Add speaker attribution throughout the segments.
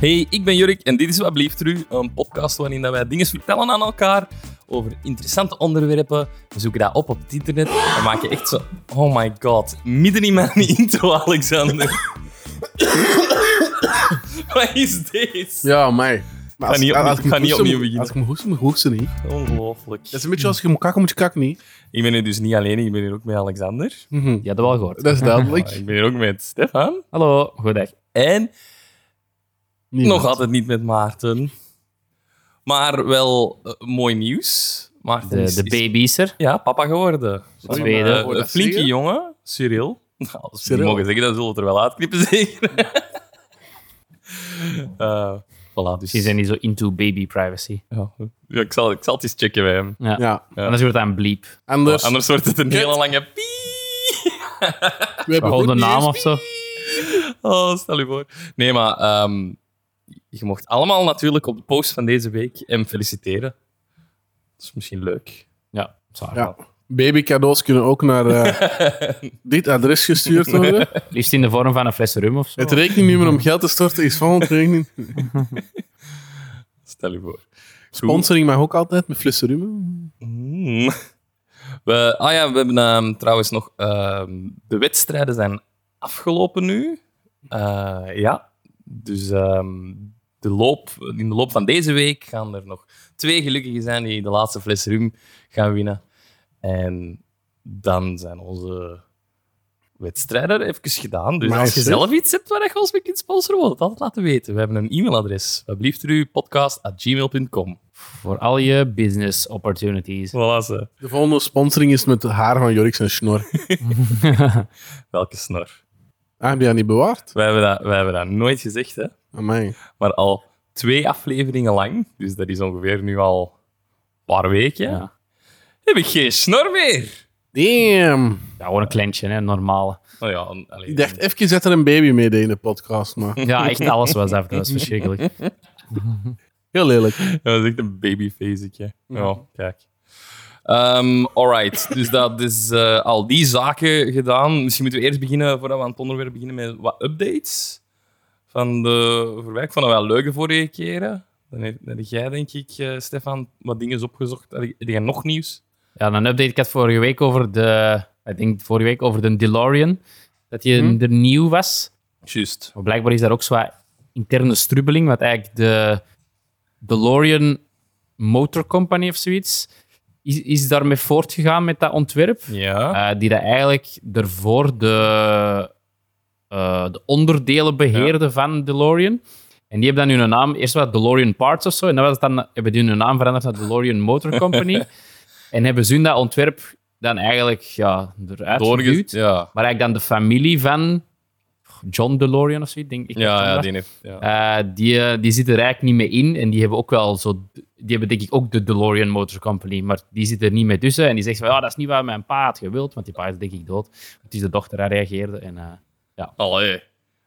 Speaker 1: Hey, ik ben Jurk en dit is Wat Blieft Ru, een podcast waarin dat wij dingen vertellen aan elkaar over interessante onderwerpen. We zoeken dat op op het internet en maken echt zo... Oh my god, midden in mijn intro, Alexander. Wat is dit?
Speaker 2: Ja, mij. Maar
Speaker 1: Ga niet op-
Speaker 2: ik moet
Speaker 1: ga niet
Speaker 2: hoesten,
Speaker 1: opnieuw
Speaker 2: moet-
Speaker 1: beginnen.
Speaker 2: Als ik moet hoesten, moet ik hoesten niet.
Speaker 1: Ongelooflijk.
Speaker 2: Dat is een beetje als je moet kakken, moet je kakken niet.
Speaker 1: Ik ben hier dus niet alleen, ik ben hier ook met Alexander.
Speaker 2: Mhm.
Speaker 3: Ja, dat wel gehoord.
Speaker 2: Dat is duidelijk.
Speaker 1: Ik ben hier ook met Stefan.
Speaker 3: Hallo, goedendag.
Speaker 1: En
Speaker 2: Niet
Speaker 1: nog
Speaker 2: goed.
Speaker 1: altijd niet met Maarten. Maar wel eh, mooi nieuws. Maarten
Speaker 3: De,
Speaker 1: is-
Speaker 3: de
Speaker 1: is-
Speaker 3: baby's er.
Speaker 1: Ja, papa geworden.
Speaker 2: Sorry,
Speaker 3: tweede.
Speaker 2: maar,
Speaker 1: Eh,
Speaker 2: hoor je
Speaker 1: een
Speaker 2: dat
Speaker 1: flinke
Speaker 2: zeggen?
Speaker 1: jongen, Cyril. Nou, als we die
Speaker 2: Cyril.
Speaker 1: mogen zeggen, dan zullen we het er wel uitknippen, zeker. Eh voilà, dus...
Speaker 3: Ze zijn niet zo into baby privacy.
Speaker 1: Ja, ja, ik, zal, ik zal het eens checken bij hem.
Speaker 3: Ja.
Speaker 2: Ja, dus,
Speaker 3: Anders wordt dat een bleep.
Speaker 2: anders.
Speaker 1: Anders wordt het een
Speaker 2: Kijk.
Speaker 1: hele lange pie.
Speaker 2: we hebben
Speaker 3: Gewoon
Speaker 2: ook
Speaker 3: de
Speaker 2: niet
Speaker 3: naam
Speaker 2: eens-
Speaker 3: of zo.
Speaker 1: Oh, stel je voor. Nee, maar ehm, je mocht allemaal natuurlijk op de post van deze week hem feliciteren. Dat is misschien leuk.
Speaker 3: Ja, zwaar.
Speaker 2: Ja. Babycadeaus kunnen ook naar eh, dit adres gestuurd worden.
Speaker 3: Liefst in de vorm van een fles rum of zo.
Speaker 2: Het rekeningnummer om geld te storten is van het rekening.
Speaker 1: Stel je voor. Goed.
Speaker 2: Sponsoring mag ook altijd met flessen rum.
Speaker 1: Mm. We, ah ja, we hebben ehm, trouwens nog... ehm, de wedstrijden zijn afgelopen nu. Eh, ja, dus ehm, de loop, in de loop van deze week gaan er nog twee gelukkigen zijn die de laatste fles rum gaan winnen. En dan zijn onze wedstrijden even gedaan. Dus
Speaker 2: Maar
Speaker 1: als je
Speaker 2: zeg.
Speaker 1: zelf iets hebt waar je ons mee kunt sponsoren, wil je het altijd laten weten. We hebben een e-mailadres. Alsjeblieft, u podcast.gmail.com.
Speaker 3: Voor al je business opportunities.
Speaker 1: Voilà, ze.
Speaker 2: De volgende sponsoring is met het haar van Jorik zijn snor.
Speaker 1: Welke snor.
Speaker 2: Ah, heb je dat niet bewaard?
Speaker 1: Wij hebben dat, wij hebben dat nooit gezegd, hè?
Speaker 2: Amai.
Speaker 1: maar al twee afleveringen lang, dus dat is ongeveer nu al een paar weken,
Speaker 3: Ja.
Speaker 1: heb ik geen snor meer.
Speaker 2: Damn.
Speaker 3: Ja, gewoon een klantje, hè, normaal.
Speaker 1: Nou ja, een- allee,
Speaker 2: Ik dacht even dat er een baby mee deed in de podcast, maar
Speaker 3: Ja, echt alles was af. Dat was verschrikkelijk.
Speaker 2: heel lelijk.
Speaker 1: dat was echt een babyface. Ja, kijk. Ehm alright, dus dat is eh, al die zaken gedaan. Misschien moeten we eerst beginnen, voordat we aan het onderwerp beginnen, met wat updates van de verwerk. Ik vond dat wel leuk de vorige keren. Dan heb, dan heb jij, denk ik, eh, Stefan, wat dingen opgezocht. Heb je- heb jij nog nieuws?
Speaker 3: Ja, dan update. Ik had vorige week over de... Ik denk vorige week over de DeLorean. Dat die
Speaker 1: Mhm.
Speaker 3: er nieuw was.
Speaker 1: Juist.
Speaker 3: Maar blijkbaar is daar ook zo'n interne strubbeling, want eigenlijk de DeLorean Motor Company of zoiets is, is daarmee voortgegaan met dat ontwerp.
Speaker 1: Ja.
Speaker 3: eh, die dat eigenlijk ervoor de, eh, de onderdelen beheerde van DeLorean. En die hebben dan hun naam, eerst wat DeLorean Parts of zo, en dan, was het dan hebben die hun naam veranderd naar DeLorean Motor Company. en hebben ze hun dat ontwerp dan eigenlijk ja, eruit geduwd.
Speaker 1: doorgeduwd. Ja,
Speaker 3: Maar eigenlijk dan de familie van John DeLorean of zoiets, denk ik.
Speaker 1: ja, ja,
Speaker 3: Eh,
Speaker 1: die
Speaker 3: die,
Speaker 1: heeft. Ja.
Speaker 3: eh, die zit er eigenlijk niet mee in. En die hebben ook wel zo... Die hebben denk ik ook de DeLorean Motor Company, maar die zit er niet mee tussen. En die zegt van, ja, dat is niet waar mijn pa had gewild, want die pa is denk ik dood. Dus de dochter daar reageerde. En, eh,
Speaker 1: Allee.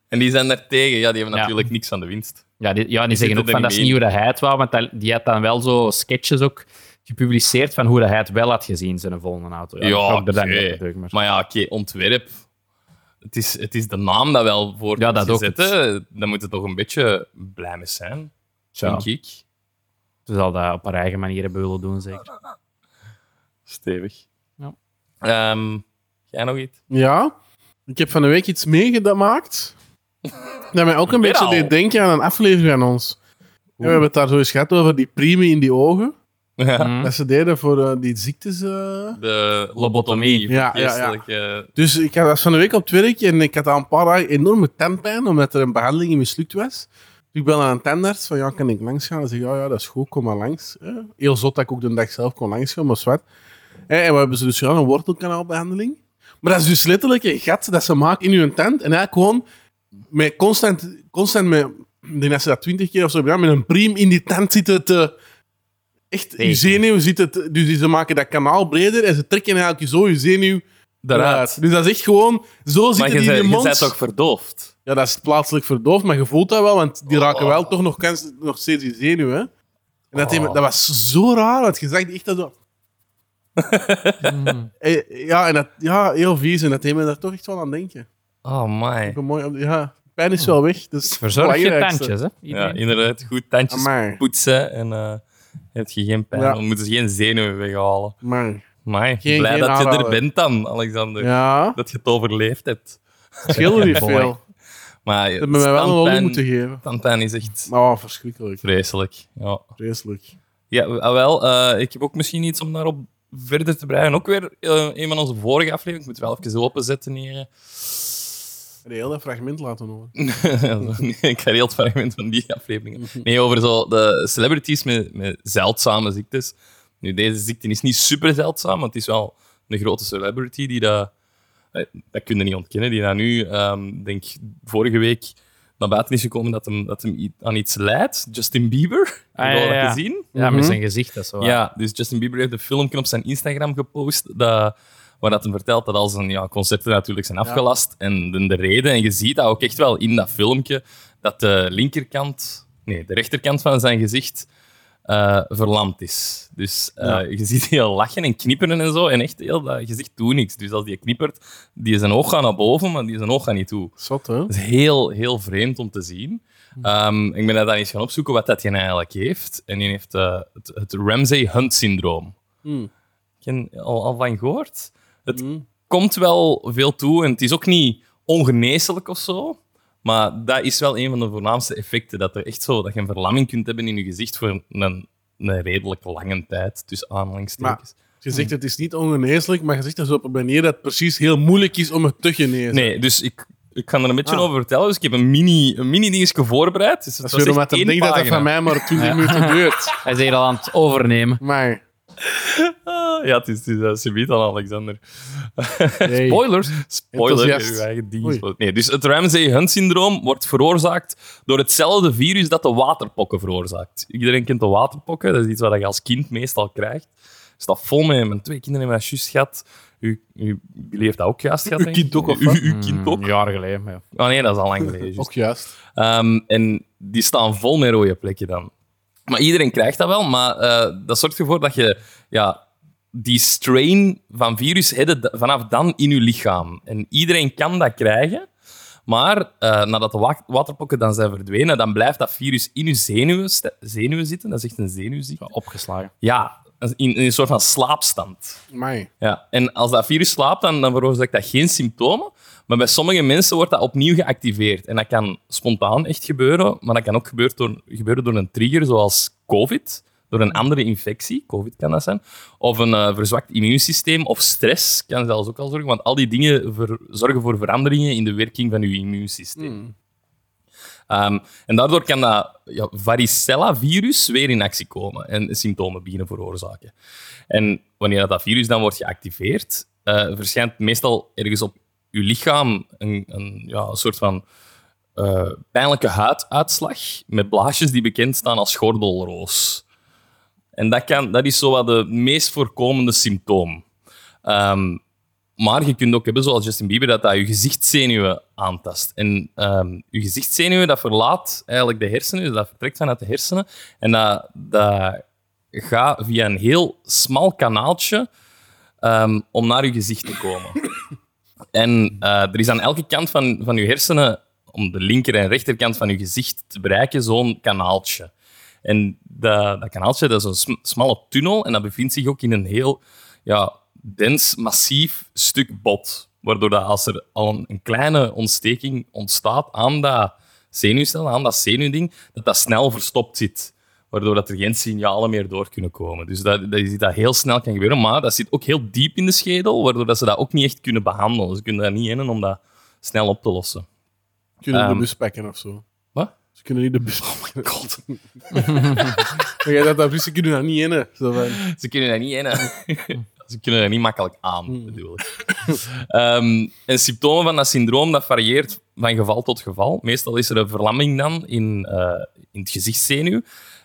Speaker 1: En die zijn daar tegen. Ja, die hebben
Speaker 3: Ja.
Speaker 1: natuurlijk niks aan de winst.
Speaker 3: ja, die, ja, die
Speaker 1: zitten
Speaker 3: zeggen ook
Speaker 1: er
Speaker 3: van,
Speaker 1: niet
Speaker 3: dat is
Speaker 1: mee
Speaker 3: niet hoe dat hij het wou, want dat- die had dan wel zo sketches ook gepubliceerd van hoe dat hij het wel had gezien, zijn volgende auto.
Speaker 1: Ja,
Speaker 3: dat maakt er dan
Speaker 1: oké.
Speaker 3: niet op natuurlijk, maar-
Speaker 1: Maar ja, oké, ontwerp. Het is, het is de naam dat wel voor
Speaker 3: Ja, dat ook.
Speaker 1: Dan moet het toch een beetje blij mee zijn, denk
Speaker 3: ja,
Speaker 1: ik.
Speaker 3: ze zal dat op haar eigen manier hebben willen doen, zeker.
Speaker 1: Stevig.
Speaker 3: Ja.
Speaker 1: Ehm, jij nog iets?
Speaker 2: Ja, ik heb van de week iets meegemaakt. Dat mij ook een
Speaker 1: Weer
Speaker 2: beetje
Speaker 1: al?
Speaker 2: deed denken aan een aflevering aan ons. En we hebben het daar zo eens gehad over die prime in die ogen.
Speaker 3: Mm.
Speaker 2: Dat ze deden voor eh, die ziektes. eh.
Speaker 1: De lobotomie.
Speaker 2: Ja, ja, ja.
Speaker 1: geestelijke-
Speaker 2: Dus ik had dat van de week op het werk en ik had al een paar dagen enorme tandpijn omdat er een behandeling in mislukt was. Dus ik bel aan een tandarts van ja, kan ik langs gaan? En zeg ja, ja, dat is goed, kom maar langs. hè. Heel zot dat ik ook de dag zelf kon langsgaan, maar zwart. Hè, En we hebben ze dus gedaan, een wortelkanaalbehandeling. Maar dat is dus letterlijk een gat dat ze maken in hun tand. En eigenlijk gewoon met constant, constant met, ik denk dat ze dat twintig keer of zo hebben gedaan, met een priem in die tand zitten te... Echt, je
Speaker 3: Tegen.
Speaker 2: zenuw zit het... Dus ze maken dat kanaal breder en ze trekken eigenlijk zo je zenuw
Speaker 1: Daaruit.
Speaker 2: dus dat is echt gewoon... Zo
Speaker 1: Maar
Speaker 2: zitten
Speaker 1: je
Speaker 2: die in
Speaker 1: zei-
Speaker 2: je
Speaker 1: je
Speaker 2: mond.
Speaker 1: bent toch verdoofd?
Speaker 2: Ja, dat is plaatselijk verdoofd, maar je voelt dat wel, want die raken
Speaker 1: Oh.
Speaker 2: wel toch nog, kans, nog steeds die zenuwen. En dat, die-
Speaker 1: Oh.
Speaker 2: dat was zo raar, want je zag die echt dat zo... Hmm. Eh, ja, en dat, ja, heel vies. En dat deed me daar toch echt wel aan denken.
Speaker 1: Oh, my.
Speaker 2: Ook een mooi, ja, pijn is wel weg. Dus
Speaker 3: Verzorg je tandjes, hè?
Speaker 1: Ja,
Speaker 3: Iedereen.
Speaker 1: inderdaad. Goed tandjes
Speaker 2: Maar,
Speaker 1: poetsen en eh heb je geen pijn.
Speaker 2: Ja.
Speaker 1: Dan moeten ze geen zenuwen weghalen.
Speaker 2: maar.
Speaker 1: Maar
Speaker 2: Geen-
Speaker 1: blij
Speaker 2: geen
Speaker 1: dat je er
Speaker 2: aanrader.
Speaker 1: bent dan, Alexander.
Speaker 2: Ja,
Speaker 1: Dat je het overleefd hebt.
Speaker 2: het scheelde niet
Speaker 1: Boy.
Speaker 2: veel.
Speaker 1: Maar
Speaker 2: Ze hebben mij wel een olie
Speaker 1: tandpijn-
Speaker 2: moeten geven.
Speaker 1: tandpijn is echt
Speaker 2: Oh, verschrikkelijk.
Speaker 1: vreselijk. Ja.
Speaker 2: Vreselijk.
Speaker 1: Ja, ah, wel. eh, ik heb ook misschien iets om daarop verder te breien. Ook weer eh, een van onze vorige afleveringen. Ik moet wel even openzetten hier.
Speaker 2: Een hele fragment laten horen.
Speaker 1: Nee, ik ga heel het fragment van die afleveringen.
Speaker 3: Mhm.
Speaker 1: Nee, over zo de celebrities met, met zeldzame ziektes. Nu, deze ziekte is niet super zeldzaam, want het is wel een grote celebrity die dat... eh, Dat kun je niet ontkennen. Die dat nu, ehm, denk ik, vorige week naar buiten is gekomen dat hem, dat hem i- aan iets leidt. Justin Bieber.
Speaker 3: Ah,
Speaker 1: Heb je
Speaker 3: ja,
Speaker 1: dat
Speaker 3: ja.
Speaker 1: gezien?
Speaker 3: Ja,
Speaker 2: Mhm.
Speaker 3: met zijn gezicht, dat is zo.
Speaker 1: Ja, dus Justin Bieber heeft een filmpje op zijn Instagram gepost dat, waar dat hem vertelt dat al zijn ja, concepten natuurlijk zijn afgelast en de, de reden. En je ziet dat ook echt wel in dat filmpje, dat de linkerkant, nee, de rechterkant van zijn gezicht eh, verlamd is. Dus eh,
Speaker 2: Ja.
Speaker 1: je ziet heel lachen en knipperen en zo en echt heel dat gezicht doet niks. Dus als die knippert, die zijn oog gaat naar boven, maar die zijn oog gaat niet toe.
Speaker 2: Zot, hè?
Speaker 1: Dat is heel, heel vreemd om te zien.
Speaker 2: Hmm.
Speaker 1: Ehm, ik ben dat dan eens gaan opzoeken wat dat je nou eigenlijk heeft. En die heeft eh, het, het Ramsey Hunt syndroom.
Speaker 2: Mm.
Speaker 1: Ken je al, al van gehoord? Het
Speaker 2: Mm.
Speaker 1: komt wel veel toe en het is ook niet ongeneeslijk of zo. Maar dat is wel een van de voornaamste effecten. Dat, er echt zo, dat je een verlamming kunt hebben in je gezicht voor een, een redelijk lange tijd. Dus aanhalingstekens.
Speaker 2: Je zegt het is niet ongeneeslijk, maar je zegt dat zo op een manier dat het precies heel moeilijk is om het te genezen.
Speaker 1: Nee, dus ik, ik ga er een beetje
Speaker 2: Ah.
Speaker 1: over vertellen. Dus ik heb een mini, een mini dingetje voorbereid. Dus
Speaker 2: Dat
Speaker 1: het
Speaker 2: is weer
Speaker 1: was
Speaker 2: omdat
Speaker 1: echt
Speaker 2: ik
Speaker 1: één
Speaker 2: denk dat dat
Speaker 1: pagina.
Speaker 2: van mij maar 20 minuten duurt.
Speaker 3: Hij is hier al aan het overnemen.
Speaker 2: Maar,
Speaker 1: Ah, ja, het is, het is eh, subiet aan Alexander.
Speaker 2: hey.
Speaker 3: Spoilers.
Speaker 1: Spoiler,
Speaker 2: Enthousiast.
Speaker 1: uw eigen ding.
Speaker 2: Oei.
Speaker 1: is wel- Nee, dus het Ramsey-Hunt-syndroom wordt veroorzaakt door hetzelfde virus dat de waterpokken veroorzaakt. Iedereen kent de waterpokken, dat is iets wat je als kind meestal krijgt. Ik sta vol mee, mijn twee kinderen hebben dat juist gehad. U, u, jullie heeft dat ook juist gehad,
Speaker 2: Uw
Speaker 1: denk ik?
Speaker 2: kind ook, of
Speaker 1: Uw-
Speaker 2: wat? Hmm.
Speaker 1: uw kind ook?
Speaker 3: Mm, jaren geleden, maar ja.
Speaker 1: Ah nee, dat is al lang geleden. juist.
Speaker 2: Ook juist.
Speaker 1: Ehm, en die staan vol met rode plekken dan. Maar iedereen krijgt dat wel, maar eh, dat zorgt ervoor dat je ja, die strain van virus hebt het vanaf dan in je lichaam. En iedereen kan dat krijgen, maar eh, nadat de wa- waterpokken dan zijn verdwenen, dan blijft dat virus in je zenuwen, st- zenuwen zitten. Dat is echt een zenuwziekte.
Speaker 3: Opgeslagen.
Speaker 1: Ja, in, in een soort van slaapstand.
Speaker 2: Maar,
Speaker 1: Ja, en als dat virus slaapt, dan, dan veroorzaakt dat geen symptomen. Maar bij sommige mensen wordt dat opnieuw geactiveerd. En dat kan spontaan echt gebeuren, maar dat kan ook gebeuren door, gebeuren door een trigger, zoals COVID, door een andere infectie, COVID kan dat zijn, of een eh, verzwakt immuunsysteem, of stress kan zelfs ook al zorgen, want al die dingen ver- zorgen voor veranderingen in de werking van je immuunsysteem. Ehm, en daardoor kan dat ja, varicella-virus weer in actie komen en symptomen beginnen veroorzaken. En wanneer dat virus dan wordt geactiveerd, eh, verschijnt meestal ergens op je lichaam een, een, ja, een soort van eh, pijnlijke huiduitslag met blaasjes die bekend staan als gordelroos. En dat, kan, dat is zo wat de meest voorkomende symptoom. Ehm, maar je kunt ook hebben, zoals Justin Bieber, dat dat je gezichtszenuwen aantast. En ehm, je gezichtszenuwen, dat verlaat eigenlijk de hersenen, dus dat vertrekt vanuit de hersenen. En dat, dat gaat via een heel smal kanaaltje ehm, om naar je gezicht te komen. En eh, er is aan elke kant van, van je hersenen, om de linker- en rechterkant van je gezicht te bereiken, zo'n kanaaltje. En dat, dat kanaaltje dat is een sm- smalle tunnel en dat bevindt zich ook in een heel ja, dens, massief stuk bot. Waardoor dat als er al een, een kleine ontsteking ontstaat aan dat zenuwstel, aan dat zenuwding, dat dat snel verstopt zit. Waardoor dat er geen signalen meer door kunnen komen. Dus dat, dat, je ziet dat heel snel kan gebeuren. Maar dat zit ook heel diep in de schedel, waardoor dat ze dat ook niet echt kunnen behandelen. Ze kunnen daar niet in om dat snel op te lossen.
Speaker 2: kunnen
Speaker 1: Ehm.
Speaker 2: de bus pakken of zo?
Speaker 1: Wat? Oh
Speaker 2: Ze kunnen niet de bus pakken.
Speaker 1: God.
Speaker 2: Maar jij dacht dat Russen kunnen daar niet in. hè. Zo van,
Speaker 1: Ze kunnen daar niet in. hè. Hmm. Ze kunnen daar niet makkelijk aan, bedoel ik. Ehm, en symptomen van dat syndroom dat varieert van geval tot geval. Meestal is er een verlamming dan in, eh, in het gezichtszenuw.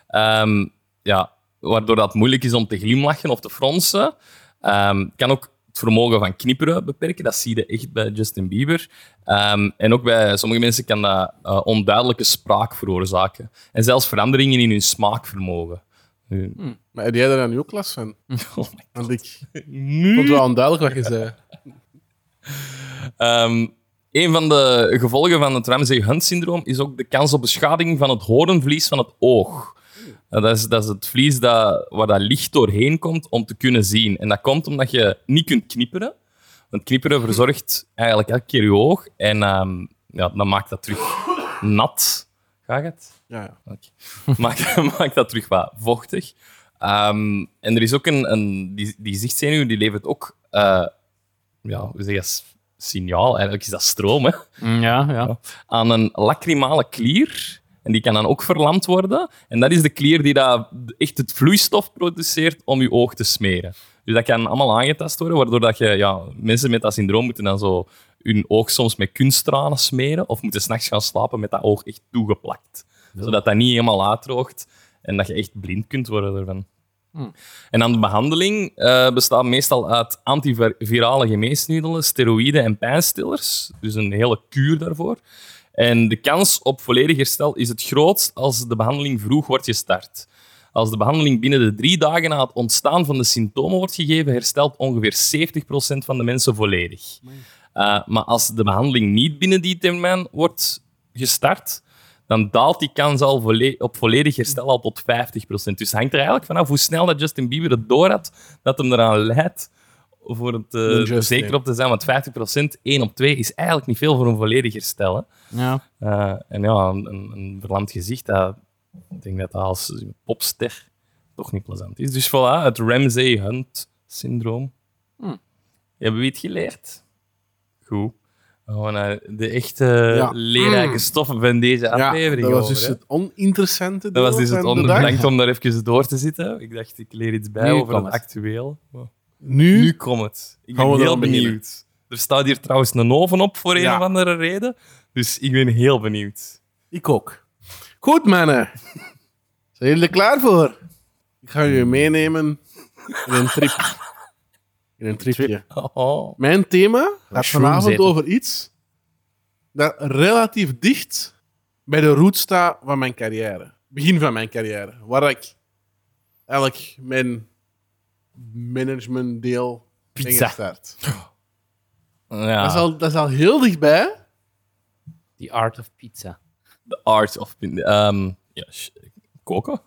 Speaker 1: Ehm, ja, waardoor dat moeilijk is om te glimlachen of te fronsen. Ehm, kan ook het vermogen van knipperen beperken. Dat zie je echt bij Justin Bieber. Ehm, en ook bij sommige mensen kan dat eh, onduidelijke spraak veroorzaken. En zelfs veranderingen in hun smaakvermogen. Nu-
Speaker 2: maar heb jij daar nu ook last van?
Speaker 1: Oh my
Speaker 2: Want ik vond het wel onduidelijk wat je zei.
Speaker 1: Ehm, Een van de gevolgen van het Ramsey-Hunt-syndroom is ook de kans op beschadiging van het horenvlies van het oog. En Dat is, dat is het vlies dat, waar dat licht doorheen komt om te kunnen zien. En dat komt omdat je niet kunt knipperen. Want knipperen verzorgt eigenlijk elke keer je oog. En ehm, ja, dan maakt dat terug nat. Ga je het?
Speaker 2: Ja, ja.
Speaker 1: Oké. maak, maak dat terug wat vochtig. Ehm, en er is ook een... een die, die zichtzenuw die levert ook... eh, ja, hoe zeg je dat? Signaal. Eigenlijk is dat stroom, hè?
Speaker 3: Mm, Ja, ja.
Speaker 1: Aan een lacrimale klier. En die kan dan ook verlamd worden. En dat is de klier die dat echt het vloeistof produceert om je oog te smeren. Dus dat kan allemaal aangetast worden, waardoor dat je, ja, mensen met dat syndroom moeten dan zo hun oog soms met kunsttranen smeren of moeten s'nachts gaan slapen met dat oog echt toegeplakt. Zodat dat niet helemaal uitdroogt en dat je echt blind kunt worden ervan. En dan de behandeling eh, bestaat meestal uit antivirale geneesmiddelen, steroïden en pijnstillers. Dus een hele kuur daarvoor. En de kans op volledig herstel is het grootst als de behandeling vroeg wordt gestart. Als de behandeling binnen de drie dagen na het ontstaan van de symptomen wordt gegeven, herstelt ongeveer 70% van de mensen volledig. Eh, maar als de behandeling niet binnen die termijn wordt gestart, dan daalt die kans al volle- op volledig herstel al tot 50%. Dus het hangt er eigenlijk vanaf hoe snel dat Justin Bieber het door had, dat hem eraan leidt voor het eh,
Speaker 2: Justin.
Speaker 1: zeker op te zijn. Want 50%, 1 op 2, is eigenlijk niet veel voor een volledig herstel. Hè.
Speaker 3: ja.
Speaker 1: Eh, en ja, een, een, een verlamd gezicht, dat, ik denk dat dat als popster toch niet plezant is. Dus voilà, het Ramsey-Hunt-syndroom.
Speaker 3: Hm.
Speaker 1: Hebben we het geleerd? Goed. Dan gaan we naar de echte
Speaker 2: Ja.
Speaker 1: leerrijke
Speaker 3: Hmm.
Speaker 1: stoffen van deze
Speaker 2: Ja,
Speaker 1: aflevering
Speaker 2: dat was
Speaker 1: over,
Speaker 2: dus
Speaker 1: hè.
Speaker 2: het oninteressante.
Speaker 1: dat was
Speaker 2: deel
Speaker 1: dus het
Speaker 2: van de
Speaker 1: onderwerp.
Speaker 2: dag.
Speaker 1: Ik dacht om daar even door te zitten. Ik dacht, ik leer iets bij
Speaker 3: Nu
Speaker 1: over
Speaker 3: komt
Speaker 1: het
Speaker 3: het.
Speaker 1: actueel.
Speaker 2: Nu,
Speaker 1: Nu komt het. Ik
Speaker 2: Gaan
Speaker 1: ben
Speaker 2: we
Speaker 1: heel
Speaker 2: eraan beginnen.
Speaker 1: benieuwd. Er staat hier trouwens een oven op voor een
Speaker 2: Ja.
Speaker 1: of andere reden. Dus ik ben heel benieuwd.
Speaker 2: ik ook. Goed, mannen. Zijn jullie er klaar voor? Ik ga jullie meenemen in een trip. In een tripje.
Speaker 1: Oh.
Speaker 2: Mijn thema gaat
Speaker 3: shroom
Speaker 2: vanavond
Speaker 3: zitten.
Speaker 2: over iets dat relatief dicht bij de route staat van mijn carrière. Begin van mijn carrière. Waar ik eigenlijk mijn managementdeel in
Speaker 3: Pizza.
Speaker 2: gestart.
Speaker 1: Ja.
Speaker 2: Dat, is al, dat is al heel dichtbij.
Speaker 3: The Art of Pizza.
Speaker 1: The Art of Pin. ehm, ja, sh- koken?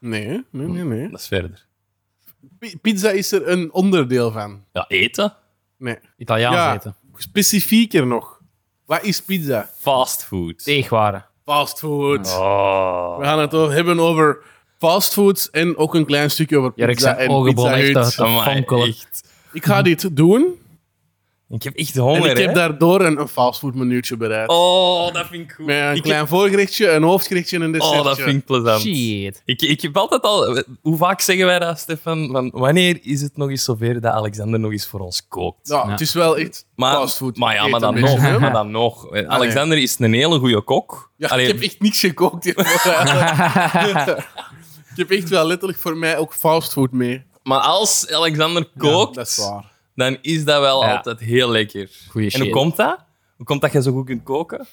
Speaker 2: Nee, nee, nee. nee.
Speaker 1: Dat is verder.
Speaker 2: Pi- Pizza is er een onderdeel van.
Speaker 1: Ja, eten?
Speaker 2: Nee.
Speaker 3: Italiaans
Speaker 2: Ja.
Speaker 3: eten.
Speaker 2: Specifieker nog. Wat is pizza?
Speaker 1: Fastfood.
Speaker 3: Teegwaren.
Speaker 2: Fastfood.
Speaker 1: Oh.
Speaker 2: We gaan het over- hebben over fastfoods en ook een klein stukje over
Speaker 3: Jurk
Speaker 2: pizza
Speaker 3: zijn
Speaker 2: en
Speaker 3: ogen
Speaker 2: pizza
Speaker 3: begon echt
Speaker 2: Hut.
Speaker 3: te-
Speaker 1: Amai,
Speaker 3: fonkelen.
Speaker 1: echt.
Speaker 2: Ik ga dit doen.
Speaker 1: Ik heb echt honger,
Speaker 2: en ik
Speaker 1: hè?
Speaker 2: heb daardoor een, een fastfood menuutje bereid.
Speaker 1: Oh, dat vind ik goed.
Speaker 2: Met een
Speaker 1: ik
Speaker 2: klein voorgerechtje, een hoofdgerechtje en een
Speaker 1: heb...
Speaker 2: dessertje.
Speaker 1: Oh, dat vind ik plezant.
Speaker 3: Shit.
Speaker 1: Ik, ik heb altijd al... Hoe vaak zeggen wij dat, Stefan? Van, wanneer is het nog eens zover dat Alexander nog eens voor ons kookt?
Speaker 2: Ja, Het is wel echt
Speaker 1: maar,
Speaker 2: fastfood.
Speaker 1: Maar ja, maar
Speaker 2: Eten
Speaker 1: dan,
Speaker 2: een
Speaker 1: nog,
Speaker 2: beetje, hè.
Speaker 1: maar dan nog. Alexander is een hele goede kok.
Speaker 2: Ja,
Speaker 1: Alleen-
Speaker 2: ik heb echt niks gekookt. hier. ik heb echt wel letterlijk voor mij ook fastfood mee.
Speaker 1: Maar als Alexander kookt...
Speaker 2: Ja, dat is waar.
Speaker 1: dan is dat wel
Speaker 3: Ja.
Speaker 1: altijd heel lekker.
Speaker 3: Goeie
Speaker 1: en hoe
Speaker 3: shit.
Speaker 1: komt dat? Hoe komt dat je zo goed kunt koken?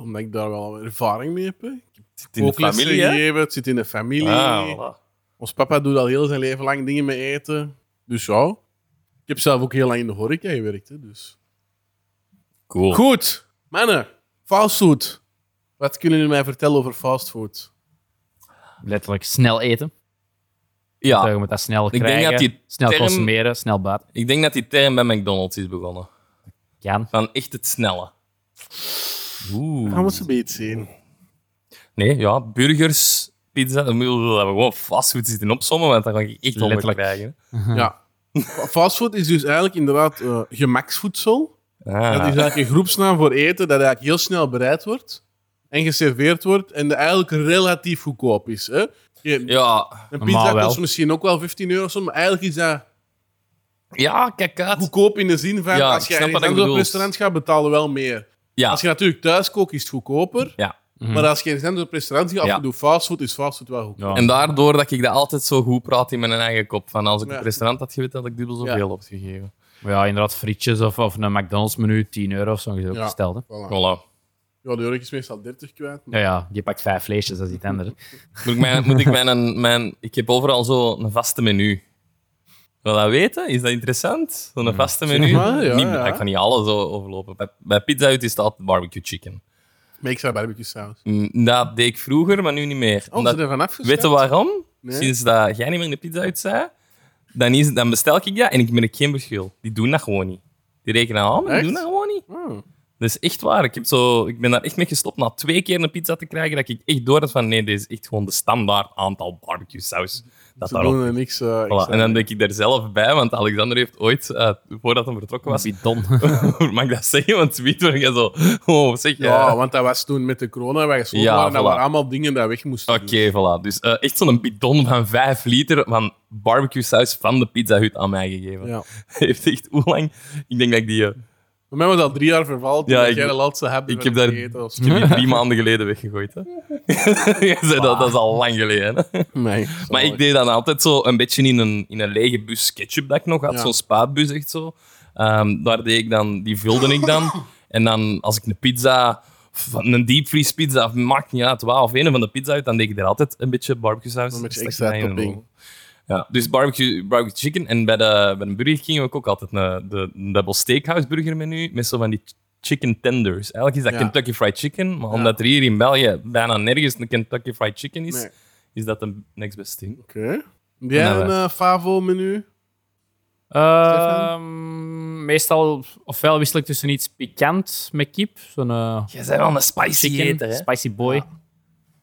Speaker 2: Omdat ik daar wel ervaring mee heb. hè. Ik
Speaker 1: Het
Speaker 2: heb
Speaker 1: zit in de
Speaker 2: kooklessen
Speaker 1: familie, hè?
Speaker 2: gegeven, het zit in de familie.
Speaker 1: Ah, voilà.
Speaker 2: Ons papa doet al heel zijn leven lang dingen met eten. Dus ja. Ik heb zelf ook heel lang in de horeca gewerkt. Hè, dus.
Speaker 1: Cool.
Speaker 2: Goed, mannen. Fastfood. Wat kunnen jullie mij vertellen over fastfood?
Speaker 3: Letterlijk snel eten.
Speaker 1: Ja,
Speaker 3: Je moet dat snel
Speaker 1: denk
Speaker 3: krijgen.
Speaker 1: dat die
Speaker 3: snel
Speaker 1: term-
Speaker 3: consumeren, snel baat.
Speaker 1: ik denk dat die term bij McDonald's is begonnen.
Speaker 3: Jan.
Speaker 1: Van echt het snelle.
Speaker 2: Gaan
Speaker 1: Oeh.
Speaker 2: we ze bij iets zien.
Speaker 1: Nee, ja, burgers, pizza, dan moeten we gewoon fastfood zitten opzommen, want dan ga ik echt honger
Speaker 3: Letterlijk.
Speaker 1: krijgen.
Speaker 2: Ja. Fastfood is dus eigenlijk inderdaad eh, gemaksvoedsel. Dat is
Speaker 1: Ah,
Speaker 2: eigenlijk een groepsnaam voor eten dat eigenlijk heel snel bereid wordt en geserveerd wordt en dat eigenlijk relatief goedkoop is. Hè? Je-
Speaker 1: ja.
Speaker 2: Een
Speaker 3: Normaal
Speaker 2: pizza
Speaker 3: wel.
Speaker 2: kost misschien ook wel 15 euro, of zo, maar eigenlijk is dat
Speaker 1: ja, kijk uit.
Speaker 2: goedkoop in de zin van
Speaker 1: Ja,
Speaker 2: als
Speaker 1: ik
Speaker 2: je
Speaker 1: snap
Speaker 2: in een
Speaker 1: wat je
Speaker 2: ander
Speaker 1: bedoelt.
Speaker 2: restaurant gaat, betalen we wel meer.
Speaker 1: Ja,
Speaker 2: Als je natuurlijk thuis kookt, is het goedkoper.
Speaker 1: Ja.
Speaker 3: Mhm.
Speaker 2: Maar als je in een ander restaurant gaat, of
Speaker 1: Ja.
Speaker 2: je doet fastfood, is fastfood wel goedkoop.
Speaker 1: en daardoor dat ik dat altijd zo goed praat in mijn eigen kop. Van als ik
Speaker 2: Ja.
Speaker 1: het restaurant had geweten, had ik dubbel zoveel
Speaker 2: Ja.
Speaker 1: opgegeven.
Speaker 3: Ja, inderdaad, frietjes of, of een McDonald's menu, 10 euro of zo, is ook
Speaker 2: Ja.
Speaker 3: gesteld. Hè?
Speaker 2: Voilà.
Speaker 1: Voilà.
Speaker 2: Ja, de jurk is meestal 30 kwijt. maar-
Speaker 3: Ja, ja, je pakt vijf vleesjes, dat is iets anders. hè.
Speaker 1: Moet ik, mijn, moet ik mijn, mijn... Ik heb overal zo een vaste menu. Wil dat weten? Is dat interessant? Zo'n vaste menu?
Speaker 2: Zeg maar, ja,
Speaker 1: Niet-
Speaker 2: ja.
Speaker 1: Ik ga niet alles o- overlopen. Bij, bij Pizza Hut is het altijd barbecue chicken.
Speaker 2: Maar ik zei barbecue saus.
Speaker 1: Mm, Dat deed ik vroeger, maar nu niet meer.
Speaker 2: Oh, ze ervan afgeschaft?
Speaker 1: Weet je waarom?
Speaker 2: Nee.
Speaker 1: Sinds dat jij niet meer in de pizza uit zei, dan, is, dan bestel ik dat en ik merk geen verschil. Die doen dat gewoon niet. Die rekenen aan, maar die
Speaker 2: Echt?
Speaker 1: doen dat gewoon niet.
Speaker 2: Oh.
Speaker 1: Dat is echt waar. Ik, heb zo, ik ben daar echt mee gestopt na twee keer een pizza te krijgen, dat ik echt door had van nee, dit is echt gewoon de standaard aantal barbecue saus dat
Speaker 2: Ze
Speaker 1: daarop...
Speaker 2: doen er niks... eh,
Speaker 1: Voilà.
Speaker 2: extra.
Speaker 1: En dan denk ik daar zelf bij, want Alexander heeft ooit, eh, voordat hij vertrokken was...
Speaker 3: Bidon.
Speaker 1: Mag ik dat zeggen? Want weet waar je zo... Oh, zeg,
Speaker 2: Ja,
Speaker 1: eh,
Speaker 2: want dat was toen met de corona, wij gesloten
Speaker 1: Ja,
Speaker 2: waren, dat
Speaker 1: voilà.
Speaker 2: waren allemaal dingen dat weg moesten
Speaker 1: Oké, voilà. Dus eh, echt zo'n bidon van 5 liter van barbecue saus van de Pizza Hut aan mij gegeven.
Speaker 2: doen. Ja.
Speaker 1: Heeft echt hoe lang? Ik denk dat ik die. eh,
Speaker 2: Bij mij was dat drie jaar vervallen toen
Speaker 1: Ja,
Speaker 2: ik,
Speaker 1: ik-
Speaker 2: jij de laatste hebt
Speaker 1: ik heb daar-
Speaker 2: gegeten of zo.
Speaker 1: ik heb die drie maanden geleden weggegooid. Hè. Je zei dat, dat is al lang geleden. hè.
Speaker 2: Nee,
Speaker 1: Maar
Speaker 2: sorry.
Speaker 1: ik deed dat altijd zo een beetje in een, in een lege bus ketchup dat ik nog had.
Speaker 2: Ja.
Speaker 1: Zo'n spaatbus, echt zo. Ehm, daar deed ik dan, die vulde ik dan. En dan als ik een pizza, van- een deepfreeze pizza, of maakt niet uit, waar, of een van de pizza uit, dan deed ik er altijd een beetje barbecue saus.
Speaker 2: Een beetje
Speaker 1: Stak
Speaker 2: extra
Speaker 1: dat in en
Speaker 2: topping.
Speaker 1: zo. Ja, dus barbecue, barbecue chicken. En bij de, bij de Burger King heb ik ook altijd een, de, een double steakhouse burger menu met zo van die ch- chicken tenders. Eigenlijk is dat
Speaker 2: Ja.
Speaker 1: Kentucky Fried Chicken, maar
Speaker 2: Ja.
Speaker 1: omdat er hier in België bijna nergens een Kentucky Fried Chicken is,
Speaker 2: Nee.
Speaker 1: is dat de next best thing.
Speaker 2: Oké. Heb jij een eh, favo-menu?
Speaker 3: Ehm, meestal, ofwel wissel ik tussen iets pikant met kip, zo'n eh,
Speaker 1: Jij bent wel een spicy
Speaker 3: chicken,
Speaker 1: eater, hè?
Speaker 3: spicy boy. Mm.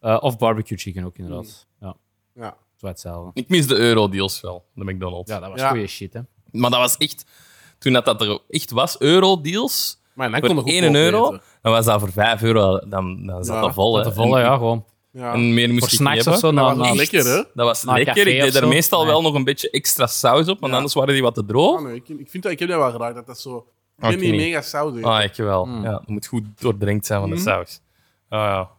Speaker 3: Eh, of barbecue chicken ook, inderdaad. Ja,
Speaker 2: Ja.
Speaker 3: zo hetzelfde.
Speaker 1: Ik mis de eurodeals wel, de McDonald's.
Speaker 3: Ja, dat was
Speaker 2: Ja.
Speaker 3: goede shit, hè.
Speaker 1: Maar dat was echt... Toen dat, dat er echt was, eurodeals,
Speaker 2: Maar dan kon je
Speaker 1: voor
Speaker 2: goed
Speaker 1: 1
Speaker 2: koken
Speaker 1: euro,
Speaker 2: eten.
Speaker 1: dan was dat voor 5 euro, dan, dan zat
Speaker 2: Ja,
Speaker 1: dat vol. hè.
Speaker 3: Te vallen,
Speaker 1: en,
Speaker 3: ja, gewoon.
Speaker 2: Ja.
Speaker 1: en meer moest
Speaker 3: Voor
Speaker 1: ik niet
Speaker 3: snacks of
Speaker 1: hebben.
Speaker 3: zo.
Speaker 2: Dat
Speaker 3: Nou,
Speaker 2: was
Speaker 3: nou,
Speaker 2: echt lekker, hè?
Speaker 1: Dat was
Speaker 3: Na een
Speaker 1: lekker. Ik
Speaker 3: café
Speaker 1: deed
Speaker 3: of
Speaker 1: er
Speaker 3: zo?
Speaker 1: meestal
Speaker 3: Nee.
Speaker 1: wel nog een beetje extra saus op, want
Speaker 2: Ja.
Speaker 1: anders waren die wat te droog.
Speaker 2: Ah, nee, ik, ik, vind dat, ik heb dat wel geraakt, dat dat zo... Ik ben
Speaker 1: Oké.
Speaker 2: niet mega saus.
Speaker 1: Ah, ik wel. Ja, het moet goed doordrenkt zijn van de saus. Ah, ja.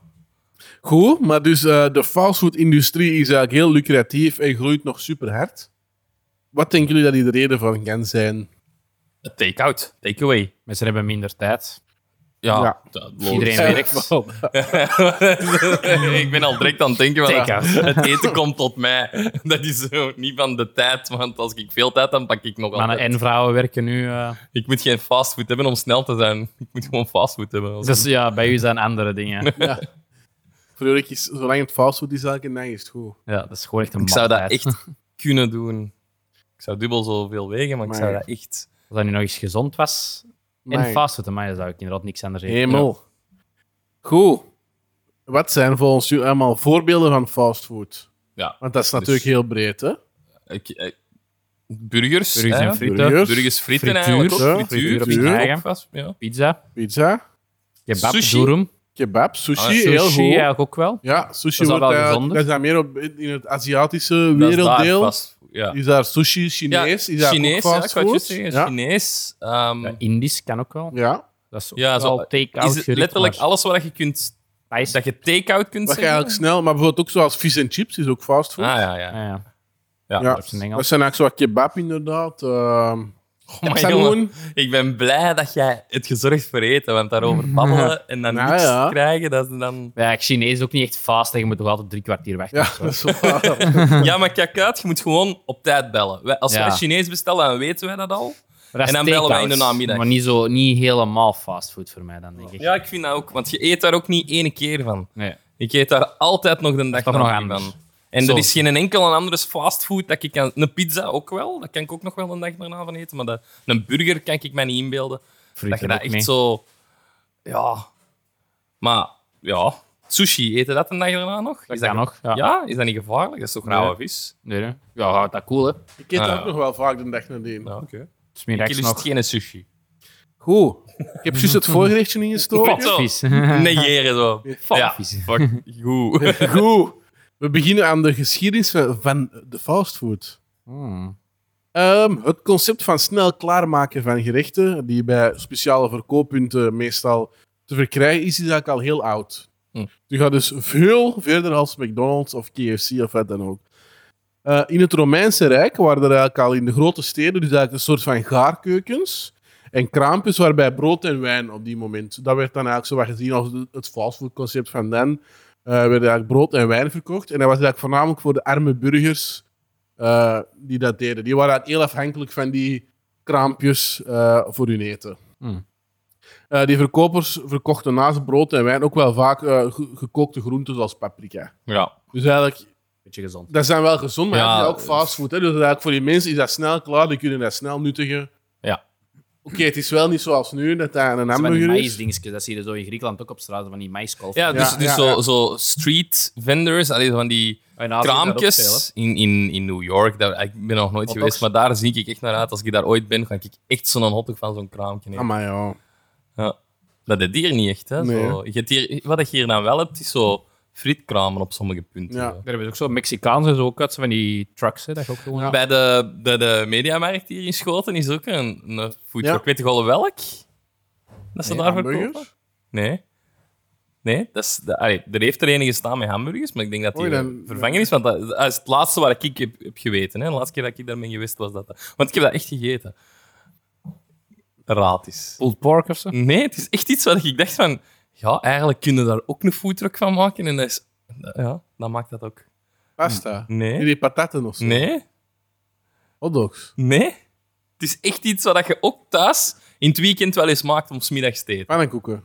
Speaker 2: Goed, maar dus eh, de fastfood-industrie is eigenlijk heel lucratief en groeit nog super hard. Wat denken jullie dat die de reden van kan zijn?
Speaker 1: Take-out, take-away.
Speaker 3: Mensen hebben minder tijd.
Speaker 1: Ja,
Speaker 2: Ja.
Speaker 1: dat-
Speaker 3: Iedereen
Speaker 2: Ja,
Speaker 3: werkt.
Speaker 2: wel.
Speaker 1: ik ben al direct aan het denken van
Speaker 3: Take out.
Speaker 1: het eten komt tot mij. Dat is zo niet van de tijd, want als ik veel tijd heb, dan pak ik nog
Speaker 3: Mannen
Speaker 1: altijd.
Speaker 3: en vrouwen werken nu. eh,
Speaker 1: Ik moet geen fastfood hebben om snel te zijn. Ik moet gewoon fastfood hebben. Als-
Speaker 3: dus ja, bij u zijn andere dingen.
Speaker 2: Ja. Voor jullie is, zolang het fastfood is, eigenlijk een is het goed.
Speaker 3: Ja, dat is gewoon echt een
Speaker 1: ik zou dat
Speaker 3: maaltijd.
Speaker 1: echt kunnen doen. Ik zou dubbel zoveel wegen, maar,
Speaker 2: Maar-
Speaker 1: ik zou dat echt...
Speaker 3: Als dat nu nog eens gezond was en
Speaker 2: Amai.
Speaker 3: fastfood, dan zou ik inderdaad niks anders eten.
Speaker 2: Hemel. Goed. Wat zijn volgens u allemaal voorbeelden van fastfood?
Speaker 1: Ja.
Speaker 2: Want dat is natuurlijk
Speaker 1: Dus-
Speaker 2: heel breed, hè?
Speaker 1: Ik, eh, burgers,
Speaker 3: Burgers
Speaker 1: hè?
Speaker 3: en frieten,
Speaker 2: Burgers.
Speaker 1: Burgers, frieten
Speaker 3: Frituur,
Speaker 1: eigenlijk ook.
Speaker 2: ja.
Speaker 1: Frituur,
Speaker 2: Frituur.
Speaker 1: frituur.
Speaker 3: Eigen.
Speaker 1: Vast, ja.
Speaker 3: pizza,
Speaker 2: Pizza,
Speaker 3: kebab,
Speaker 1: Sushi.
Speaker 3: durum.
Speaker 2: kebab, sushi,
Speaker 1: Ah, sushi,
Speaker 2: heel goed.
Speaker 3: Sushi
Speaker 2: Ja,
Speaker 3: eigenlijk ook wel.
Speaker 2: sushi
Speaker 3: Dat is al
Speaker 2: wordt
Speaker 3: wel
Speaker 2: eigenlijk-
Speaker 3: gezonder.
Speaker 2: dat is dan meer op, in het Aziatische
Speaker 1: Dat is daar
Speaker 2: werelddeel. Is
Speaker 1: vast- ja.
Speaker 2: daar, sushi, Chinees? is daar
Speaker 1: Chinees,
Speaker 2: ook
Speaker 1: ja, ik wou het
Speaker 2: fastfood?
Speaker 1: juist zeggen.
Speaker 2: ja.
Speaker 1: Chinees. ehm,
Speaker 3: Ja, Indisch kan ook wel.
Speaker 2: ja.
Speaker 3: Dat is ook
Speaker 1: Ja, zo-
Speaker 3: wel take-out
Speaker 1: is het letterlijk alles wat je kunt
Speaker 3: alles.
Speaker 1: dat je take-out kunt
Speaker 2: Wat je
Speaker 1: zeggen?
Speaker 2: eigenlijk snel... Maar bijvoorbeeld ook zoals vis en chips is ook fastfood.
Speaker 1: Ah ja, ja.
Speaker 3: Ja, ja.
Speaker 1: ja.
Speaker 2: ja.
Speaker 3: dat is in Engels.
Speaker 2: Dat zijn eigenlijk zo wat kebab, inderdaad. ehm
Speaker 1: Oh, maar
Speaker 2: Samoen.
Speaker 1: jongen, ik ben blij dat jij het gezorgd voor eten, want daarover babbelen en dan
Speaker 2: Nou
Speaker 1: niks
Speaker 2: ja.
Speaker 1: krijgen, dat is dan...
Speaker 3: Ja, Chinees is ook niet echt vast. hè. Je moet toch altijd drie kwartier weg.
Speaker 2: ja, dat is wel...
Speaker 1: Ja, maar kijk uit, je moet gewoon op tijd bellen. Wij- Als
Speaker 3: Ja.
Speaker 1: wij Chinees bestellen, dan weten wij dat al.
Speaker 3: Maar dat is
Speaker 1: En dan bellen wij in de
Speaker 3: take-out,
Speaker 1: namiddag.
Speaker 3: Maar niet, zo, niet helemaal fastfood voor mij dan, denk ik.
Speaker 1: Ja, ik vind dat ook, want je eet daar ook niet één keer van.
Speaker 3: Nee.
Speaker 1: Ik eet daar altijd nog de dag
Speaker 3: toch nog
Speaker 1: nog
Speaker 3: anders.
Speaker 1: van. En
Speaker 3: Zo.
Speaker 1: er is geen enkele andere fastfood dat ik kan... Een pizza ook wel, dat kan ik ook nog wel een dag daarna van eten, maar dat- een burger kan ik mij niet inbeelden.
Speaker 3: Frieten
Speaker 1: dat je
Speaker 3: ook
Speaker 1: dat echt
Speaker 3: niet.
Speaker 1: zo. Ja. Maar ja, sushi, eten dat een dag daarna nog?
Speaker 3: Dat kan nog, ja.
Speaker 1: Ja, is dat niet gevaarlijk? Dat is toch rauwe vis?
Speaker 3: Nee, nee. Ja, houdt dat cool, hè.
Speaker 2: Ik eet
Speaker 1: Ah,
Speaker 2: dat
Speaker 1: ja.
Speaker 2: ook nog wel vaak de dag nadien.
Speaker 1: Ja, oké.
Speaker 3: Smeer
Speaker 1: Ik
Speaker 3: rechts
Speaker 1: lust
Speaker 3: nog
Speaker 1: geen sushi.
Speaker 2: Goed. Ik heb juist het voorgerechtje ingestoken.
Speaker 1: Wat?
Speaker 3: vis.
Speaker 1: Negeren zo. Fuck. Oh. Ja,
Speaker 3: vis.
Speaker 1: fuck. Goed.
Speaker 2: Goed. We beginnen aan de geschiedenis van- van de fastfood.
Speaker 3: Hmm.
Speaker 2: Ehm, het concept van snel klaarmaken van gerechten, die bij speciale verkooppunten meestal te verkrijgen is, is eigenlijk al heel oud.
Speaker 1: Hm.
Speaker 2: Die gaat dus veel verder als McDonald's of KFC of wat dan ook. Eh, in het Romeinse Rijk waren er eigenlijk al in de grote steden dus eigenlijk een soort van gaarkeukens en kraampjes waarbij brood en wijn op die moment. Dat werd dan eigenlijk zo wat gezien als de- het fastfoodconcept van dan. eh werd eigenlijk brood en wijn verkocht. En dat was eigenlijk voornamelijk voor de arme burgers eh, die dat deden. Die waren heel afhankelijk van die kraampjes eh, voor hun eten.
Speaker 3: Hmm.
Speaker 2: Eh, die verkopers verkochten naast brood en wijn ook wel vaak eh, ge- gekookte groenten zoals paprika.
Speaker 1: Ja.
Speaker 2: Dus eigenlijk,
Speaker 3: Beetje gezond.
Speaker 2: dat zijn wel gezond, maar
Speaker 1: Ja,
Speaker 2: dat is ook fastfood. Hè? Dus eigenlijk voor die mensen is dat snel klaar, die kunnen dat snel nuttigen.
Speaker 1: Ja.
Speaker 2: Oké, het is wel niet zoals nu dat dat een
Speaker 3: Dat zijn van die
Speaker 2: hamburger is.
Speaker 3: maïsdingetjes, dat zie je zo in Griekenland ook op straat, van die maïskolf.
Speaker 1: Ja, dus,
Speaker 2: Ja,
Speaker 1: dus
Speaker 2: ja,
Speaker 1: zo,
Speaker 2: ja.
Speaker 1: zo street vendors, allee, zo van die kraampjes in, in, in New York. Daar, ik ben nog nooit
Speaker 3: Hotdogs.
Speaker 1: geweest, maar daar zie ik echt naar uit. Als ik daar ooit ben, ga ik echt zo'n hotdog van zo'n kraampje nemen.
Speaker 2: Amai, Ah, ja.
Speaker 1: Dat deed hier niet echt. Hè?
Speaker 2: Nee.
Speaker 1: Zo, je hebt hier, wat je hier dan wel hebt, is zo frietkramen op sommige punten.
Speaker 2: Ja.
Speaker 1: zo.
Speaker 3: Daar hebben ze ook zo Mexicaans en zo ook uit, zo van die trucks, hè, dat je ook gewoon...
Speaker 2: Ja.
Speaker 1: Bij de, bij de mediamarkt hier in Schoten is ook een, een foodtruck.
Speaker 2: Ja.
Speaker 1: Weet je al welk? Dat ze
Speaker 2: Nee,
Speaker 1: daar
Speaker 2: hamburgers?
Speaker 1: verkopen? Nee. Nee, dat is, de, allee, er heeft er enige gestaan met hamburgers, maar ik denk dat die
Speaker 2: Oei, dan-
Speaker 1: vervangen is. Want dat, dat is het laatste waar ik heb, heb geweten. Hè. De laatste keer dat ik daar ben geweest was dat. dat. Want ik heb dat echt gegeten. Raad is.
Speaker 3: pulled pork of zo.
Speaker 1: Nee, het is echt iets wat ik dacht van... Ja, eigenlijk kunnen we daar ook een foodtruck van maken. En dat is... Ja, dat maakt dat ook.
Speaker 2: Pasta.
Speaker 1: Nee.
Speaker 2: Die patatten of zo.
Speaker 1: Nee.
Speaker 2: Hotdogs.
Speaker 1: Nee. Het is echt iets wat je ook thuis in het weekend wel eens maakt om 's middags te eten.
Speaker 2: Pannenkoeken.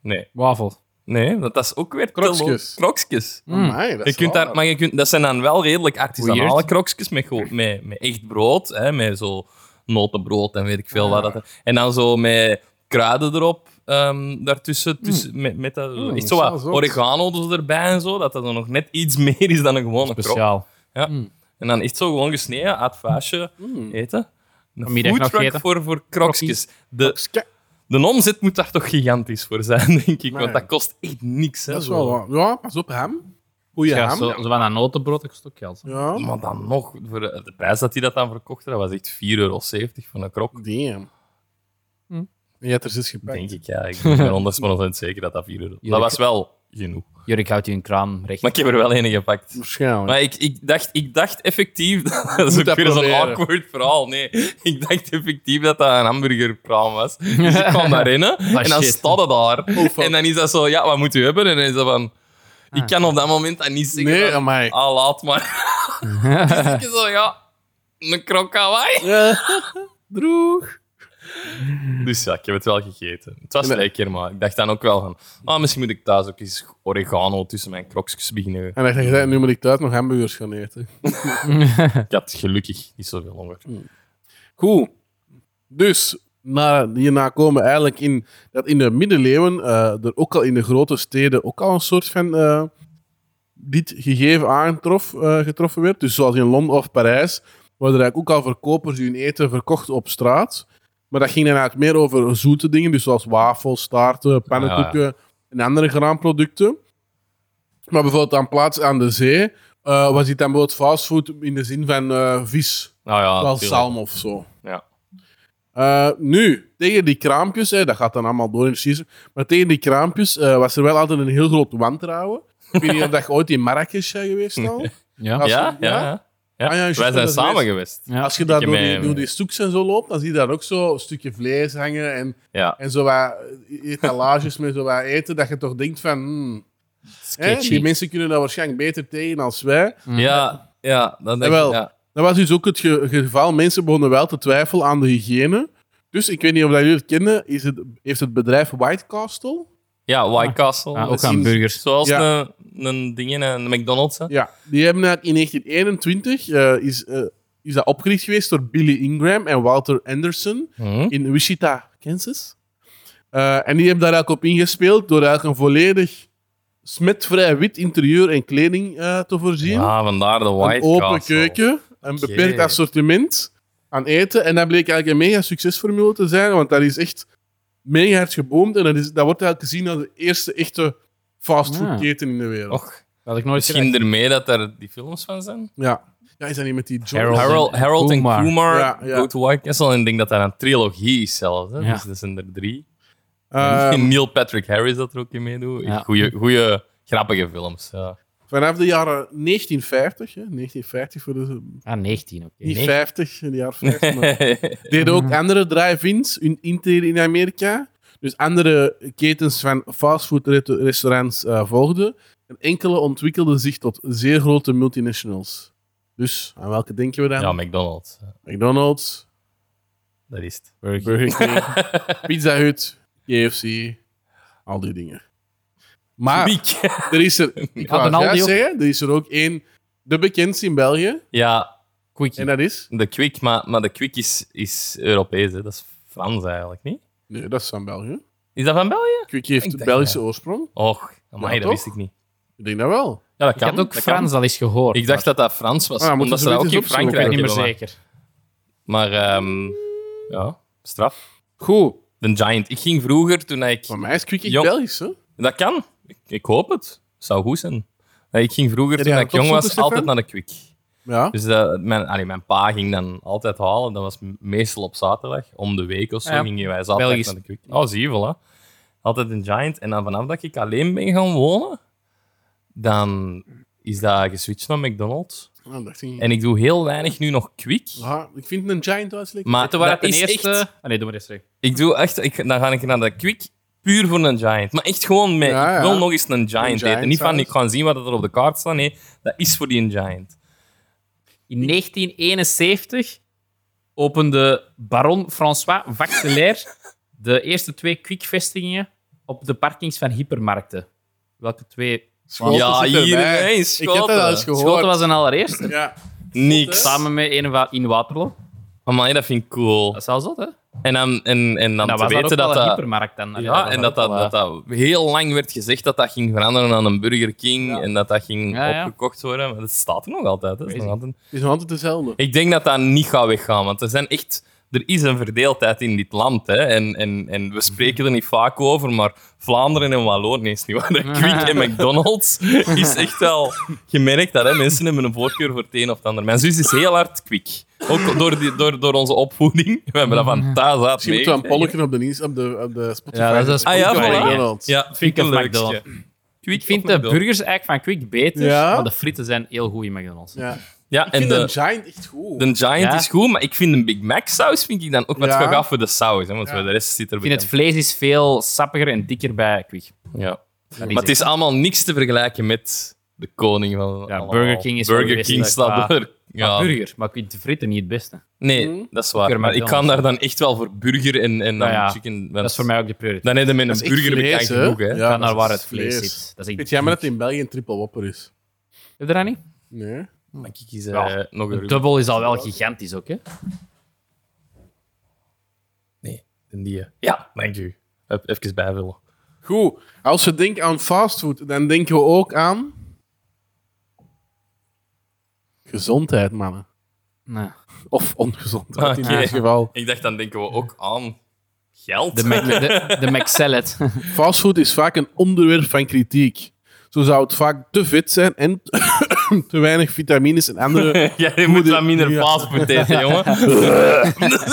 Speaker 1: Nee.
Speaker 3: Wafel.
Speaker 1: Nee, want dat is ook weer... te
Speaker 2: Krokskes.
Speaker 1: lo- Krokskes.
Speaker 2: Amai, dat
Speaker 1: Hmm. Je
Speaker 2: is
Speaker 1: kunt
Speaker 2: waar.
Speaker 1: daar, maar je kunt, dat zijn dan wel redelijk artisanale
Speaker 3: Weird.
Speaker 1: krokjes met, gewoon- met, met echt brood. Hè, met zo notenbrood en weet ik veel
Speaker 2: Ah.
Speaker 1: wat. Dat, en dan zo met kruiden erop ehm, daartussen. Tussen, Met, met dat,
Speaker 2: Mm,
Speaker 1: echt zo wat
Speaker 2: Hmm. zelfs ook.
Speaker 1: oregano dus erbij en zo. Dat dat dan nog net iets meer is dan een gewone krok.
Speaker 3: Speciaal.
Speaker 2: Hmm.
Speaker 1: En dan echt zo gewoon gesneden uit het vaasje
Speaker 2: Mm.
Speaker 1: eten. Een
Speaker 3: Vanmiddag nog
Speaker 1: foodtruck
Speaker 3: eten.
Speaker 1: voor, voor krokjes. De,
Speaker 2: Skek.
Speaker 1: de omzet moet daar toch gigantisch voor zijn, denk ik.
Speaker 2: Nee.
Speaker 1: Want dat kost echt niks. Hè,
Speaker 2: Dat is
Speaker 1: zo.
Speaker 2: wel waar. Ja, pas op, hem. Goeie
Speaker 3: Ja,
Speaker 2: hem.
Speaker 3: zo, zo van een notenbrood, dat kost ook geld. hè.
Speaker 2: Ja.
Speaker 1: Maar dan nog, voor de de prijs dat hij dat dan verkocht, dat was echt 4,70 euro voor een krok.
Speaker 2: Damn.
Speaker 3: Hm.
Speaker 2: Je hebt er zes gepakt.
Speaker 1: Denk ik, ja. Ik ben 100% zeker dat dat 4 euro
Speaker 3: Ja,
Speaker 1: Dat
Speaker 3: ik-
Speaker 1: was wel genoeg.
Speaker 3: Jurik houdt je een kraan recht.
Speaker 1: Maar ik heb er wel een gepakt.
Speaker 2: Waarschijnlijk.
Speaker 1: Maar ik, ik, dacht, ik dacht effectief... Dat is ook
Speaker 2: dat
Speaker 1: weer zo'n
Speaker 2: proberen.
Speaker 1: awkward verhaal. Nee, ik dacht effectief dat dat een hamburgerkraam was. Dus ik kwam daar binnen en dan
Speaker 3: shit.
Speaker 1: staat het daar.
Speaker 2: Ah, Oh, fuck. Ah.
Speaker 1: en dan is dat zo, ja, wat moet u hebben? En dan is dat van... Ik kan op dat moment dat niet zeggen.
Speaker 2: nee,
Speaker 1: van,
Speaker 2: amai.
Speaker 1: ah, laat maar. dus ik zo, ja, een krok Hawaii.
Speaker 2: Droeg.
Speaker 1: Dus ja, ik heb het wel gegeten. Het was
Speaker 2: Ja.
Speaker 1: lekker, maar ik dacht dan ook wel van... Ah, misschien moet ik thuis ook eens oregano tussen mijn krokjes beginnen.
Speaker 2: En dan dacht ik, nu moet ik thuis nog hamburgers gaan eten.
Speaker 1: Ik had gelukkig niet zoveel honger.
Speaker 3: Mm.
Speaker 2: Goed. Dus, na, hierna komen we eigenlijk in dat in de middeleeuwen eh, er ook al in de grote steden ook al een soort van eh, dit gegeven aangetrof, eh, getroffen werd. Dus zoals in Londen of Parijs, waar er eigenlijk ook al verkopers hun eten verkochten op straat. Maar dat ging dan eigenlijk meer over zoete dingen, dus zoals wafels, staarten, pannenkoeken en andere graanproducten. Maar bijvoorbeeld aan plaats aan de zee eh, was dit dan bijvoorbeeld fastfood in de zin van eh, vis
Speaker 1: Nou ja,
Speaker 2: wel
Speaker 1: tuurlijk.
Speaker 2: zalm of zo.
Speaker 1: Ja.
Speaker 2: Eh, nu, tegen die kraampjes, hè, dat gaat dan allemaal door in de season, maar tegen die kraampjes eh, was er wel altijd een heel groot wantrouwen. Ik weet niet of dat je ooit in Marrakesh bent geweest al.
Speaker 3: Ja.
Speaker 2: Als je-
Speaker 1: Ja, ja, ja. Ja.
Speaker 2: Ah, ja, juist,
Speaker 1: Wij
Speaker 2: dat
Speaker 1: zijn
Speaker 2: is
Speaker 1: samen
Speaker 2: geweest.
Speaker 1: geweest. Ja.
Speaker 2: Als je daar
Speaker 1: Ik
Speaker 2: door
Speaker 1: heb
Speaker 2: die,
Speaker 1: mijn-
Speaker 2: door die stoeks en zo loopt, dan zie je daar ook zo een stukje vlees hangen en, en zo wat etalages met zo wat eten, dat je toch denkt van... hmm, hè,
Speaker 3: Sketchy.
Speaker 2: die mensen kunnen dat waarschijnlijk beter tegen als wij.
Speaker 3: Mm.
Speaker 1: Ja, ja, dan denk
Speaker 2: Jawel.
Speaker 1: ik... Ja.
Speaker 2: Dat was dus ook het ge- geval. Mensen begonnen wel te twijfelen aan de hygiëne. Dus ik weet niet of dat jullie het kennen. Is het, heeft het bedrijf White Castle?
Speaker 1: ja, White Castle.
Speaker 3: Ja,
Speaker 1: dat
Speaker 3: ook
Speaker 1: is-
Speaker 3: aan burgers.
Speaker 1: Zoals
Speaker 2: Ja.
Speaker 1: een, een ding, een McDonald's. Hè?
Speaker 2: Ja. Die hebben dat in 1921 eh, is, eh, is dat opgericht geweest door Billy Ingram en Walter Anderson
Speaker 1: Mhm.
Speaker 2: in Wichita, Kansas. Eh, en die hebben daar eigenlijk op ingespeeld door eigenlijk een volledig smetvrij wit interieur en kleding eh, te voorzien.
Speaker 1: Ja, vandaar de Ah, White
Speaker 2: een open
Speaker 1: Castle.
Speaker 2: keuken, een
Speaker 1: Oké.
Speaker 2: beperkt assortiment aan eten. En dat bleek eigenlijk een mega succesformule te zijn, want dat is echt mega hard geboomd. En dat, is, dat wordt eigenlijk gezien als de eerste echte
Speaker 1: Ah.
Speaker 2: fastfoodketen in de wereld.
Speaker 1: Och,
Speaker 3: Dat had ik nooit
Speaker 1: misschien ermee dat er die films van zijn.
Speaker 2: Ja. ja, is dat niet met die John?
Speaker 3: Harold.
Speaker 1: Harold,
Speaker 3: en
Speaker 1: Harold en
Speaker 3: Kumar.
Speaker 1: Kumar
Speaker 2: Ja, ja.
Speaker 1: go to White Castle. En ik denk dat dat een trilogie is zelfs. Hè?
Speaker 3: Ja.
Speaker 1: Dus dat zijn er drie.
Speaker 2: Ehm,
Speaker 1: Neil Patrick Harris dat er ook in meedoet.
Speaker 3: Ja.
Speaker 1: Goeie, goeie, grappige films. Ja.
Speaker 2: vanaf de jaren 1950, hè, 1950 voor de...
Speaker 3: gedaan. Ah, 19, oké.
Speaker 2: Niet
Speaker 3: Nee.
Speaker 2: 50, in de jaren 50. maar- deden ook andere drive-ins hun intrede in Amerika. Dus andere ketens van fastfoodrestaurants eh volgden. En enkele ontwikkelden zich tot zeer grote multinationals. Dus aan welke denken we dan?
Speaker 1: Ja, McDonald's.
Speaker 2: McDonald's,
Speaker 1: Dat is het.
Speaker 2: Burger King, Pizza Hut, KFC, al die dingen. Maar
Speaker 1: Miek.
Speaker 2: er is er, ik
Speaker 3: Ja,
Speaker 2: wou
Speaker 3: dan
Speaker 2: het juist
Speaker 3: al die ook.
Speaker 2: zeggen, er is er ook één, de bekendste in België,
Speaker 1: Ja,
Speaker 3: Quickie.
Speaker 2: en dat is?
Speaker 1: de Quick, maar, maar de Quick is, is Europees. Hè. Dat is Frans eigenlijk, niet?
Speaker 2: Nee, dat is van België.
Speaker 1: Is dat van België?
Speaker 2: Quickie heeft
Speaker 1: Ik
Speaker 2: de
Speaker 1: dacht,
Speaker 2: Belgische
Speaker 1: ja.
Speaker 2: oorsprong.
Speaker 1: Och, amai,
Speaker 2: Ja,
Speaker 1: dat
Speaker 2: toch?
Speaker 1: wist ik niet.
Speaker 2: Ik denk dat wel.
Speaker 1: Ja, dat
Speaker 3: Ik
Speaker 1: kan.
Speaker 3: had ook
Speaker 1: dat
Speaker 3: Frans al eens gehoord.
Speaker 1: kan. Ik dacht dat dat Frans was,
Speaker 2: Ah, moeten
Speaker 1: omdat
Speaker 2: ze
Speaker 1: ze dat ook
Speaker 2: dit
Speaker 1: in
Speaker 2: eens opzoeken?
Speaker 1: Frankrijk
Speaker 3: maar ik
Speaker 1: hebben.
Speaker 3: ben niet meer zeker.
Speaker 1: Maar, ehm, ja, straf.
Speaker 2: Goed,
Speaker 1: De Giant. Ik ging vroeger, toen ik...
Speaker 2: voor mij is Quickie
Speaker 1: Jong-
Speaker 2: Belgisch, hè?
Speaker 1: Dat kan. Ik, ik hoop het. Zou goed zijn. Nee, Ik ging vroeger,
Speaker 2: Ja,
Speaker 1: toen
Speaker 2: ja,
Speaker 1: ik jong
Speaker 2: opzoeken,
Speaker 1: was,
Speaker 2: Stefan?
Speaker 1: altijd naar de Quick.
Speaker 2: Ja.
Speaker 1: Dus dat, mijn, allee, mijn pa ging dan altijd halen. Dat was meestal op zaterdag. Om de week of zo
Speaker 3: Ja.
Speaker 1: gingen wij zaterdag
Speaker 3: Belgisch.
Speaker 1: naar de Quick. Oh, zie je, voilà. Altijd een Giant. En dan vanaf dat ik alleen ben gaan wonen, dan is dat geswitcht naar McDonald's.
Speaker 2: Ah, dacht ik.
Speaker 1: En ik doe heel weinig nu nog Quick.
Speaker 2: Ah, ik vind een giant wel eens lekker.
Speaker 1: Maar
Speaker 3: Dit waren
Speaker 1: dat
Speaker 3: de
Speaker 1: is
Speaker 3: eerste...
Speaker 1: echt...
Speaker 3: Ah, nee, doe maar eens terug.
Speaker 1: Ik doe echt, ik, dan ga ik naar de Quick puur voor een Giant. Maar echt gewoon mee.
Speaker 2: Ja, ja.
Speaker 1: Ik wil nog eens een Giant,
Speaker 2: Giant
Speaker 1: eten. Niet van
Speaker 2: zelfs.
Speaker 1: ik ga zien wat er op de kaart staat. Nee, dat is voor die een Giant.
Speaker 3: In 1971 opende baron François Vaxelaire de eerste twee quickvestigingen op de parkings van hypermarkten. Welke twee?
Speaker 2: Schoten
Speaker 1: Ja,
Speaker 2: zitten
Speaker 1: hier,
Speaker 2: erbij.
Speaker 1: hè, in
Speaker 2: Ik heb dat
Speaker 1: Schoten.
Speaker 2: al eens gehoord.
Speaker 3: Schoten was een allereerste.
Speaker 2: Ja.
Speaker 1: Niks.
Speaker 3: Samen met een va- in Waterloo.
Speaker 1: Amai, dat vind ik cool.
Speaker 3: Dat is al zot, hè? En
Speaker 1: En dan, en, en dan
Speaker 3: dat
Speaker 1: te
Speaker 3: was
Speaker 1: weten
Speaker 3: dat Nou,
Speaker 1: dat
Speaker 3: ook wel een
Speaker 1: dat...
Speaker 3: hypermarkt dan. Allee,
Speaker 1: Ja,
Speaker 3: was
Speaker 1: en dat
Speaker 3: ook
Speaker 1: dat,
Speaker 3: wel,
Speaker 1: dat
Speaker 3: eh,
Speaker 1: dat heel lang werd gezegd dat dat ging veranderen aan een Burger King en dat dat ging
Speaker 3: Ja, ja.
Speaker 1: opgekocht worden. Maar dat staat er nog altijd. Hè. Dat is nog
Speaker 3: Crazy.
Speaker 1: altijd-
Speaker 2: Het is nog altijd dezelfde.
Speaker 1: Ik denk dat dat niet gaat weggaan, want er, zijn echt, er is een verdeeldheid in dit land. Hè? En, en, en we spreken er niet vaak over, maar Vlaanderen en Wallonië is niet waar. De Quick en McDonald's is echt wel gemerkt dat hè? mensen hebben een voorkeur voor het een of het ander. Mijn zus is heel hard Quick. Ook door, die, door, door onze opvoeding. We hebben dat van thuis uit
Speaker 2: Misschien moeten we
Speaker 1: meegekregen.
Speaker 2: een polletje op de, nieuws- op de, op de Spotify.
Speaker 3: Ja, dat is
Speaker 2: zetten.
Speaker 1: Ah ja,
Speaker 3: Spotify,
Speaker 1: voilà.
Speaker 2: Donald.
Speaker 1: Ja, vind ik een
Speaker 3: Quick of
Speaker 1: leukste.
Speaker 3: McDonald's.
Speaker 1: Quick
Speaker 3: Ik vind
Speaker 1: of
Speaker 3: de
Speaker 1: McDonald's.
Speaker 3: burgers eigenlijk van Quick beter,
Speaker 2: Ja?
Speaker 3: maar de frieten zijn heel goed in McDonald's.
Speaker 2: Ja.
Speaker 1: Ja,
Speaker 2: Ik
Speaker 1: en
Speaker 2: vind
Speaker 1: de,
Speaker 2: een giant echt goed.
Speaker 1: de Giant
Speaker 3: Ja.
Speaker 1: is goed, maar ik vind een Big Mac saus vind ik dan ook wat
Speaker 2: Ja.
Speaker 1: ja. voor de saus. Hè, want
Speaker 2: Ja.
Speaker 1: voor de rest zit er
Speaker 3: Ik vind het vlees is veel sappiger en dikker bij Quick.
Speaker 1: Ja.
Speaker 3: Dat
Speaker 1: Maar het is allemaal niks te vergelijken met de koning van allemaal.
Speaker 3: Burger King is wel
Speaker 1: Burger
Speaker 3: de
Speaker 1: King
Speaker 3: beste
Speaker 1: staat
Speaker 3: qua-
Speaker 1: er.
Speaker 3: Ja.
Speaker 1: Ja.
Speaker 3: Burger, maar ik vind de fritten niet het beste.
Speaker 2: Hmm?
Speaker 1: Nee, dat is waar.
Speaker 3: Burger
Speaker 1: Maar ik kan
Speaker 3: McDonald's.
Speaker 1: daar dan echt wel voor burger en, en dan
Speaker 3: Nou ja,
Speaker 1: chicken. want
Speaker 3: Dat is voor mij ook de prioriteit.
Speaker 1: Dan heb je met
Speaker 2: Dat is
Speaker 1: een
Speaker 2: echt
Speaker 1: burger
Speaker 2: vlees,
Speaker 1: bekend
Speaker 2: hè?
Speaker 1: genoeg. Hè.
Speaker 2: Ja.
Speaker 3: Ga naar
Speaker 2: dat
Speaker 3: waar
Speaker 2: is
Speaker 3: het vlees
Speaker 2: vlees.
Speaker 3: zit. Dat is
Speaker 2: Weet
Speaker 3: echt...
Speaker 2: jij maar dat het in België een triple whopper is?
Speaker 3: Heb je dat niet?
Speaker 2: Nee.
Speaker 1: Maar ik kies eh,
Speaker 3: Ja.
Speaker 1: nog een
Speaker 3: Een
Speaker 1: rubber.
Speaker 3: dubbel is al wel gigantisch ook, hè?
Speaker 1: Nee, een die. eh. Ja, dank u. Hup, Even bijvullen.
Speaker 2: Goed. Als we denken aan fastfood, dan denken we ook aan... Gezondheid, mannen.
Speaker 3: Nee.
Speaker 2: Of ongezondheid in
Speaker 1: Oké.
Speaker 2: dit geval.
Speaker 1: Ik dacht, dan denken we ook aan geld.
Speaker 3: De, Mac, de, de McSalad.
Speaker 2: Fastfood is vaak een onderwerp van kritiek. Zo zou het vaak te vet zijn en te weinig vitamines en andere,
Speaker 1: Jij moet
Speaker 2: Moeder-
Speaker 1: wat minder
Speaker 2: Ja.
Speaker 1: fastfood eten, jongen.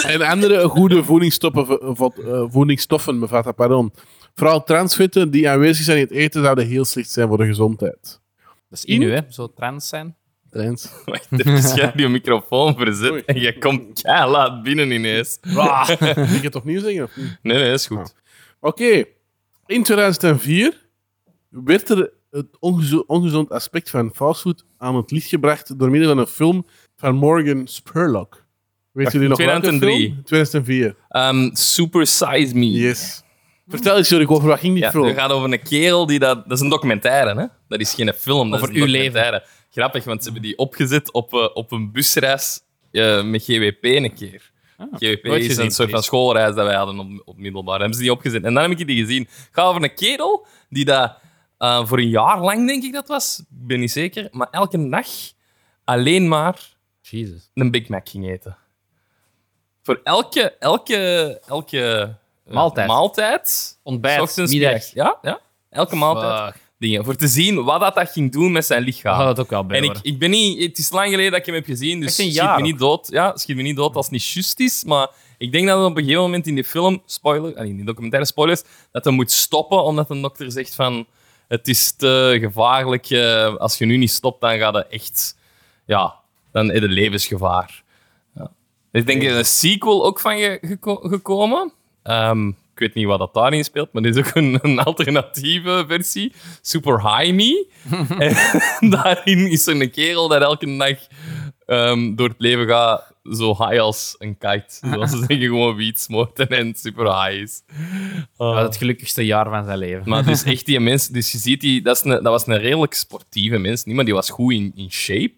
Speaker 2: en andere goede voedingsstoffen, bevat- eh, voedingsstoffen bevatten. Pardon. Vooral transvetten die aanwezig zijn in het eten zouden heel slecht zijn voor de gezondheid.
Speaker 3: Dat is Inu, hè? Zo trans zijn.
Speaker 2: Trends.
Speaker 1: Wacht even, jij hebt je microfoon verzet
Speaker 2: Oei.
Speaker 1: en je komt kei laat binnen ineens.
Speaker 2: Ik het opnieuw zeggen? of niet?
Speaker 1: Nee, nee, is goed.
Speaker 2: Oké. In 2004 werd er het ongezo- ongezond aspect van fastfood aan het licht gebracht door middel van een film van Morgan Spurlock. Weet jullie nog welke
Speaker 1: 2003?
Speaker 2: film? 2004.
Speaker 1: Ehm, super Size Me.
Speaker 2: Yes. Vertel eens, Jurk, over wat ging die
Speaker 1: Ja,
Speaker 2: film?
Speaker 1: het gaat over een kerel die dat... Dat is een documentaire, hè? Dat is geen film, dat
Speaker 3: Over
Speaker 1: is een
Speaker 3: uw
Speaker 1: documentaire. Grappig, want ze hebben die opgezet op, eh, op een busreis eh, met GWP een keer. GWP
Speaker 3: Ah, nooit
Speaker 1: is
Speaker 3: gezien,
Speaker 1: een soort van
Speaker 3: Chris.
Speaker 1: schoolreis dat wij hadden op, op middelbaar. Hebben ze die opgezet. En dan heb ik die gezien. Het gaat over een kerel die dat eh, voor een jaar lang, denk ik dat was, ik ben niet zeker, maar elke nacht alleen maar
Speaker 3: Jezus.
Speaker 1: een Big Mac ging eten. Voor elke, elke, elke eh,
Speaker 3: Maaltijd.
Speaker 1: maaltijd
Speaker 3: Ontbijt,
Speaker 1: ochtends,
Speaker 3: middag.
Speaker 1: middags. Ja, ja. Elke maaltijd.
Speaker 3: Fuck.
Speaker 1: Dingen. Voor te zien wat dat, dat ging doen met zijn
Speaker 3: Dat
Speaker 1: lichaam.
Speaker 3: had het ook wel bij
Speaker 1: en ik,
Speaker 3: horen.
Speaker 1: ik ben niet... Het is lang geleden dat ik hem heb gezien, dus
Speaker 3: Echt een
Speaker 1: schiet
Speaker 3: jaar
Speaker 1: me, niet dood. Ja, schiet me niet dood als het niet juist is. Maar ik denk dat het op een gegeven moment in die film... Spoiler, allee, in die documentaire spoilers... Dat hij moet stoppen, omdat een dokter zegt van... Het is te gevaarlijk. eh, als je nu niet stopt, dan gaat het echt... Ja, dan is het levensgevaar. Er is denk ik een sequel ook van ge- geko- gekomen. Ehm, ik weet niet wat dat daarin speelt, maar dit is ook een, een alternatieve versie. Super High Me. en daarin is er een kerel dat elke nacht ehm, door het leven ga zo high als een kite. Zoals ze zeggen, gewoon wiet smoorten en super high is.
Speaker 3: Ja, het gelukkigste jaar van zijn leven.
Speaker 1: Maar dus echt die mens, dus je ziet die, dat, is een, dat was een redelijk sportieve mens. Niemand die was goed in, in shape.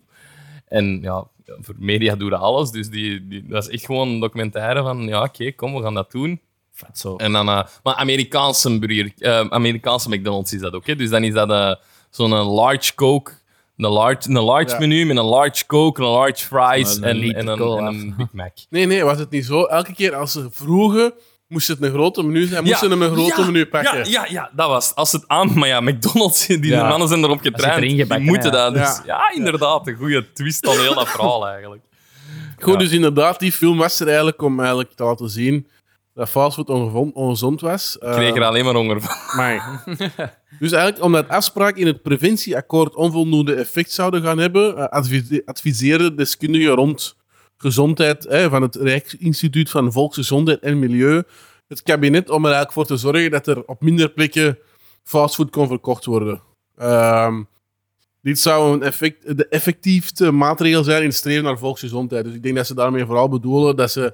Speaker 1: En ja, voor media doe dat alles. Dus die, die, dat is echt gewoon een documentaire van, ja, oké, kom, we gaan dat doen.
Speaker 3: Vet zo.
Speaker 1: En dan, eh, maar Amerikaanse burger, eh, Amerikaanse McDonald's is dat ook. Hè? Dus dan is dat eh, zo'n large coke, een large, een large
Speaker 2: Ja.
Speaker 1: menu met een large coke, een large fries
Speaker 3: Een
Speaker 1: en,
Speaker 3: liter
Speaker 1: en, een,
Speaker 3: cola.
Speaker 1: en een Big Mac.
Speaker 2: Nee, nee, was het niet zo. Elke keer als ze vroegen, moest het een grote menu zijn, moesten ze hem een grote
Speaker 1: ja,
Speaker 2: menu pakken.
Speaker 1: Ja, ja, ja, dat was het. Als het aan... Maar ja, McDonald's, die
Speaker 3: Ja.
Speaker 1: mannen zijn erop
Speaker 3: zit erin
Speaker 1: getraind. die
Speaker 3: gebakken,
Speaker 1: moeten
Speaker 3: ja.
Speaker 1: dat. Dus,
Speaker 2: Ja.
Speaker 1: ja. inderdaad. Een goede twist aan heel dat verhaal, eigenlijk.
Speaker 2: Goed,
Speaker 1: Ja.
Speaker 2: dus inderdaad, die film was er eigenlijk om eigenlijk te laten zien dat fastfood ongevon- ongezond was. Eh,
Speaker 1: Ik kreeg er alleen maar honger van.
Speaker 2: maar. dus eigenlijk omdat afspraken in het preventieakkoord onvoldoende effect zouden gaan hebben, eh, advise- adviseren deskundigen rond gezondheid hè, van het Rijksinstituut van Volksgezondheid en Milieu het kabinet om er eigenlijk voor te zorgen dat er op minder plekken fastfood kon verkocht worden. Ehm, dit zou een effect, de effectiefste maatregel zijn in het streven naar volksgezondheid. Dus ik denk dat ze daarmee vooral bedoelen dat ze,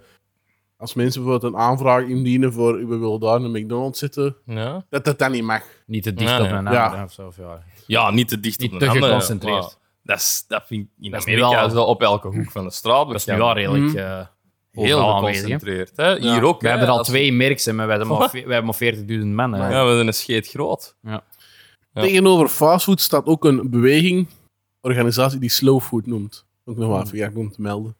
Speaker 2: als mensen bijvoorbeeld een aanvraag indienen voor we willen daar een McDonald's zitten,
Speaker 1: Ja,
Speaker 2: dat dat dan niet mag.
Speaker 3: Niet te dicht
Speaker 1: Ja,
Speaker 3: op
Speaker 1: Ah, nee.
Speaker 3: een
Speaker 2: Ja.
Speaker 3: ander of zo. of Ja.
Speaker 1: ja niet te dicht
Speaker 3: Niet
Speaker 1: op
Speaker 3: te
Speaker 1: een ander,
Speaker 3: geconcentreerd.
Speaker 1: maar Dat, is, dat vind ik in
Speaker 3: Dat is nu
Speaker 1: Amerika
Speaker 3: wel-
Speaker 1: is dat op elke hoek van de straat.
Speaker 3: Dat is nu wel redelijk
Speaker 2: Mhm.
Speaker 3: eh,
Speaker 1: heel
Speaker 3: overal aanwezig. hè.
Speaker 1: geconcentreerd. Hè? Hier ook.
Speaker 3: We
Speaker 1: hè,
Speaker 3: hebben er al
Speaker 1: als-
Speaker 3: twee merks, hè, maar we hebben maar ve- we hebben maar 40.000 man. hè.
Speaker 1: Ja, we zijn een scheet groot. Ja.
Speaker 2: Tegenover fastfood staat ook een beweging, organisatie die slow food noemt. Ook nog
Speaker 1: Hmm.
Speaker 2: maar even ja, om te melden.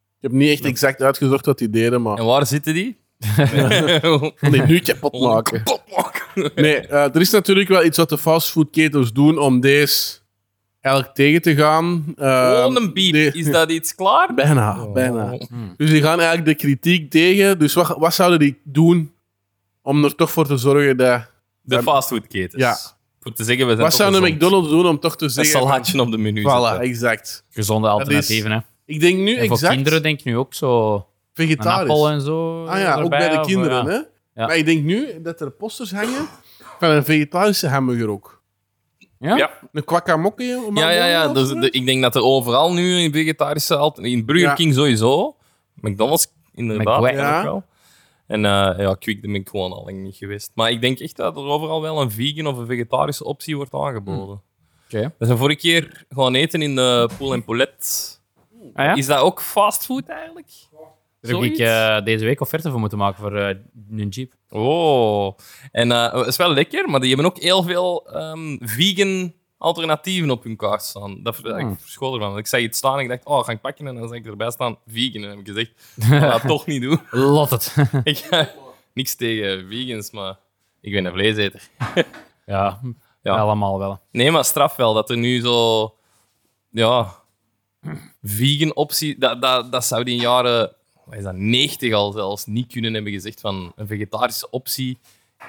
Speaker 2: Ik heb niet echt exact uitgezocht wat die deden, maar
Speaker 1: En waar zitten die?
Speaker 2: kon die nu kapot maken.
Speaker 1: Potlokken.
Speaker 2: Nee, eh, er is natuurlijk wel iets wat de fastfoodketens doen om deze eigenlijk tegen te gaan. Eh,
Speaker 1: Gewoon een beep.
Speaker 2: nee.
Speaker 1: Is dat iets klaar?
Speaker 2: Bijna, bijna.
Speaker 1: Oh.
Speaker 2: Dus die gaan eigenlijk de kritiek tegen. Dus wat, wat zouden die doen om er toch voor te zorgen dat...
Speaker 1: De fastfoodketens.
Speaker 2: Ja.
Speaker 1: Voor te zeggen, we zijn
Speaker 2: Wat
Speaker 1: toch
Speaker 2: zou een
Speaker 1: gezond.
Speaker 2: McDonald's doen om toch te
Speaker 1: Een
Speaker 2: zeggen...
Speaker 1: salatje op de menu
Speaker 2: Voilà,
Speaker 1: zetten.
Speaker 2: exact.
Speaker 3: Gezonde alternatieven. Hè.
Speaker 2: Ik denk nu
Speaker 3: En voor
Speaker 2: exact
Speaker 3: kinderen denk ik nu ook zo een appel
Speaker 2: vegetarisch.
Speaker 3: en zo. eh,
Speaker 2: Ah ja, ook bij de kinderen, hè.
Speaker 3: Ja.
Speaker 2: Maar ik denk nu dat er posters hangen van een vegetarische hamburger ook.
Speaker 3: hè? Ja?
Speaker 1: Ja.
Speaker 2: Een kwakamokke? om
Speaker 1: Ja, ja, ja.
Speaker 2: hamburger
Speaker 1: Dus
Speaker 2: of zo?
Speaker 1: de- ik denk dat er overal nu in vegetarische alternatieven... In Burger
Speaker 2: Ja.
Speaker 1: King sowieso. McDonald's inderdaad
Speaker 3: McWhack.
Speaker 1: ja.
Speaker 2: Ja.
Speaker 1: ook wel. En eh, ja, Quick ben ik gewoon al lang niet geweest. Maar ik denk echt dat er overal wel een vegan of een vegetarische optie wordt aangeboden.
Speaker 3: Hm. Oké.
Speaker 1: We zijn vorige keer gewoon eten in de Pool en Poulet.
Speaker 3: Ah, ja?
Speaker 1: Is dat ook fastfood eigenlijk?
Speaker 3: Daar heb ik
Speaker 1: Zoiets?
Speaker 3: eh, deze week offerte voor moeten maken voor eh, een jeep.
Speaker 1: Oh, en eh, het is wel lekker, maar die hebben ook heel veel ehm, vegan alternatieven op hun kaart staan. Dat ver-
Speaker 3: Hmm.
Speaker 1: ik verschool ervan. Want Ik zag iets staan en ik dacht, oh, ga ik pakken. En dan zag ik erbij staan, vegan. En dan heb ik gezegd, ik ga dat toch niet doen.
Speaker 3: Lot het.
Speaker 1: Ik ga- niks tegen vegans, maar ik ben een vleeseter.
Speaker 3: ja, allemaal wel.
Speaker 1: Nee, maar straf wel dat er nu zo. Ja, vegan optie. Dat, dat, dat zou die in jaren. Wat is dat, 90 al zelfs niet kunnen hebben gezegd van een vegetarische optie.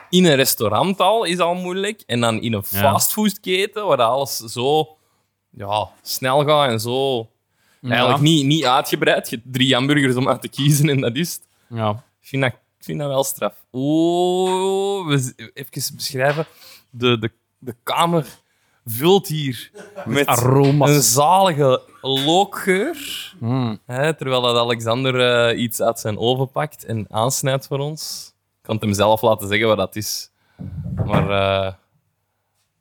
Speaker 1: In een restaurant al is al moeilijk. En dan in een
Speaker 3: Ja.
Speaker 1: fastfoodketen waar dat alles zo ja, snel gaat en zo. Eigenlijk niet, niet uitgebreid. Je hebt drie hamburgers om uit te kiezen en dat is het.
Speaker 3: Ja.
Speaker 1: Ik vind dat, ik vind dat wel straf. Oeh, we z- even beschrijven. De, de, de kamer vult hier met
Speaker 3: aroma's.
Speaker 1: een zalige lookgeur. Hè, terwijl dat Alexander eh, iets uit zijn oven pakt en aansnijdt voor ons. Ik kan het hem zelf laten zeggen wat dat is. Maar eh,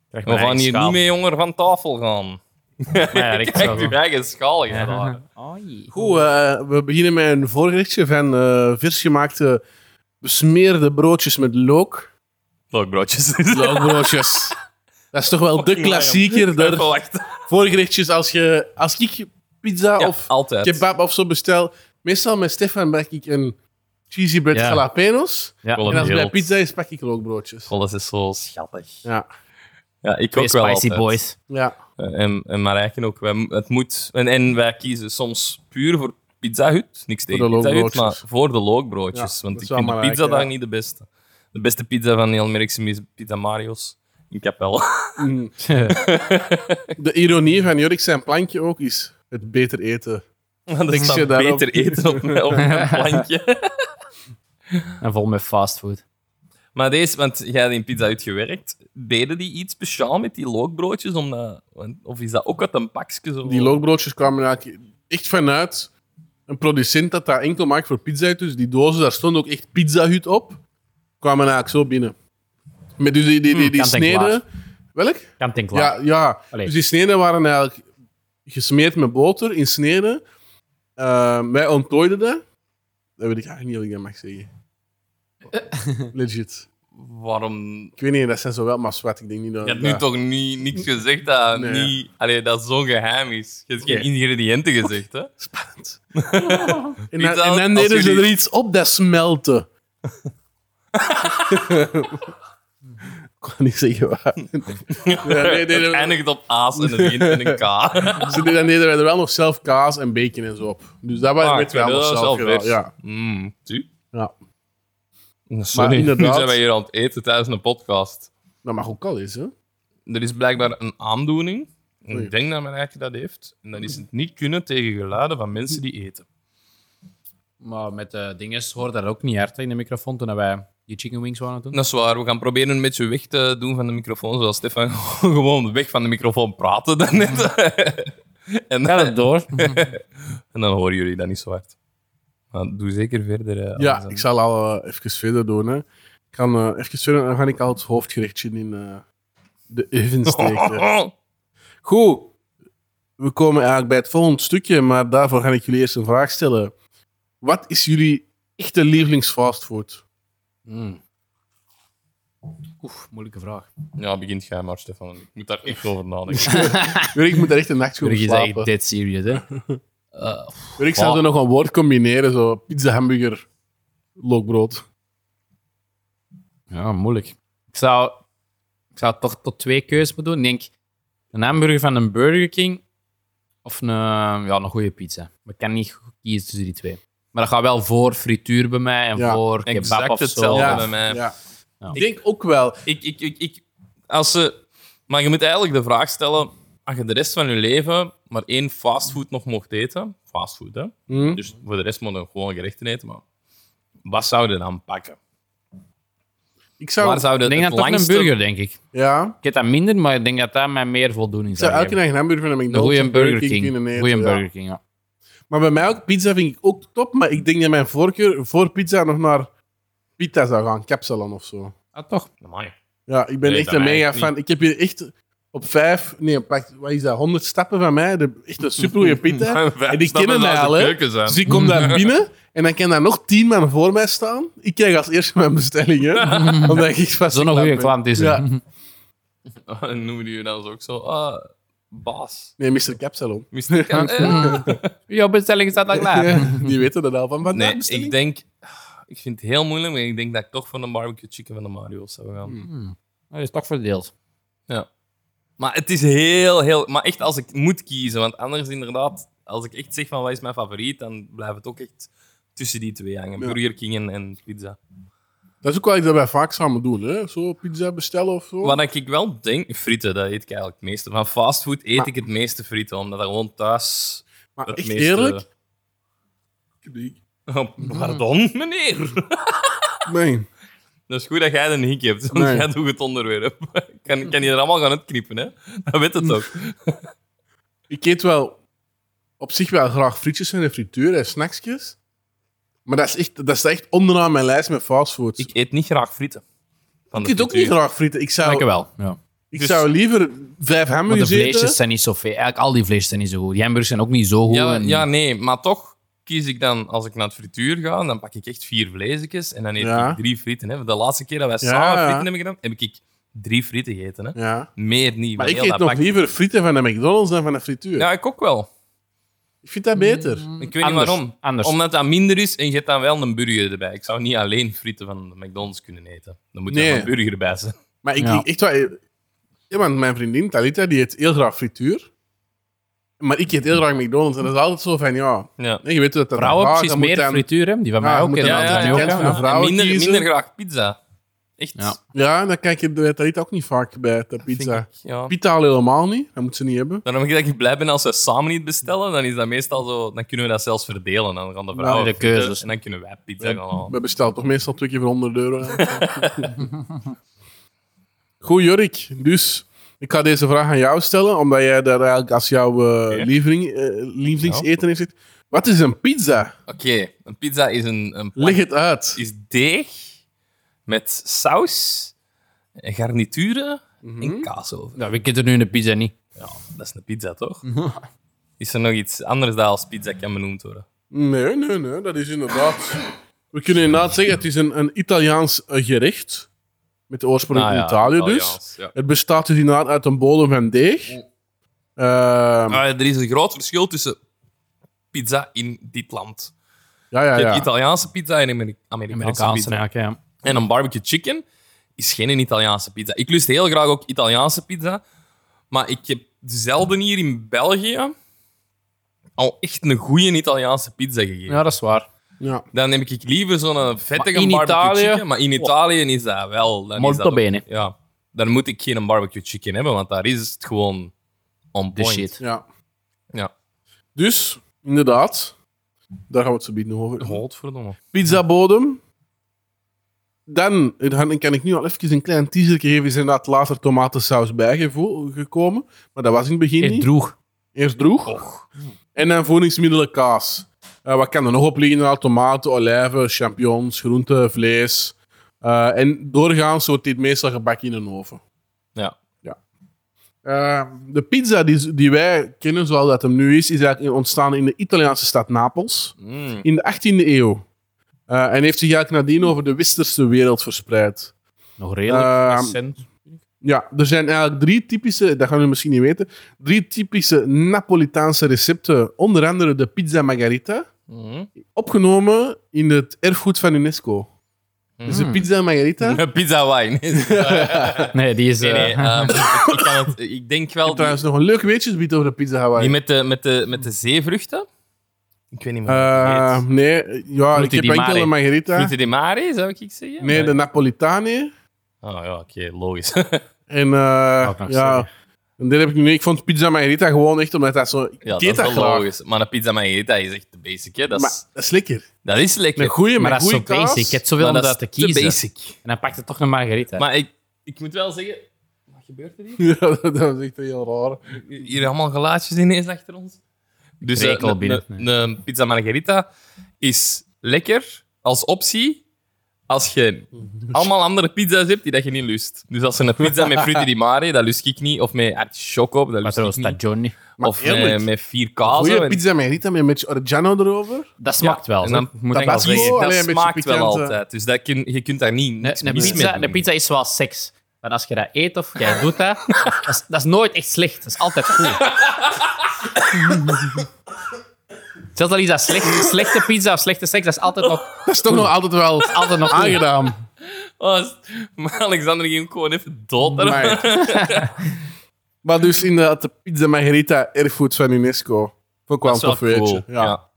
Speaker 1: we gaan hier niet mee jonger van tafel gaan.
Speaker 3: Ja, ik
Speaker 1: Kijk, uw eigen schaal. Ja.
Speaker 2: Goed, eh, we beginnen met een voorgerechtje van eh versgemaakte besmeerde broodjes met look.
Speaker 1: Lookbroodjes.
Speaker 2: Lookbroodjes. Dat is toch wel de
Speaker 1: Fucking
Speaker 2: klassieker.
Speaker 1: Even
Speaker 2: Der
Speaker 1: wachten.
Speaker 2: voorgerechtjes als, je, als ik pizza
Speaker 1: Ja,
Speaker 2: of
Speaker 1: altijd.
Speaker 2: kebab of zo bestel. Meestal met Stefan pak ik een cheesy bread
Speaker 3: Ja.
Speaker 2: jalapenos.
Speaker 3: Ja,
Speaker 1: Wel
Speaker 2: En als het bij
Speaker 1: Wild.
Speaker 2: pizza is, pak ik lookbroodjes.
Speaker 1: Alles is zo schattig.
Speaker 2: Ja.
Speaker 1: Ja, ik
Speaker 3: twee
Speaker 1: ook wel
Speaker 3: spicy
Speaker 1: altijd.
Speaker 3: boys.
Speaker 2: ja.
Speaker 1: Eh, En, en Marijken ook. Wij, het moet, en, en wij kiezen soms puur voor Pizza Hut. Niks tegen
Speaker 2: de
Speaker 1: Pizza Hut, maar
Speaker 2: lookbroodjes.
Speaker 1: voor de lookbroodjes.
Speaker 2: Ja,
Speaker 1: want
Speaker 2: dat
Speaker 1: ik
Speaker 2: is wel
Speaker 1: vind de
Speaker 2: Marijke,
Speaker 1: pizza daar
Speaker 2: ja.
Speaker 1: niet de beste. De beste pizza van Neil Merksen is Pizza Mario's in Capella.
Speaker 2: Mm. De ironie van Jurk zijn plankje ook is het beter eten.
Speaker 1: Dat
Speaker 2: Denk
Speaker 1: is
Speaker 2: je
Speaker 1: dan
Speaker 2: daarop?
Speaker 1: beter eten op mijn, op mijn plankje.
Speaker 3: En vol met fastfood.
Speaker 1: Maar deze, want jij hebt in Pizza Hut gewerkt. Deden die iets speciaal met die lookbroodjes? Omdat, want- of is dat ook uit een pakje? Zo?
Speaker 2: Oh. Die lookbroodjes kwamen eigenlijk echt vanuit een producent dat dat enkel maakt voor pizza Hut. Dus die dozen, daar stond ook echt Pizza Hut op. Kwamen eigenlijk zo binnen. Met dus die, die, die, die
Speaker 3: kant en klaar.
Speaker 2: sneden... Welk?
Speaker 3: Kant en klaar.
Speaker 2: Ja, ja.
Speaker 3: Allee.
Speaker 2: dus die sneden waren eigenlijk gesmeerd met boter in sneden. Eh, wij ontdooiden dat. Dat weet ik eigenlijk niet of ik dat mag zeggen. Legit.
Speaker 1: Waarom?
Speaker 2: Ik weet niet, dat zijn zo wel maar zwart. Ik denk niet dat...
Speaker 1: Je hebt
Speaker 2: dat-
Speaker 1: nu toch niet, niks gezegd dat,
Speaker 2: Nee.
Speaker 1: niet, allee, dat zo geheim is. Je hebt geen
Speaker 2: Nee.
Speaker 1: ingrediënten gezegd, hè?
Speaker 2: Spannend. en, dan,
Speaker 1: Pizza
Speaker 2: en dan
Speaker 1: Hut,
Speaker 2: deden
Speaker 1: als
Speaker 2: ze
Speaker 1: jullie-
Speaker 2: er iets op dat smelten. ik kan niet zeggen waar. Ja, nee, nee, nee.
Speaker 1: Het eindigt op aas en het begint met een K.
Speaker 2: Ze deden, dan deden wij er wel nog zelf kaas en bacon en zo op. Dus dat
Speaker 1: Ah,
Speaker 2: werd
Speaker 1: ik
Speaker 2: wel
Speaker 1: weet
Speaker 2: nog
Speaker 1: dat
Speaker 2: zelf,
Speaker 1: zelf
Speaker 2: gedaan.
Speaker 1: vers.
Speaker 2: Ja,
Speaker 1: Mm, tu.
Speaker 2: ja,
Speaker 1: Sorry, nu
Speaker 2: inderdaad-
Speaker 1: zijn wij hier aan het eten tijdens een podcast.
Speaker 2: dat mag ook al eens, hè.
Speaker 1: Er is blijkbaar een aandoening. en
Speaker 2: Oei.
Speaker 1: Ik denk dat mijn eigen dat heeft. En dat is het niet kunnen tegen geluiden van mensen die eten.
Speaker 3: Maar met eh, de dinges hoorde dat ook niet hard hè, in de microfoon toen wij die chicken wings waren aan het
Speaker 2: Nou.
Speaker 3: doen.
Speaker 1: Dat is waar. We gaan proberen een beetje weg te doen van de microfoon. Zoals Stefan gewoon weg van de microfoon praten daarnet. en,
Speaker 3: Ga
Speaker 1: dan,
Speaker 3: het door.
Speaker 1: en dan horen jullie dat niet zo hard. Maar doe zeker verder. eh,
Speaker 2: Ja,
Speaker 1: anders.
Speaker 2: ik zal al eh, even verder doen, hè. Ik kan, eh, even verder, dan ga ik al het hoofdgerechtje in eh, de oven steken. Goed. We komen eigenlijk bij het volgende stukje, maar daarvoor ga ik jullie eerst een vraag stellen. Wat is jullie echte lievelingsfastfood?
Speaker 3: Mm. Oef, moeilijke vraag.
Speaker 1: Ja, begint jij maar, Stefan. want Ik moet daar echt over nadenken.
Speaker 2: Weet Ik moet er echt een nachtje over
Speaker 3: Jurgen is eigenlijk
Speaker 2: slapen.
Speaker 3: dead serious, hè? Eh,
Speaker 2: Weet Ik zou er nog een woord combineren, zo pizza, hamburger, lookbrood.
Speaker 3: ja, moeilijk. Ik zou, ik zou toch tot twee keuzes moeten doen. Ik denk een hamburger van een Burger King of een, eh, ja, een goede pizza. Maar ik kan niet goed kiezen tussen die twee. Maar dat gaat wel voor frituur bij mij en
Speaker 2: Ja,
Speaker 3: voor kebab
Speaker 1: exact
Speaker 3: of zo.
Speaker 1: hetzelfde
Speaker 2: Ja.
Speaker 1: bij mij.
Speaker 2: Ja.
Speaker 3: Ja.
Speaker 2: Ik denk ook wel.
Speaker 1: ik, ik, ik, ik, als ze, maar je moet eigenlijk de vraag stellen: als je de rest van je leven maar één fastfood nog mocht eten, fastfood, hè?
Speaker 2: Hm?
Speaker 1: Dus voor de rest moet je gewoon gerechten eten, maar wat zou je dan pakken?
Speaker 2: Ik zou,
Speaker 1: Waar zou je
Speaker 3: Ik denk
Speaker 1: het
Speaker 3: dat toch een
Speaker 1: langste...
Speaker 3: burger, denk ik.
Speaker 2: ja,
Speaker 3: Ik heb dat minder, maar ik denk dat dat mij meer voldoening
Speaker 2: ik zou
Speaker 3: zou
Speaker 2: elke
Speaker 3: geven.
Speaker 2: dag een hamburger van een
Speaker 3: Een
Speaker 2: McDonald's
Speaker 3: goede
Speaker 2: en Burger
Speaker 3: Burger
Speaker 2: King
Speaker 3: King.
Speaker 2: kunnen eten,
Speaker 3: goeie
Speaker 2: ja.
Speaker 3: Burger King, ja.
Speaker 2: Maar bij mij ook, pizza vind ik ook top, maar ik denk dat mijn voorkeur voor pizza nog naar pita zou gaan, capsalon of zo.
Speaker 3: Ah, toch?
Speaker 1: Amai.
Speaker 2: Ja, ik ben
Speaker 1: Nee,
Speaker 2: echt
Speaker 1: bij
Speaker 2: een
Speaker 1: mij
Speaker 2: mega
Speaker 1: niet.
Speaker 2: fan. Ik heb hier echt op vijf, nee, op acht- wat is dat, honderd stappen van mij, de, echt een supergoeie pita. En die kennen mij al, hè. Dus ik kom daar binnen en dan kan daar nog tien man voor mij staan. Ik krijg als eerste mijn bestelling, hè. Omdat ik echt vast
Speaker 3: Zo'n
Speaker 2: geklapt
Speaker 3: goede
Speaker 2: ben.
Speaker 3: klant is
Speaker 2: Ja.
Speaker 3: er.
Speaker 1: En noemen die je dan ook zo? Ah, baas.
Speaker 2: Nee, Mr. Capsalon.
Speaker 1: Mr. Kan- Eh.
Speaker 3: Jouw bestelling staat al klaar.
Speaker 2: Die weten dat al van vandaag,
Speaker 1: Nee,
Speaker 2: bestelling.
Speaker 1: ik denk... Ik vind het heel moeilijk, maar ik denk dat ik toch van de barbecue chicken van de Mario's zou gaan.
Speaker 3: Dat is toch verdeeld.
Speaker 1: Maar het is heel, heel... Maar echt als ik moet kiezen, want anders inderdaad... Als ik echt zeg van wat is mijn favoriet, dan blijft het ook echt tussen die twee hangen.
Speaker 2: Ja.
Speaker 1: Burger King en, en pizza.
Speaker 2: Dat is ook wat ik daarbij vaak samen doen, hè. Zo pizza bestellen of zo.
Speaker 1: Wat ik wel denk... Frieten, dat eet ik eigenlijk het meeste. Van fastfood eet
Speaker 2: Maar-
Speaker 1: ik het meeste frieten, omdat dat gewoon thuis...
Speaker 2: maar
Speaker 1: Het
Speaker 2: echt
Speaker 1: meeste...
Speaker 2: eerlijk, ik-
Speaker 1: Oh, pardon, meneer.
Speaker 2: nee.
Speaker 1: Dat is goed dat jij een hik hebt, want
Speaker 2: Nee.
Speaker 1: jij doet het onderwerp. Kan, kan je er allemaal gaan uitknippen, hè? Dat weet het ook.
Speaker 2: Ik eet wel op zich wel graag frietjes en frituur en snacksjes. Maar dat is echt, dat is echt onderaan mijn lijst met fastfood.
Speaker 1: Ik
Speaker 2: Ik,
Speaker 1: eet niet graag frieten. Van de
Speaker 2: eet ook
Speaker 1: frituur.
Speaker 2: niet graag frieten. Ik
Speaker 3: Ik
Speaker 2: zou,
Speaker 3: wel. Ja.
Speaker 2: ik
Speaker 1: Dus-
Speaker 2: zou liever vijf
Speaker 3: Maar de
Speaker 2: hamburgers
Speaker 3: vleesjes
Speaker 2: eten.
Speaker 3: zijn niet zo veel. Eigenlijk al die vleesjes zijn niet zo goed. Die hamburgers zijn ook niet zo goed.
Speaker 1: Ja,
Speaker 3: en-
Speaker 1: ja, nee, maar toch kies ik dan, als ik naar het frituur ga, dan pak ik echt vier vleesjes en dan eet
Speaker 2: Ja.
Speaker 1: ik drie frieten. Hè. De laatste keer dat wij
Speaker 2: Ja,
Speaker 1: samen
Speaker 2: ja.
Speaker 1: frieten hebben gedaan, heb ik drie frieten gegeten. Hè.
Speaker 2: Ja.
Speaker 1: Meer niet.
Speaker 2: Maar
Speaker 1: van
Speaker 2: ik
Speaker 1: heel
Speaker 2: eet
Speaker 1: dat
Speaker 2: nog
Speaker 1: pak-
Speaker 2: liever frieten van de McDonald's dan van de frituur.
Speaker 1: Ja, ik ook wel.
Speaker 2: Ik vind dat beter.
Speaker 1: Ik weet
Speaker 3: Anders,
Speaker 1: niet waarom.
Speaker 3: anders.
Speaker 1: Omdat dat minder is en je hebt dan wel een burger erbij. Ik zou niet alleen frieten van de McDonald's kunnen eten. Dan moet er
Speaker 2: Nee.
Speaker 1: wel een burger bij zijn.
Speaker 2: Maar ik,
Speaker 3: Ja.
Speaker 2: ik echt wel... Ja, want mijn vriendin Talita, die eet heel graag frituur. Maar ik eet heel graag McDonald's. En dat is altijd zo van, ja...
Speaker 1: Ja.
Speaker 2: nee, je weet hoe dat dat
Speaker 3: Vrouwen
Speaker 2: gaat,
Speaker 3: precies
Speaker 2: dan moet
Speaker 3: meer
Speaker 2: dan-
Speaker 3: frituur, hè? Die van
Speaker 2: Ja,
Speaker 3: mij
Speaker 2: je
Speaker 3: ook.
Speaker 2: moet
Speaker 3: en
Speaker 2: dan
Speaker 3: dat
Speaker 2: aan
Speaker 3: zijn
Speaker 2: de
Speaker 3: ook,
Speaker 2: kant
Speaker 3: hè.
Speaker 2: van de
Speaker 3: Ja.
Speaker 2: vrouw- vrouwen
Speaker 1: En minder,
Speaker 2: kiezen.
Speaker 1: minder graag pizza. Echt.
Speaker 3: Ja.
Speaker 2: Ja, dan kijk je bij Talita ook niet vaak bij de
Speaker 1: Vind
Speaker 2: pizza.
Speaker 1: ik, ja.
Speaker 2: Pita al helemaal niet. Dat moet ze niet hebben.
Speaker 1: Daarom dat ik blij ben als we samen niet bestellen, dan is dat meestal zo. Dan kunnen we dat zelfs verdelen. Dan gaan de vrouwen
Speaker 3: de
Speaker 1: frieten
Speaker 3: keuzes.
Speaker 1: en dan kunnen wij pizza gaan halen.
Speaker 2: We bestellen toch meestal twee keer voor 100 euro. Goed, Jorik. Dus Ik ga deze vraag aan jou stellen, omdat jij daar eigenlijk als jouw eh,
Speaker 1: Ja.
Speaker 2: lievering, eh, lievelingseten in zit. Wat is een pizza?
Speaker 1: Oké, een pizza is een, een plank-
Speaker 2: Leg het uit.
Speaker 1: is deeg met saus, en garnituren en kaas over.
Speaker 3: Ja, we kunnen er nu een pizza niet.
Speaker 1: Ja, dat is een pizza, toch? Is er nog iets anders dat als pizza kan benoemd worden?
Speaker 2: Nee, nee, nee, dat is inderdaad. We kunnen inderdaad zeggen, het is een, een Italiaans eh, gerecht. Met de oorsprong
Speaker 1: Nou
Speaker 2: in
Speaker 1: ja,
Speaker 2: Italië dus.
Speaker 1: Italiaans, ja.
Speaker 2: Het bestaat dus inderdaad uit een bodem van deeg. Ehm,
Speaker 1: Maar Ah, er is een groot verschil tussen pizza in dit land.
Speaker 2: ja, ja,
Speaker 1: Je hebt
Speaker 2: ja.
Speaker 1: Italiaanse pizza en Ameri- Amerikaanse,
Speaker 3: Amerikaanse
Speaker 1: pizza.
Speaker 3: eigenlijk, ja.
Speaker 1: En een barbecue chicken is geen Italiaanse pizza. Ik lust heel graag ook Italiaanse pizza. Maar ik heb zelden hier in België al echt een goede Italiaanse pizza gegeten.
Speaker 3: Ja, dat is waar.
Speaker 2: ja.
Speaker 1: Dan neem ik liever zo'n vettige
Speaker 3: Maar in
Speaker 1: barbecue
Speaker 3: Italië-
Speaker 1: chicken. Maar in Italië is dat wel. Dan is
Speaker 3: Molto
Speaker 1: dat ook-
Speaker 3: bene.
Speaker 1: Ja. Dan moet ik geen barbecue chicken hebben, want daar is het gewoon on
Speaker 3: De
Speaker 1: point.
Speaker 3: shit.
Speaker 2: ja.
Speaker 1: Ja.
Speaker 2: Dus, inderdaad. Daar gaan we het zo bieden over.
Speaker 1: Godverdomme.
Speaker 2: Pizzabodem. Dan, dan kan ik nu al even een klein teaser geven. Is inderdaad later tomatensaus bijgekomen. Maar dat was in het begin
Speaker 3: Ik
Speaker 2: niet.
Speaker 3: droeg.
Speaker 2: Eerst droeg. En dan voedingsmiddelen kaas. Eh, wat kan er nog op liggen? Inderdaad, Tomaten, olijven, champignons, groenten, vlees. Eh, en doorgaans wordt dit meestal gebakken in een oven.
Speaker 1: Ja.
Speaker 2: Eh, de pizza die, die wij kennen zoals dat hem nu is, is eigenlijk ontstaan in de Italiaanse stad Napels
Speaker 1: Mm.
Speaker 2: in de 18e eeuw. Eh, en heeft zich eigenlijk nadien over de westerse wereld verspreid.
Speaker 3: Nog redelijk
Speaker 2: Ehm,
Speaker 3: recent.
Speaker 2: Ja, er zijn eigenlijk drie typische, dat gaan jullie misschien niet weten, drie typische Napolitaanse recepten. Onder andere de pizza margarita,
Speaker 1: Mm.
Speaker 2: opgenomen in het erfgoed van UNESCO. Dus
Speaker 1: Hmm.
Speaker 2: de pizza margarita.
Speaker 1: Pizza wine.
Speaker 3: Nee, die is...
Speaker 1: Nee,
Speaker 3: eh,
Speaker 1: nee, ehm, ik, ik kan het, ik denk wel die,
Speaker 2: Trouwens, nog een leuk weetje te bieden over de pizza Hawaii.
Speaker 1: die met, de, met, de, met de zeevruchten. Ik weet niet meer hoe
Speaker 2: Eh,
Speaker 1: die heet.
Speaker 2: nee, ja, ik
Speaker 3: Frutti
Speaker 2: heb
Speaker 3: di
Speaker 2: enkel
Speaker 3: mare.
Speaker 2: de margarita.
Speaker 1: Frutti di mare, zou ik zeggen?
Speaker 2: Nee, de Napolitane.
Speaker 1: Oh ja, oké, logisch.
Speaker 2: En eh,
Speaker 3: ik nog
Speaker 2: ja,
Speaker 3: zeggen.
Speaker 2: en dit heb ik nu niet. Ik vond pizza margarita gewoon echt omdat dat zo... Ik
Speaker 1: ja, dat
Speaker 2: eet
Speaker 1: is wel
Speaker 2: graag.
Speaker 1: logisch. Maar een pizza margherita is echt de basic, hè. Dat
Speaker 2: Maar
Speaker 1: is,
Speaker 2: dat is lekker.
Speaker 1: dat is lekker.
Speaker 2: Een goeie
Speaker 3: maar
Speaker 2: met
Speaker 3: dat is zo
Speaker 2: goeie kaas.
Speaker 3: basic. Je hebt zoveel om
Speaker 1: Maar dat
Speaker 3: dat
Speaker 1: is
Speaker 3: te
Speaker 1: te
Speaker 3: kiezen.
Speaker 1: basic.
Speaker 3: En dan pakt het toch een margarita.
Speaker 1: Maar ik, ik moet wel zeggen... Wat gebeurt er hier?
Speaker 2: Ja, dat dat is echt heel raar.
Speaker 1: Hier allemaal geluidjes ineens achter ons. Dus eh,
Speaker 3: Krekel
Speaker 1: een-
Speaker 3: binnen,
Speaker 1: een- een pizza margherita is lekker als optie als je allemaal andere pizza's hebt die dat je niet lust. Dus als er een pizza met frutti di mare, dat lust ik niet. Of met artichokko, dat
Speaker 3: Maar
Speaker 1: lust
Speaker 3: trouwens,
Speaker 1: ik
Speaker 3: dat
Speaker 1: niet.
Speaker 3: Johnny.
Speaker 1: Of
Speaker 2: eerlijk,
Speaker 1: met, met vier kazen.
Speaker 2: Goeie pizza margarita met een beetje oregano erover.
Speaker 3: Dat smaakt wel.
Speaker 1: En dan
Speaker 3: zo.
Speaker 1: moet ik wel
Speaker 2: Tabasco,
Speaker 1: zeggen, dat
Speaker 2: alleen een beetje
Speaker 1: smaakt wel
Speaker 2: pikante.
Speaker 1: altijd. Dus dat kun, je kunt daar niet
Speaker 3: Een,
Speaker 1: niks
Speaker 3: een
Speaker 1: mis mee
Speaker 3: pizza,
Speaker 1: doen.
Speaker 3: een pizza is zoals seks. Want als je dat eet of jij doet dat, dat is, dat is nooit echt slecht. Dat is altijd goed. Zelfs al is dat slecht, slechte pizza of slechte seks, dat is altijd nog,
Speaker 2: Dat is toch nog altijd wel
Speaker 3: altijd nog goed.
Speaker 2: aangedaan.
Speaker 1: Oh, s- maar Alexander ging ook gewoon even dood. daarom.
Speaker 2: Amai. maar dus inderdaad, de pizza margarita erfgoed van UNESCO. Vond ik wel een
Speaker 1: Dat is
Speaker 2: tof
Speaker 1: wel
Speaker 2: weetje.
Speaker 1: cool,
Speaker 2: Ja.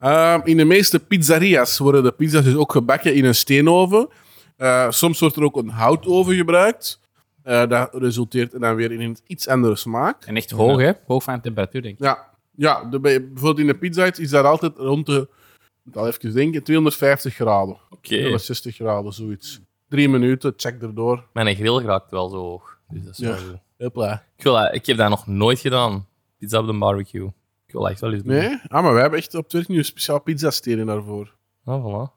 Speaker 2: Ehm, in de meeste pizzeria's worden de pizza's dus ook gebakken in een steenoven. Eh, soms wordt er ook een houtoven gebruikt. Eh, dat resulteert dan weer in een iets andere smaak.
Speaker 3: En echt hoog, hè? Hoog van temperatuur, denk ik.
Speaker 2: Ja, ja de, bij- bijvoorbeeld in de pizza Hut is daar altijd rond de, ik moet al even denken, 250 graden.
Speaker 1: Oké.
Speaker 2: 260 graden, zoiets. Drie minuten, check erdoor.
Speaker 1: Mijn grill raakt wel zo hoog. Dus dat is wel
Speaker 2: Ja.
Speaker 1: goed.
Speaker 2: Hopla.
Speaker 1: Ik, wil, dat- ik heb dat nog nooit gedaan. Pizza op de barbecue. Ik wil echt wel eens doen.
Speaker 2: Nee? Ah, maar wij hebben echt op het werk nu een speciaal pizzasteren daarvoor.
Speaker 1: Ah, voilà.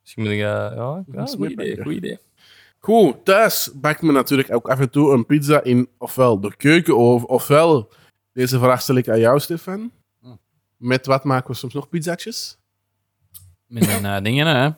Speaker 1: Misschien moet ik... eh, ja, ja
Speaker 2: is
Speaker 1: goed
Speaker 2: mee
Speaker 1: idee.
Speaker 2: pakken.
Speaker 1: Goed idee.
Speaker 2: Goed, thuis bakt men natuurlijk ook af en toe een pizza in ofwel de keukenoven, ofwel, deze vraag stel ik aan jou, Stefan. Met wat maken we soms nog pizzatjes?
Speaker 3: Met een eh, dingen, hè?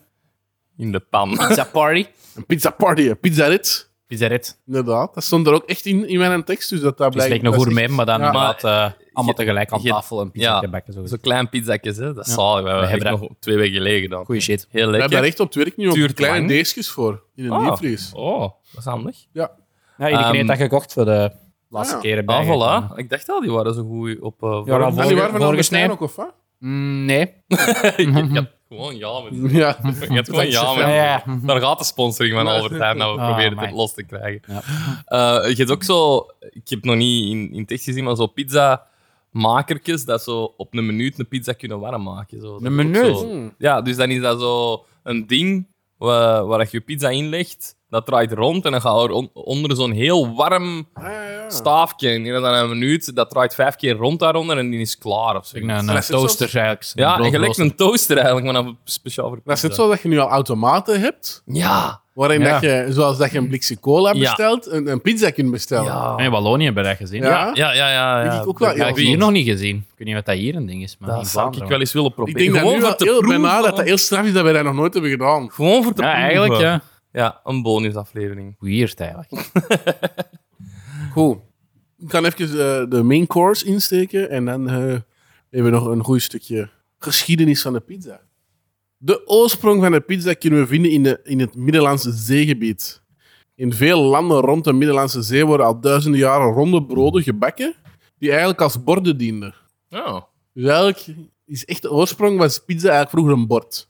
Speaker 1: In de pan.
Speaker 3: Pizza party.
Speaker 2: Een pizza party, een pizza rit.
Speaker 3: Pizza rit.
Speaker 2: Inderdaad, dat stond er ook echt in, in mijn tekst, dus dat daar
Speaker 3: Het is
Speaker 2: blijkt...
Speaker 3: lijkt nog
Speaker 2: dat
Speaker 3: goed
Speaker 2: is
Speaker 3: mee,
Speaker 2: echt-
Speaker 3: maar dan
Speaker 2: Ja.
Speaker 3: inderdaad eh, allemaal
Speaker 1: je-
Speaker 3: tegelijk aan
Speaker 1: je-
Speaker 3: tafel en pizza
Speaker 1: ja.
Speaker 3: te bakken. Zo.
Speaker 1: Zo'n klein pizzakjes, hè. Dat is zalig. We hebben
Speaker 3: hebben
Speaker 1: echt
Speaker 3: dat-
Speaker 1: nog twee weken geleden gedaan.
Speaker 3: Goeie shit.
Speaker 1: Heel
Speaker 2: We hebben
Speaker 1: lekker.
Speaker 2: daar echt op het werk nu ook
Speaker 1: Duurt
Speaker 2: kleine
Speaker 1: lang.
Speaker 2: deeskjes voor, in een
Speaker 1: Ah.
Speaker 2: diepvries.
Speaker 1: Oh, dat is handig.
Speaker 2: Ja.
Speaker 3: Ja, iedereen
Speaker 1: Ehm,
Speaker 3: heeft dat gekocht voor de laatste
Speaker 2: Ah, ja.
Speaker 3: keren bij.
Speaker 1: Ah, voilà. Ik dacht al, die waren zo goed op... eh
Speaker 3: dat
Speaker 1: vorm.
Speaker 2: En die waren van
Speaker 3: Vorige
Speaker 2: Albert Heijn
Speaker 3: snij.
Speaker 2: ook, of wat?
Speaker 3: Mm, nee.
Speaker 1: ik had gewoon ja met die-
Speaker 2: Ja.
Speaker 1: Je hebt gewoon ja,
Speaker 3: Ja,
Speaker 1: maar
Speaker 3: ja.
Speaker 1: daar gaat de sponsoring van Albert Heijn nou we
Speaker 3: Mhm. Ah,
Speaker 1: proberen
Speaker 3: amai.
Speaker 1: het los te krijgen.
Speaker 3: Ja.
Speaker 1: Eh, je hebt ook zo, ik heb nog niet in, in het echt gezien, maar zo pizzamakertjes dat zo op een minuut een pizza kunnen warm maken. Zo. Dat
Speaker 3: Een
Speaker 1: is ook
Speaker 3: minuut?
Speaker 1: zo.
Speaker 2: Hmm.
Speaker 1: Ja, dus dan is dat zo een ding waar, waar je je pizza in legt, dat draait rond en dan gaat er on- onder zo'n heel warm
Speaker 2: Ah, ja, ja. ja.
Speaker 1: staafje. En die dan een minuut, dat draait vijf keer rond daaronder en die is klaar of zo.
Speaker 3: Een, een
Speaker 2: Stress is
Speaker 3: toaster
Speaker 2: of-
Speaker 3: eigenlijk.
Speaker 1: Ja,
Speaker 3: brood-
Speaker 1: en gelijk
Speaker 3: brood-
Speaker 1: een toaster eigenlijk, maar dan speciaal voor
Speaker 2: Dat is het zo dat je nu al automaten hebt,
Speaker 1: Ja.
Speaker 2: waarin
Speaker 3: Ja.
Speaker 2: dat je, zoals dat je een blikje cola
Speaker 1: Ja.
Speaker 2: bestelt, een, een pizza kunt bestellen.
Speaker 1: Ja.
Speaker 3: In Wallonië hebben we dat gezien.
Speaker 2: Ja.
Speaker 3: Ja.
Speaker 1: Ja, ja, ja.
Speaker 2: Denk
Speaker 1: ja.
Speaker 2: ik ook wel.
Speaker 1: Dat-
Speaker 3: Dat heb ik
Speaker 2: klopt.
Speaker 3: hier nog niet gezien. Ik weet niet wat dat hier een ding is, maar in
Speaker 1: Dat zou ik
Speaker 3: Vlaanderen
Speaker 1: wel eens willen
Speaker 2: Ik
Speaker 1: proberen.
Speaker 2: denk dat
Speaker 1: Gewoon
Speaker 2: nu
Speaker 1: voor
Speaker 2: wel
Speaker 1: te
Speaker 2: heel
Speaker 1: proeven.
Speaker 2: bijna dat dat heel straf is dat wij dat nog nooit hebben gedaan.
Speaker 1: Gewoon voor te
Speaker 3: Ja,
Speaker 1: proeven.
Speaker 3: eigenlijk, ja.
Speaker 1: Ja, een bonusaflevering.
Speaker 3: Weird, eigenlijk.
Speaker 2: Goed. Ik kan even eh, de main course insteken en dan eh, hebben we nog een goed stukje geschiedenis van de pizza. De oorsprong van de pizza kunnen we vinden in, de, in het Middellandse zeegebied. In veel landen rond de Middellandse Zee worden al duizenden jaren ronde broden gebakken, die eigenlijk als borden dienden.
Speaker 1: Oh.
Speaker 2: Dus eigenlijk is echt de oorsprong was pizza eigenlijk vroeger een bord.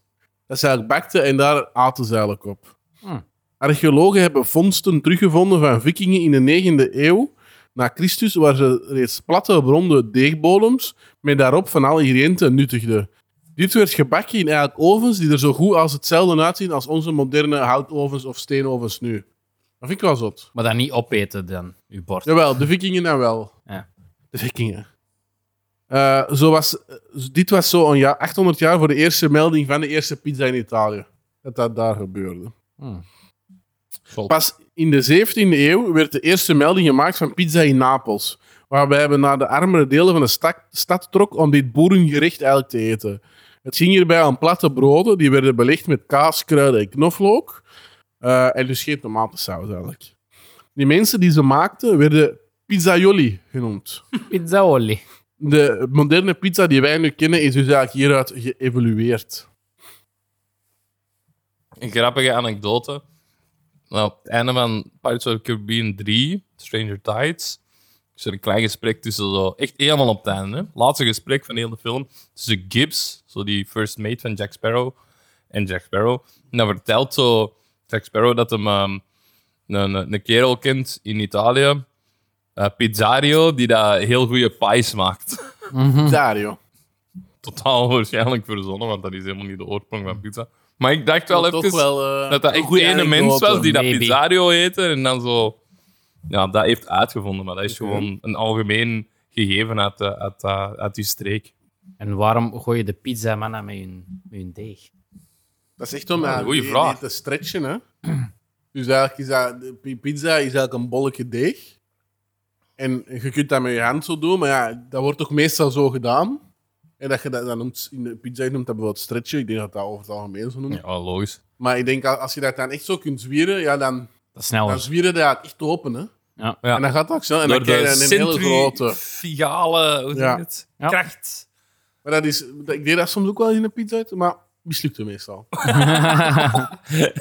Speaker 2: Dat ze eigenlijk bakten en daar aten ze eigenlijk op.
Speaker 3: Hm.
Speaker 2: Archeologen hebben vondsten teruggevonden van vikingen in de 9e eeuw na Christus, waar ze reeds platte, ronde deegbodems met daarop van alle ingrediënten nuttigden. Dit werd gebakken in eigenlijk ovens die er zo goed als hetzelfde uitzien als onze moderne houtovens of steenovens nu. Dat vind ik wel zot.
Speaker 3: Maar dan niet opeten, dan, uw bord.
Speaker 2: Jawel, de vikingen dan wel.
Speaker 3: Ja.
Speaker 2: De vikingen. Eh, zo was, dit was zo'n ja, 800 jaar voor de eerste melding van de eerste pizza in Italië. Dat dat daar gebeurde.
Speaker 3: Hm.
Speaker 2: Pas in de 17e eeuw werd de eerste melding gemaakt van pizza in Napels. Waarbij we naar de armere delen van de sta- stad trok om dit boerengericht eigenlijk te eten. Het ging hierbij om platte broden, die werden belegd met kaas, kruiden en knoflook. Eh, en dus geen tomatensaus eigenlijk. Die mensen die ze maakten werden pizzaioli genoemd.
Speaker 3: Pizzaoli.
Speaker 2: De moderne pizza die wij nu kennen is dus eigenlijk hieruit geëvolueerd.
Speaker 1: Een grappige anekdote. Nou, op het einde van Pirates of the Caribbean 3, Stranger Tides, is er een klein gesprek tussen zo, echt helemaal op het einde. hè. Laatste gesprek van heel de film tussen Gibbs, zo die first mate van Jack Sparrow, en Jack Sparrow. En dan vertelt zo Jack Sparrow dat hem ehm, een, een kerel kent in Italië, eh, Pizzario, die daar heel goede pies maakt.
Speaker 2: Dario.
Speaker 1: Totaal waarschijnlijk verzonnen, want dat is helemaal niet de oorsprong van pizza. Maar ik dacht wel even...
Speaker 2: wel, eh,
Speaker 1: Dat dat echt de ene mens was die dat
Speaker 3: Maybe.
Speaker 1: Pizzario heette en dan zo... Ja, dat heeft uitgevonden, maar dat is gewoon een algemeen gegeven uit, eh, uit, eh, uit die streek.
Speaker 3: En waarom gooi je de pizza manna met hun, met hun deeg?
Speaker 2: Dat is echt om
Speaker 1: Ja,
Speaker 2: aan
Speaker 1: goeie
Speaker 2: die-
Speaker 1: vraag.
Speaker 2: die te stretchen. Hè? Dus eigenlijk is dat, de pi- pizza is eigenlijk een bolletje deeg. En je kunt dat met je hand zo doen, maar ja, dat wordt toch meestal zo gedaan. En dat je dat, dat noemt, in de pizza noemt dat bijvoorbeeld stretchen. Ik denk dat dat over het algemeen zo noemt.
Speaker 1: Ja, logisch.
Speaker 2: Maar ik denk, al- als je dat dan echt zo kunt zwieren, ja, dan,
Speaker 3: Dat is
Speaker 2: dan
Speaker 3: sneller.
Speaker 2: zwieren dat echt open. Hè?
Speaker 3: Ja.
Speaker 1: Ja.
Speaker 2: En dan gaat dat ook snel. En dan
Speaker 1: Door
Speaker 2: krijg
Speaker 1: de
Speaker 2: je dan een hele grote.
Speaker 1: centrifugale... Hoe zeg
Speaker 2: Ja.
Speaker 1: je het?
Speaker 3: Ja.
Speaker 1: Kracht.
Speaker 2: Maar dat is, dat- ik deed dat soms ook wel in een pizza uit, maar mislukte meestal.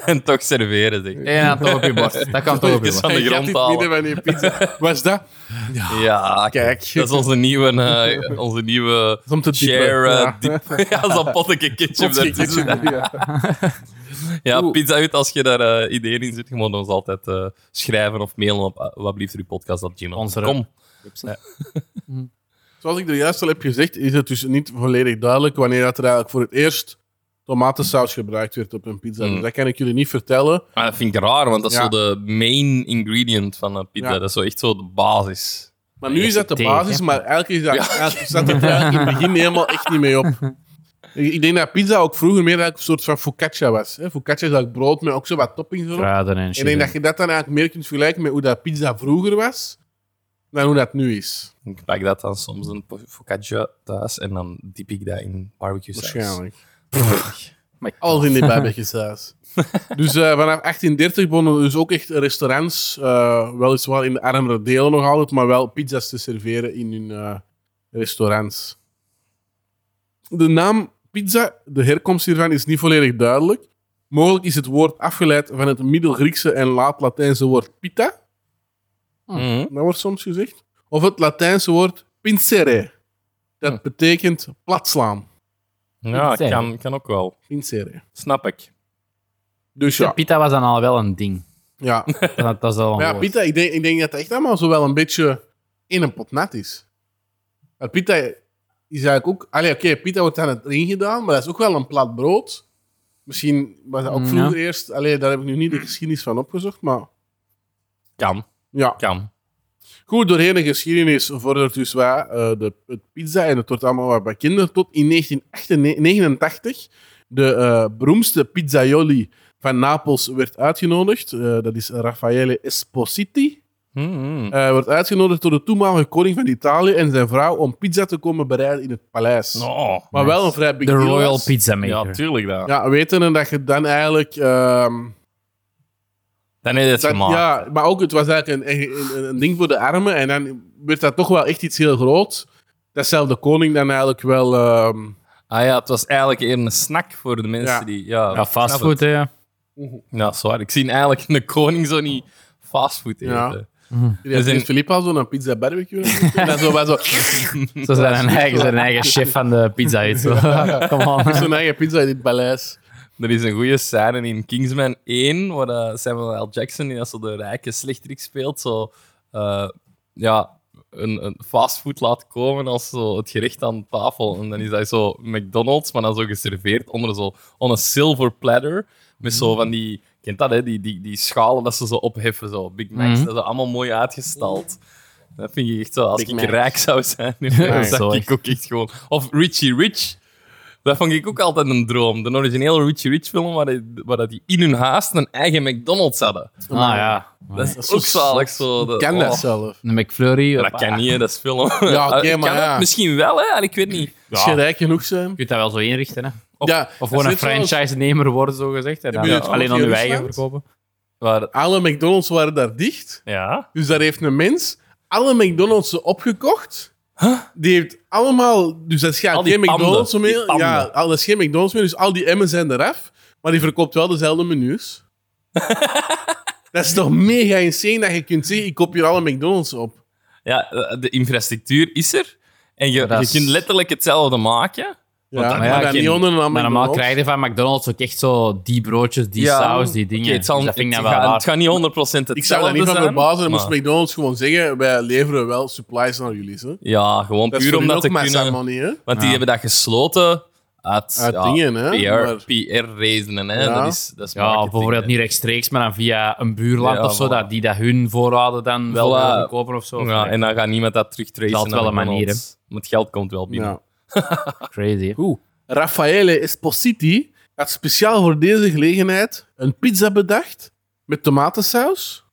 Speaker 1: en toch serveren, zeg.
Speaker 3: Eén hand toch op je bord. Dat kan toch op je
Speaker 1: Even
Speaker 3: bord.
Speaker 1: de
Speaker 2: Ik had
Speaker 1: grond
Speaker 2: dit
Speaker 1: halen.
Speaker 2: midden van die pizza. Was dat?
Speaker 1: Ja,
Speaker 2: Kijk.
Speaker 1: Dat is onze nieuwe... eh, onze nieuwe...
Speaker 2: Om te diepen.
Speaker 1: Share, eh,
Speaker 2: Ja.
Speaker 1: diep- ja, zo'n potteke ketchup.
Speaker 2: Potje
Speaker 1: daartussen.
Speaker 2: ketchup, ja.
Speaker 1: Ja,
Speaker 2: Oeh.
Speaker 1: Pizza Hut, als je daar eh, ideeën in zit, je moet ons altijd eh, schrijven of mailen op uh,
Speaker 3: Sponsoren.
Speaker 1: Kom.
Speaker 2: Zoals ik er juist al heb gezegd, is het dus niet volledig duidelijk wanneer dat er eigenlijk voor het eerst tomatensaus gebruikt werd op een pizza.
Speaker 1: Mm.
Speaker 2: Dus dat kan ik jullie niet vertellen.
Speaker 1: Maar Ah, dat vind ik raar, want dat is
Speaker 2: Ja.
Speaker 1: zo de main ingredient van een pizza.
Speaker 2: Ja.
Speaker 1: Dat is zo echt zo de basis.
Speaker 2: Maar nu is dat de
Speaker 3: Thee,
Speaker 2: basis,
Speaker 3: hè?
Speaker 2: maar eigenlijk is dat, eigenlijk staat het er eigenlijk in het begin helemaal echt niet mee op. Ik ik denk dat pizza ook vroeger meer eigenlijk een soort van focaccia was. Hè. Focaccia is eigenlijk brood met ook zo wat toppings erop.
Speaker 3: Kruiden en
Speaker 2: En ik denk dat
Speaker 3: shit.
Speaker 2: je dat dan eigenlijk meer kunt vergelijken met hoe dat pizza vroeger was, dan hoe dat nu is.
Speaker 1: Ik pak dat dan soms een po- focaccia thuis en dan diep ik dat in barbecue saus.
Speaker 2: Waarschijnlijk.
Speaker 1: Pff,
Speaker 2: Alles in die bijbetjeshuis. dus eh, vanaf 1830 begonnen dus ook echt restaurants, eh, weliswaar in de armere delen nog altijd, maar wel pizza's te serveren in hun eh, restaurants. De naam pizza, de herkomst hiervan, is niet volledig duidelijk. Mogelijk is het woord afgeleid van het Middel-Griekse en laat-Latijnse woord pita,
Speaker 1: mhm.
Speaker 2: dat wordt soms gezegd, of het Latijnse woord pincere,
Speaker 1: Hm.
Speaker 2: dat betekent platslaan.
Speaker 1: Ja,
Speaker 3: Pizza.
Speaker 1: kan, kan ook wel.
Speaker 2: Pincere.
Speaker 1: Snap ik.
Speaker 2: Dus
Speaker 3: De
Speaker 2: ja,
Speaker 3: pita was dan al wel een ding.
Speaker 2: ja.
Speaker 3: Dat, dat is al een
Speaker 2: Maar ja,
Speaker 3: woord.
Speaker 2: pita, ik denk, ik denk dat het echt allemaal zo wel een beetje in een pot nat is. Maar pita is eigenlijk ook... Allee, oké, pita wordt aan het erin gedaan, maar dat is ook wel een plat brood. Misschien was dat ook
Speaker 3: Mm,
Speaker 2: vroeger eerst... Allee, daar heb ik nu niet de geschiedenis van opgezocht, maar
Speaker 1: Kan,
Speaker 2: ja.
Speaker 1: kan.
Speaker 2: Goed, doorheen de geschiedenis vordert dus wij eh, de, het pizza en het wordt allemaal wat bij kinderen. Tot in 1989 de eh, beroemdste pizzaioli van Napels werd uitgenodigd. Eh, dat is Raffaele Espositi.
Speaker 1: Hmm.
Speaker 2: Hij Eh, wordt uitgenodigd door de toenmalige koning van Italië en zijn vrouw om pizza te komen bereiden in het paleis.
Speaker 1: Oh,
Speaker 2: maar wel een vrij big
Speaker 3: De
Speaker 2: deal
Speaker 3: Royal
Speaker 2: was.
Speaker 3: Pizza
Speaker 1: ja,
Speaker 3: Maker.
Speaker 1: tuurlijk. Dat.
Speaker 2: Ja, wetende dat je dan eigenlijk... ehm,
Speaker 1: Dan heb je het
Speaker 2: dat-
Speaker 1: gemaakt.
Speaker 2: ja, maar ook, het was eigenlijk een, een, een- een ding voor de armen. En dan werd dat toch wel echt iets heel groot. Datzelfde koning dan eigenlijk wel... ehm,
Speaker 1: Ah ja, het was eigenlijk eerder een snack voor de mensen
Speaker 2: Ja.
Speaker 1: die... Ja,
Speaker 3: Ja, fastfood, hè. ja.
Speaker 1: Ja, sorry. Ik zie eigenlijk een koning zo niet fastfood eten.
Speaker 2: Ja.
Speaker 1: Dus in-
Speaker 2: dus in Filippa had zo'n pizza barbecue. en dan zo, wij zo,
Speaker 3: Zo zijn een eigen, zijn eigen chef van de pizza. uit. Zo. Kom on.
Speaker 2: zo'n eigen pizza in het paleis.
Speaker 1: Er is een goede scène in Kingsman 1, waar eh, Samuel L. Jackson, die als zo de rijke slechterik speelt, zo eh, ja, een, een fastfood laat komen als zo het gerecht aan tafel. En dan is hij zo McDonald's, maar dan zo geserveerd onder zo on een silver platter. Met zo van die, kent dat hè, die, die, die schalen dat ze zo opheffen, zo Big Macs,
Speaker 3: Mhm.
Speaker 1: dat is allemaal mooi uitgestald. Dat vind ik echt zo, als
Speaker 2: Big
Speaker 1: ik
Speaker 2: Macs.
Speaker 1: rijk zou zijn, dan zou
Speaker 3: Sorry.
Speaker 1: ik ook echt gewoon... Of Richie Rich. Dat vond ik ook altijd een droom. De originele Richie Rich film, waar die, waar dat die in hun haast een eigen McDonald's hadden.
Speaker 3: Ah ja.
Speaker 1: Dat is
Speaker 2: Dat is
Speaker 1: ook
Speaker 2: zo
Speaker 1: zalig zo. de-
Speaker 2: Ik ken
Speaker 1: oh,
Speaker 2: dat zelf.
Speaker 3: Een McFlurry. Ah,
Speaker 1: Dat kan niet, hè, dat is film.
Speaker 2: Ja, oké,
Speaker 1: Kan
Speaker 2: maar
Speaker 1: dat
Speaker 2: ja.
Speaker 1: Misschien wel, hè? Ik weet niet.
Speaker 2: Als je rijk genoeg zijn.
Speaker 3: Je kunt dat wel zo inrichten, hè.
Speaker 1: Of-
Speaker 2: ja,
Speaker 3: Of gewoon
Speaker 2: dat
Speaker 3: een
Speaker 2: is net zoals-
Speaker 3: franchise-nemer worden, zo gezegd. En dan
Speaker 2: Heb je het
Speaker 3: alleen aan
Speaker 2: ook in
Speaker 3: je eigen
Speaker 2: Rusland?
Speaker 3: verkopen.
Speaker 1: Maar,
Speaker 2: Alle McDonald's waren daar dicht.
Speaker 1: ja.
Speaker 2: Dus daar heeft een mens alle McDonald's opgekocht. Die heeft allemaal... Dus dat is geen
Speaker 1: Al die
Speaker 2: geen McDonald's
Speaker 1: panden, die
Speaker 2: meer.
Speaker 1: panden.
Speaker 2: Ja, al- dat is geen McDonald's meer. Dus al die M's zijn eraf. Maar die verkoopt wel dezelfde menus. dat is toch mega insane dat je kunt zeggen, ik koop hier alle McDonald's op.
Speaker 1: ja, de infrastructuur is er. En je,
Speaker 3: dat
Speaker 1: je
Speaker 3: is-
Speaker 1: kunt letterlijk hetzelfde maken.
Speaker 2: Ja,
Speaker 1: dan-
Speaker 2: maar
Speaker 3: ja,
Speaker 2: dan
Speaker 3: geen-
Speaker 2: niet onder een
Speaker 3: Maar normaal
Speaker 2: McDonald's.
Speaker 3: krijg je van McDonald's ook echt zo die broodjes, die
Speaker 1: Ja.
Speaker 3: saus, die dingen.
Speaker 1: Oké, het, zal,
Speaker 3: Dus dat vind ik
Speaker 1: het
Speaker 3: dan wel
Speaker 1: gaat-
Speaker 3: raar.
Speaker 1: het gaat niet 100% hetzelfde
Speaker 2: Ik zou daar niet van
Speaker 1: zijn,
Speaker 2: verbazen. Dan moest
Speaker 1: maar-
Speaker 2: McDonald's gewoon zeggen, wij leveren wel supplies naar jullie. Hè?
Speaker 1: Ja, gewoon
Speaker 2: Dat is
Speaker 1: puur
Speaker 2: voor
Speaker 1: omdat
Speaker 2: hun
Speaker 1: te
Speaker 2: ook maar
Speaker 1: kunnen...
Speaker 2: money, hè?
Speaker 1: Want die
Speaker 3: Ja.
Speaker 1: hebben dat gesloten uit,
Speaker 2: Uit dingen, hè, maar-
Speaker 1: PR, PR-redenen. hè.
Speaker 2: Ja.
Speaker 1: Dat is, dat is
Speaker 3: Ja,
Speaker 1: marketing,
Speaker 3: bijvoorbeeld
Speaker 1: hè.
Speaker 3: niet rechtstreeks, maar dan via een buurland
Speaker 1: Ja,
Speaker 3: of zo,
Speaker 1: voilà.
Speaker 3: dat die dat hun voorraden dan wel
Speaker 1: Voilà.
Speaker 3: kopen kopen of zo. Of
Speaker 1: Ja,
Speaker 3: nee.
Speaker 1: en dan gaat niemand dat terugtracen.
Speaker 3: Dat is wel
Speaker 1: naar
Speaker 3: een manier,
Speaker 1: McDonald's. Maar het geld komt wel binnen.
Speaker 2: Ja.
Speaker 3: Crazy. hè.
Speaker 2: Goed. Raffaele Espositi had speciaal voor deze gelegenheid een pizza bedacht met tomatensaus,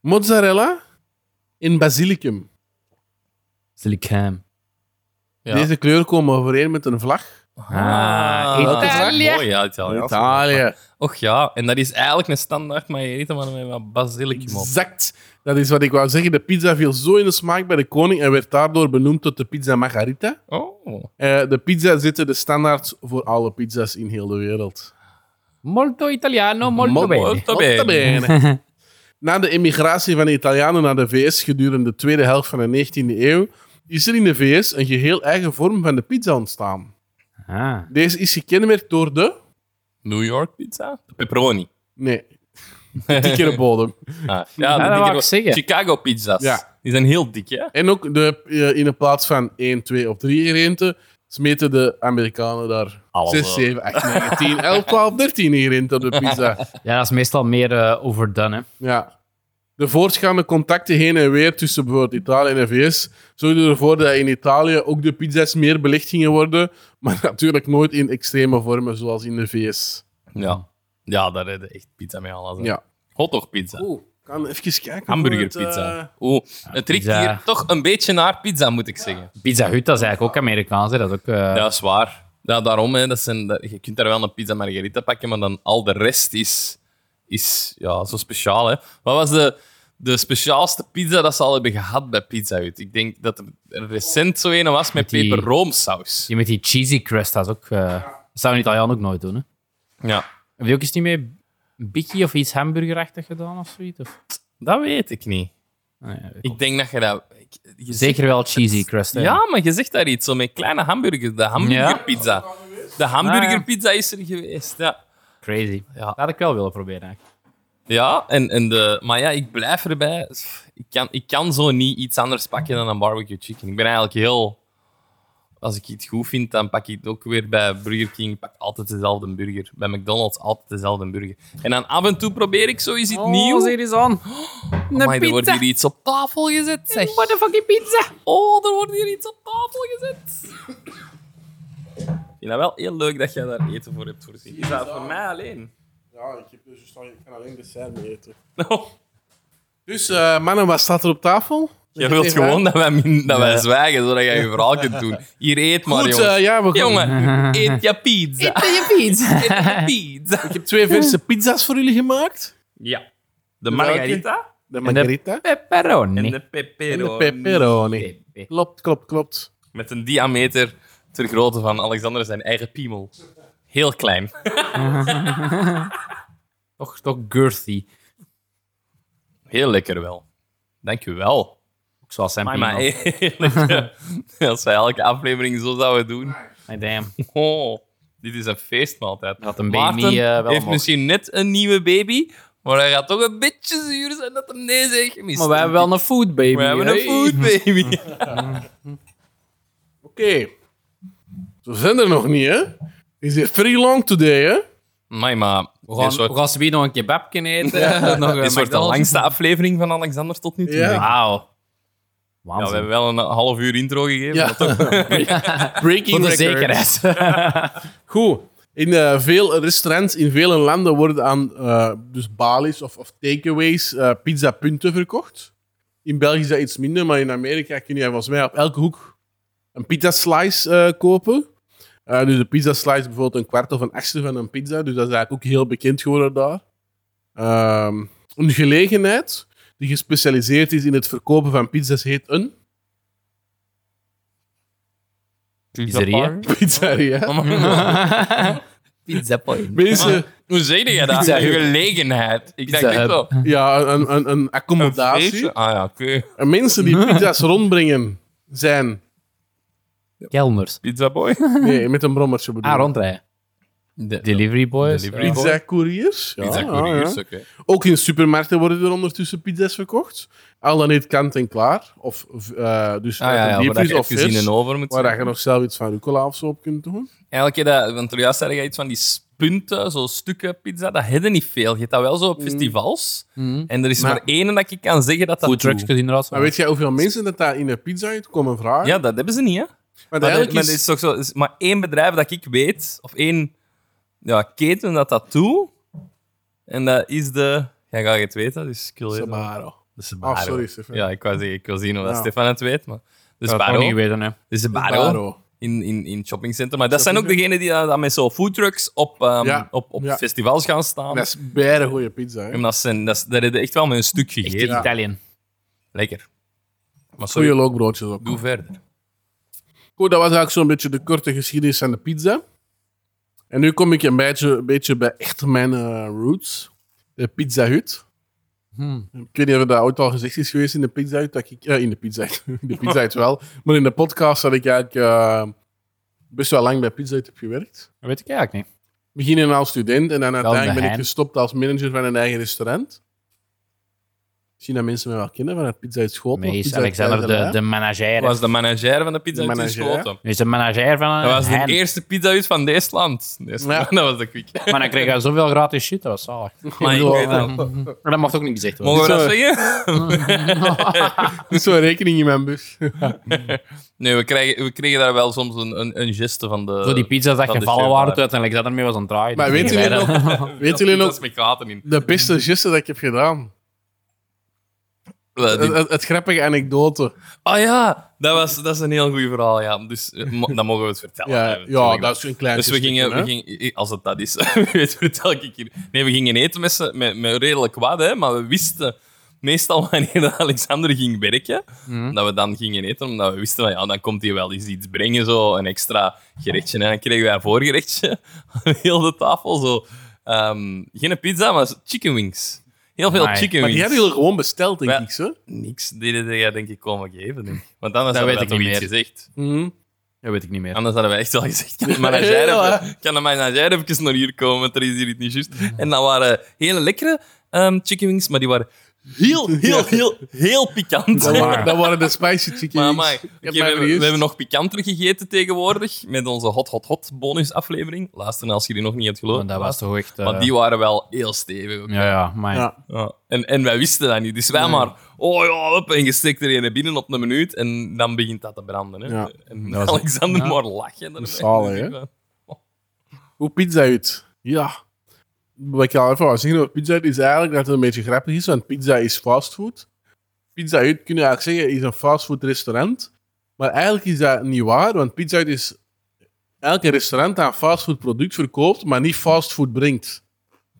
Speaker 2: mozzarella en basilicum.
Speaker 3: Silicam.
Speaker 1: Ja.
Speaker 2: Deze kleuren komen overeen met een vlag.
Speaker 3: Ah,
Speaker 1: dat is
Speaker 3: Italië.
Speaker 1: wel Mooi, Oh, ja, Italië.
Speaker 2: Italië.
Speaker 1: Och ja, en dat is eigenlijk een standaard margarita, maar met wat basilicum op.
Speaker 2: Exact. Dat is wat ik wou zeggen. De pizza viel zo in de smaak bij de koning en werd daardoor benoemd tot de pizza margarita.
Speaker 1: Oh.
Speaker 2: Eh, de pizza zitten de standaard voor alle pizza's in heel de wereld.
Speaker 3: Molto Italiano, molto bene.
Speaker 1: Molto bene.
Speaker 2: Molto bene. Na de immigratie van de Italianen naar de VS gedurende de tweede helft van de 19e eeuw is er in de VS een geheel eigen vorm van de pizza ontstaan.
Speaker 3: Ah.
Speaker 2: Deze is gekenmerkt door de...
Speaker 1: New York pizza? Pepperoni.
Speaker 2: Nee. Dikkere bodem.
Speaker 1: Ah, ja,
Speaker 3: dat
Speaker 1: de
Speaker 3: wou
Speaker 1: dikke-
Speaker 3: ik zeggen.
Speaker 1: Chicago pizza's.
Speaker 2: Ja.
Speaker 1: Die zijn heel dik, hè?
Speaker 2: En ook de, eh, in de plaats van 1, 2 of 3 ingrediënten smeten de Amerikanen daar
Speaker 3: Alles,
Speaker 2: 6,
Speaker 3: eh.
Speaker 2: 7, 8, 9, 10, 11, 12, 13 ingrediënten op de pizza.
Speaker 3: Ja, dat is meestal meer eh, overdone, hè.
Speaker 2: Ja. De voortgaande contacten heen en weer tussen bijvoorbeeld Italië en de VS zorgden ervoor dat in Italië ook de pizza's meer belegd gingen worden, maar natuurlijk nooit in extreme vormen zoals in de VS.
Speaker 1: Ja. Ja, daar redden echt pizza mee alles. hè.
Speaker 2: Ja.
Speaker 1: Hotdog pizza.
Speaker 2: Oeh, kan even kijken. eh,
Speaker 1: Hamburgerpizza. Oeh, het riekt
Speaker 3: pizza.
Speaker 1: hier toch een beetje naar pizza, moet ik zeggen.
Speaker 3: Pizza Hut, dat is eigenlijk ook Amerikaans, hè. Dat is ook... eh,
Speaker 1: Ja, dat is waar. Ja, daarom, hè, dat zijn, dat- je kunt daar wel een pizza margherita pakken, maar dan al de rest is, is ja, zo speciaal. Hè. Wat was de, de speciaalste pizza dat ze al hebben gehad bij Pizza Hut? Ik denk dat er recent zo een was met
Speaker 3: Met die-
Speaker 1: peperroomsaus.
Speaker 3: Die met die cheesy crust, dat is ook... eh, dat zou een Italiaan ook nooit doen, hè.
Speaker 1: Ja,
Speaker 3: Heb je ook eens niet mee bikkie of iets hamburgerachtig gedaan of zoiets? Of?
Speaker 1: dat weet ik niet.
Speaker 3: Nee, Ah, ja, ik-
Speaker 1: Ik denk dat je dat... ik- je
Speaker 3: Zeker wel cheesy crust, hè.
Speaker 1: zegt- ja, maar je zegt daar iets, zo met kleine hamburgers. De hamburgerpizza. De hamburgerpizza is er geweest, ja.
Speaker 3: Crazy.
Speaker 1: Ja.
Speaker 3: Dat had ik wel willen proberen, eigenlijk.
Speaker 1: Ja, en, en de, maar ja, ik blijf erbij. Ik kan, ik kan zo niet iets anders pakken dan een barbecue chicken. Ik ben eigenlijk heel als ik iets goed vind, dan pak ik het ook weer bij Burger King. Ik Pak altijd dezelfde burger. Bij McDonald's altijd dezelfde burger. En dan af en toe probeer ik zo eens iets nieuws.
Speaker 3: hier Oh, is aan. Oh,
Speaker 1: Maar er
Speaker 3: Een
Speaker 1: wordt
Speaker 3: pizza.
Speaker 1: hier iets op tafel gezet. Zeg.
Speaker 3: What the fucking pizza?
Speaker 1: Oh, er wordt hier iets op tafel gezet. Ik vind dat wel heel leuk dat jij daar eten voor hebt voorzien. Is dat voor mij alleen?
Speaker 2: Ja, ik, heb dus, ik kan alleen dessert mee eten.
Speaker 1: Nou,
Speaker 2: Dus eh, mannen, wat staat er op tafel?
Speaker 1: jij wilt gewoon dat wij, min- dat wij zwijgen, zodat jij je verhaal kunt doen. Hier eet maar,
Speaker 2: Goed,
Speaker 1: jongen.
Speaker 2: eh, ja, we gaan-
Speaker 1: jongen, eet je pizza. Eet je pizza. eet je pizza.
Speaker 2: Ik heb twee verse pizza's voor jullie gemaakt.
Speaker 1: Ja. De margarita
Speaker 2: De
Speaker 3: En de-
Speaker 2: margarita
Speaker 1: en
Speaker 3: Pepperoni.
Speaker 1: de
Speaker 2: en de
Speaker 1: pepperoni.
Speaker 2: pepperoni.
Speaker 3: Pepe.
Speaker 2: Klopt, klopt, klopt.
Speaker 1: Met een diameter ter grootte van Alexander zijn eigen piemel. Heel klein.
Speaker 3: Toch, toch girthy.
Speaker 1: Heel lekker wel. Dank je wel.
Speaker 3: Ook zoals zijn
Speaker 1: Maar, maar
Speaker 3: piemel.
Speaker 1: eerlijk, eh, als wij elke aflevering zo zouden doen.
Speaker 3: My damn.
Speaker 1: Oh, dit is een feestmaaltijd.
Speaker 3: Had een
Speaker 1: Maarten
Speaker 3: baby eh, wel
Speaker 1: heeft
Speaker 3: mogen.
Speaker 1: misschien net een nieuwe baby, maar hij gaat toch een beetje zuur zijn dat hem nee zegt. Mist.
Speaker 3: Maar wij hebben wel een food baby.
Speaker 1: We hebben een
Speaker 3: hey.
Speaker 1: food baby.
Speaker 2: Oké. We zijn er nog niet, hè? Is it free long today, hè?
Speaker 1: Maar, maar
Speaker 3: We
Speaker 1: dit
Speaker 3: gaan, we
Speaker 1: wordt,
Speaker 3: gaan zo weer nog een kebab kunnen eten. nog een
Speaker 1: dit wordt de
Speaker 3: McDonald's.
Speaker 1: langste aflevering van Alexander tot nu toe.
Speaker 2: Ja.
Speaker 1: denk ik.
Speaker 3: Wauw.
Speaker 1: Ja, we
Speaker 3: Waanzin.
Speaker 1: hebben wel een half uur intro gegeven.
Speaker 2: Ja.
Speaker 1: maar toch-
Speaker 3: Voor
Speaker 2: Breaking
Speaker 3: de
Speaker 2: record.
Speaker 3: zekerheid.
Speaker 2: Goed. In eh, veel restaurants in vele landen worden aan eh, dus balies of, of takeaways eh, pizzapunten verkocht. In België is dat iets minder, maar in Amerika kun je volgens mij op elke hoek een pizza slice eh, kopen. Eh, dus de pizza slice is bijvoorbeeld een kwart of een achtste van een pizza. Dus dat is eigenlijk ook heel bekend geworden daar. Ehm, een gelegenheid die gespecialiseerd is in het verkopen van pizza's heet een
Speaker 1: Oh,
Speaker 3: Pizzeria.
Speaker 2: pizzeria.
Speaker 3: Pizza point.
Speaker 2: Mensen,
Speaker 1: Hoe zeg je dat?
Speaker 3: Pizza
Speaker 1: Een
Speaker 3: Hut.
Speaker 1: gelegenheid. Ik dacht
Speaker 3: Pizza
Speaker 1: echt
Speaker 3: Hut.
Speaker 1: wel.
Speaker 2: ja, een, een, een
Speaker 1: Oh. Een
Speaker 2: accommodatie.
Speaker 1: feestje? Ah ja, oké.
Speaker 2: En mensen die pizza's rondbrengen zijn.
Speaker 3: Kelners.
Speaker 1: Pizza boy.
Speaker 2: Nee, met een brommertje bedoel
Speaker 3: Ah,
Speaker 2: ik.
Speaker 3: rondrijden. Delivery Ah, boys.
Speaker 1: Delivery boys.
Speaker 2: Pizza-couriers. Ja,
Speaker 1: Pizza
Speaker 2: ja,
Speaker 1: couriers,
Speaker 2: ja.
Speaker 1: oké.
Speaker 2: Ook in supermarkten worden er ondertussen pizza's verkocht. Al dan niet kant en klaar. Of, eh, dus
Speaker 1: Ah ja,
Speaker 2: uit de
Speaker 1: ja waar
Speaker 2: diepvries
Speaker 1: je
Speaker 2: of
Speaker 1: even in
Speaker 2: vers,
Speaker 1: en over moet
Speaker 2: Waar
Speaker 1: zijn.
Speaker 2: je nog zelf iets van rucola of zo op kunt doen.
Speaker 1: Eigenlijk, heb je dat, want er juist zei je iets van die spunten, zo stukken pizza, dat hebben niet veel. Je hebt dat wel zo
Speaker 2: Mm.
Speaker 1: op festivals. En er is maar,
Speaker 2: Maar-
Speaker 1: één dat ik kan zeggen dat dat
Speaker 3: Food
Speaker 1: doet.
Speaker 3: trucks inderdaad.
Speaker 2: Maar weet jij hoeveel mensen dat daar in een pizza uit komen vragen?
Speaker 1: Ja, dat hebben ze niet, hè.
Speaker 2: maar
Speaker 1: Maar, er-
Speaker 2: eigenlijk
Speaker 1: maar er
Speaker 2: is...
Speaker 1: is toch zo, is maar één bedrijf dat ik weet, of één ja, keten dat dat doet. En dat is de... Jij gaat het weten, dus ik wil weten.
Speaker 2: Sabaro.
Speaker 1: De
Speaker 2: Ah,
Speaker 1: Sbarro.
Speaker 2: sorry, Stefan.
Speaker 1: Ja, ik wou, zeggen, ik wil zien of dat
Speaker 2: Ja.
Speaker 1: Stefan het weet, maar... De
Speaker 3: dat had ik
Speaker 1: Sbarro.
Speaker 3: nog niet weten, hè.
Speaker 1: De Sbarro.
Speaker 2: Sabaro.
Speaker 1: in, in, in shoppingcentrum. Maar dat zijn ook degenen die eh, dat, dat met zo'n foodtrucks op, ehm,
Speaker 2: Ja.
Speaker 1: op, op
Speaker 2: Ja.
Speaker 1: festivals gaan staan.
Speaker 2: Dat is bijna een goede pizza. Hè?
Speaker 1: En dat zijn, dat, is- dat hebben echt wel met een stuk
Speaker 3: Echt
Speaker 1: gegeten.
Speaker 3: in Italië.
Speaker 1: Lekker. Maar sorry,
Speaker 2: Goede lookbroodjes ook.
Speaker 1: doe verder.
Speaker 2: Goed, dat was eigenlijk zo'n beetje de korte geschiedenis aan de pizza. En nu kom ik een beetje, een beetje bij echt mijn eh, roots. De Pizza Hut.
Speaker 3: Hmm.
Speaker 2: Ik weet niet of dat ooit al gezegd is geweest in de Pizza Hut. Dat ik, eh, in de Pizza Hut. in de Pizza Hut wel. Maar in de podcast had ik eigenlijk eh, best wel lang bij Pizza Hut heb gewerkt.
Speaker 3: Dat weet ik eigenlijk niet.
Speaker 2: Beginnen als student en dan uiteindelijk ben ik
Speaker 3: geheim.
Speaker 2: gestopt als manager van een eigen restaurant. Misschien dat mensen mij wel kennen vanuit Pizza Hut School.
Speaker 3: Maar hier is Alexander de, de manager.
Speaker 1: was de manager van de pizza
Speaker 2: De
Speaker 1: uit in
Speaker 2: manager,
Speaker 1: Schoten.
Speaker 3: Hij is de manager van een
Speaker 1: Dat was de
Speaker 3: hen.
Speaker 1: eerste pizza uit van deze land. Deze
Speaker 2: Ja.
Speaker 1: land, Dat was de quick.
Speaker 3: Maar dan kreeg hij zoveel gratis shit, dat was zalig.
Speaker 1: Maar ik
Speaker 3: bedoel,
Speaker 1: weet dat.
Speaker 3: Maar dat mocht ook niet gezegd worden.
Speaker 1: Mogen we dat
Speaker 2: Zo.
Speaker 1: zeggen?
Speaker 2: Zo'n rekening in mijn bus.
Speaker 1: Nee, we kregen, we kregen daar wel soms een, een, een geste van de...
Speaker 3: Zo die pizza's
Speaker 1: van
Speaker 3: dat
Speaker 1: de
Speaker 3: gevallen
Speaker 1: chef
Speaker 3: waren,
Speaker 1: daar.
Speaker 3: toen uiteindelijk dat ermee was aan het draaien.
Speaker 2: Maar
Speaker 3: Dat
Speaker 2: weet
Speaker 3: gingen
Speaker 2: jullie
Speaker 3: wij dan.
Speaker 2: nog, weet jullie nog
Speaker 1: Pizza's met gaten in.
Speaker 2: De beste geste dat ik heb gedaan.
Speaker 1: Eh, die-
Speaker 2: Het, het- het grappige anekdote.
Speaker 1: Ah ja, dat, was, dat is een heel goed verhaal. Ja. Dus eh, mo- dan mogen we het vertellen. Eh, hè,
Speaker 2: Ja, ja,
Speaker 1: natuurlijk.
Speaker 2: dat is een klein
Speaker 1: Dus we gingen, we gingen, als het dat is, wie weet vertel ik hier. Nee, we gingen eten met, z'n- met, met redelijk wat, hè, maar we wisten meestal wanneer Alexander ging werken,
Speaker 3: Mhm.
Speaker 1: dat we dan gingen eten, omdat we wisten van ja, dan komt hij wel eens iets brengen, zo een extra gerechtje. En dan kregen wij een voorgerechtje aan heel de tafel, zo. ehm, geen pizza, maar chicken wings. Heel veel
Speaker 3: Amai.
Speaker 1: chicken
Speaker 2: Maar
Speaker 1: wings.
Speaker 2: die hebben jullie gewoon besteld, denk
Speaker 1: Ja.
Speaker 2: ik. Zo.
Speaker 1: Niks, die hadden jij denk ik komen geven. Denk. ik. Want anders hadden
Speaker 3: Dat weet
Speaker 1: wij
Speaker 3: ik
Speaker 1: toch
Speaker 3: niet
Speaker 1: iets gezegd.
Speaker 3: Dat weet ik niet meer.
Speaker 1: Anders hadden wij echt wel gezegd, kan de manager,
Speaker 2: Ja,
Speaker 1: even, kan de manager even naar hier komen, want er is hier iets niet juist. En dat waren hele lekkere ehm chicken wings, maar die waren Heel, heel, heel, heel pikant.
Speaker 2: Dat waren, dat waren de spicy chicken
Speaker 1: Maar
Speaker 2: wings.
Speaker 1: amai.
Speaker 2: Ik heb
Speaker 1: Oké, we,
Speaker 2: mij
Speaker 1: hebben, we
Speaker 2: vergist.
Speaker 1: hebben nog pikanter gegeten tegenwoordig met onze hot, hot, hot bonusaflevering. Luister als je die nog niet hebt geloofd.
Speaker 3: Maar dat was toch echt... eh,
Speaker 1: Maar die waren wel heel stevig. ook.
Speaker 3: Ja, ja, maar...
Speaker 2: Ja.
Speaker 1: Ja. En, en wij wisten dat niet. Dus wij maar, oh ja, hup, en je steekt er een binnen op een minuut en dan begint dat te branden. Hè.
Speaker 2: Ja.
Speaker 1: En
Speaker 3: Dat was-
Speaker 1: Alexander
Speaker 3: ja.
Speaker 1: maar lachen. erbij.
Speaker 2: Zalig, hè? Hoe pizza uit? Ja. Wat ik al even wou zeggen over pizza uit is eigenlijk dat het een beetje grappig is, want pizza is fastfood. Pizza uit, kun je eigenlijk zeggen, is een fastfood restaurant. Maar eigenlijk is dat niet waar, want pizza uit is eigenlijk een restaurant dat een fastfood product verkoopt, maar niet fastfood brengt.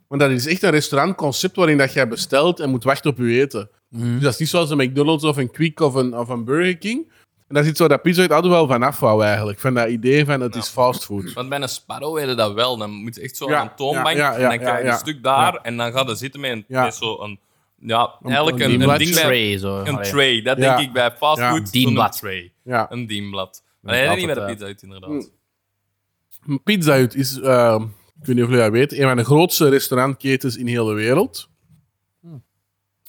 Speaker 2: Want dat is echt een restaurantconcept waarin dat jij bestelt en moet wachten op je eten. Dus dat is niet zoals een McDonald's of een Quick of een, of een Burger King. En dat is iets waar dat Pizza Hut altijd wel van af wou eigenlijk. Van dat idee van het is fastfood.
Speaker 1: Want bij een Sparrow deden dat wel. Dan moet je echt zo
Speaker 2: Ja,
Speaker 1: aan een toonbank
Speaker 2: ja, ja, ja,
Speaker 1: en dan krijg je
Speaker 2: ja,
Speaker 1: een
Speaker 2: ja.
Speaker 1: stuk daar en dan gaat er zitten met, een,
Speaker 2: Ja.
Speaker 1: met zo een... Ja, eigenlijk
Speaker 2: een
Speaker 1: een, een,
Speaker 2: dienblad.
Speaker 1: ding bij...
Speaker 3: tray, zo.
Speaker 1: Een
Speaker 3: Allee.
Speaker 1: tray. Dat
Speaker 2: Ja.
Speaker 1: denk ik bij
Speaker 2: Ja.
Speaker 1: fastfood. zo'n
Speaker 3: Dienblad.
Speaker 1: tray.
Speaker 2: Ja.
Speaker 1: Een dienblad. Maar
Speaker 3: Ik
Speaker 1: nee,
Speaker 3: had
Speaker 1: niet
Speaker 3: het,
Speaker 1: met de
Speaker 3: eh,
Speaker 1: pizza uit, inderdaad.
Speaker 2: Pizza Hut is, eh, ik weet niet of jullie dat weten, een van de grootste restaurantketens in heel de wereld.
Speaker 1: Hmm.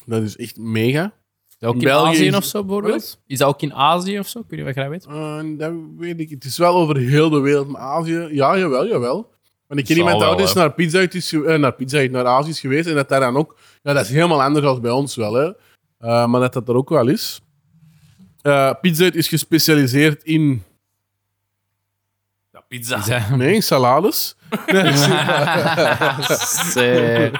Speaker 2: Dat is echt mega.
Speaker 3: Is dat ook in
Speaker 2: België
Speaker 3: Azië
Speaker 2: is-
Speaker 3: of zo, bijvoorbeeld? Is dat ook in Azië of zo? Kun je wat je dat weet?
Speaker 2: Eh, dat weet ik. Het is wel over heel de wereld, maar Azië... Ja, jawel, jawel. Want ik
Speaker 1: Zal
Speaker 2: ken iemand die
Speaker 1: wel,
Speaker 2: ooit eens
Speaker 1: hè.
Speaker 2: naar Pizza Hut, is, ge- eh, naar, Pizza Hut, naar Azië is geweest en dat daar dan ook... Ja, dat is helemaal anders dan bij ons wel, hè. Eh, maar dat dat er ook wel is. Eh, Pizza Hut is gespecialiseerd in...
Speaker 1: Ja, pizza.
Speaker 2: Nee, in salades.
Speaker 3: Zee.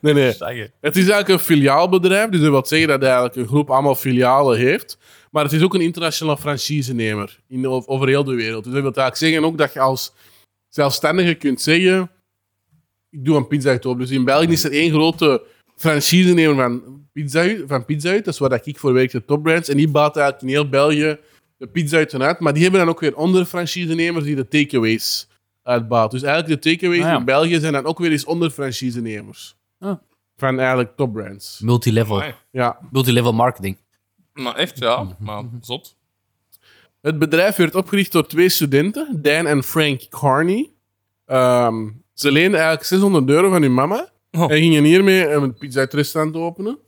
Speaker 2: Nee, nee.
Speaker 1: Zeg je.
Speaker 2: Het is eigenlijk een filiaalbedrijf, dus dat wil zeggen dat eigenlijk een groep allemaal filialen heeft. Maar het is ook een internationaal franchisenemer in, over, over heel de wereld. Dus dat wil eigenlijk zeggen ook dat je als zelfstandige kunt zeggen: Ik doe een pizza Hut op. Dus in België is er één grote franchisenemer van Pizza Hut. Van pizza Hut. Dat is waar dat ik voor werk, de topbrands. En die baat eigenlijk in heel België de pizza Hut uit. Maar die hebben dan ook weer onderfranchisenemers die de takeaways uitbaten. Dus eigenlijk de takeaways
Speaker 3: Ah, ja.
Speaker 2: in België zijn dan ook weer eens onderfranchisenemers.
Speaker 3: Ah.
Speaker 2: Van eigenlijk topbrands.
Speaker 3: Multilevel.
Speaker 1: Amai.
Speaker 2: Ja.
Speaker 3: Multilevel marketing.
Speaker 1: Maar echt, ja. Maar zot.
Speaker 2: Het bedrijf werd opgericht door twee studenten, Dan en Frank Carney. Ehm, ze leenden eigenlijk 600 euro van hun mama
Speaker 1: Oh.
Speaker 2: en gingen hiermee een pizza Hut restaurant openen.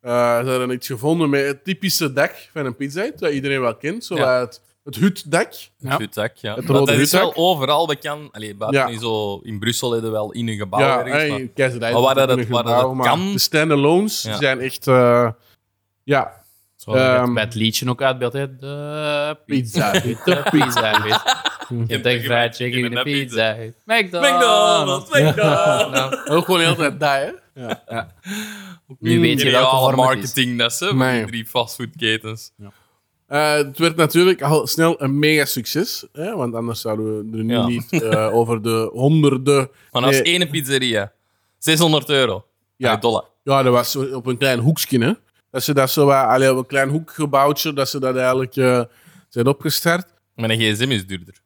Speaker 2: Eh, ze hadden iets gevonden met het typische dak van een pizza Hut, dat iedereen wel kent, zo
Speaker 1: Ja.
Speaker 2: het, het hutdak.
Speaker 3: Ja.
Speaker 1: Hutak, ja.
Speaker 2: Het
Speaker 1: Maar
Speaker 2: rode
Speaker 1: dat is wel
Speaker 2: hutak.
Speaker 1: overal bekend. Allee, buiten
Speaker 2: Ja.
Speaker 1: niet zo... In Brussel hebben we wel in een gebouw
Speaker 2: Ja,
Speaker 1: ergens, maar-
Speaker 2: hey, keizerij.
Speaker 1: Maar waar dat
Speaker 2: in
Speaker 1: het-
Speaker 2: een
Speaker 1: waar dat
Speaker 2: gebouw,
Speaker 1: het
Speaker 2: maar
Speaker 1: kan.
Speaker 2: De standalones die
Speaker 1: Ja.
Speaker 2: zijn echt... eh, ja,
Speaker 3: Zoals je het
Speaker 2: Ehm.
Speaker 3: bij het liedje ook uitbeeldt. hè. De
Speaker 2: Pizza
Speaker 3: pizza.
Speaker 2: Hut,
Speaker 3: De pizza. Hut. Je
Speaker 1: Geen-
Speaker 3: denkt fried
Speaker 1: geen-
Speaker 3: chicken in de
Speaker 1: geen-
Speaker 3: pizza. Hut. McDonald's.
Speaker 1: McDonald's, McDonald's.
Speaker 2: ook gewoon heel tijd daar, hè? Ja.
Speaker 3: Nu weet je welke
Speaker 1: Geniale
Speaker 3: vorm het is.
Speaker 1: marketing dat ze, van
Speaker 2: Nee.
Speaker 1: die drie fastfoodketens.
Speaker 2: Eh, het werd natuurlijk al snel een mega succes, hè? want anders zouden we er nu
Speaker 1: Ja.
Speaker 2: niet eh, over de honderden.
Speaker 1: Maar als
Speaker 2: Nee.
Speaker 1: ene pizzeria, 600 euro.
Speaker 2: Ja.
Speaker 1: Ja. Dollar.
Speaker 2: Ja, dat was op een klein hoekje. Hè? Dat ze dat zo wat- allee, op een klein hoekgebouwtje, dat ze dat eigenlijk eh, zijn opgestart.
Speaker 1: Mijn gsm is duurder.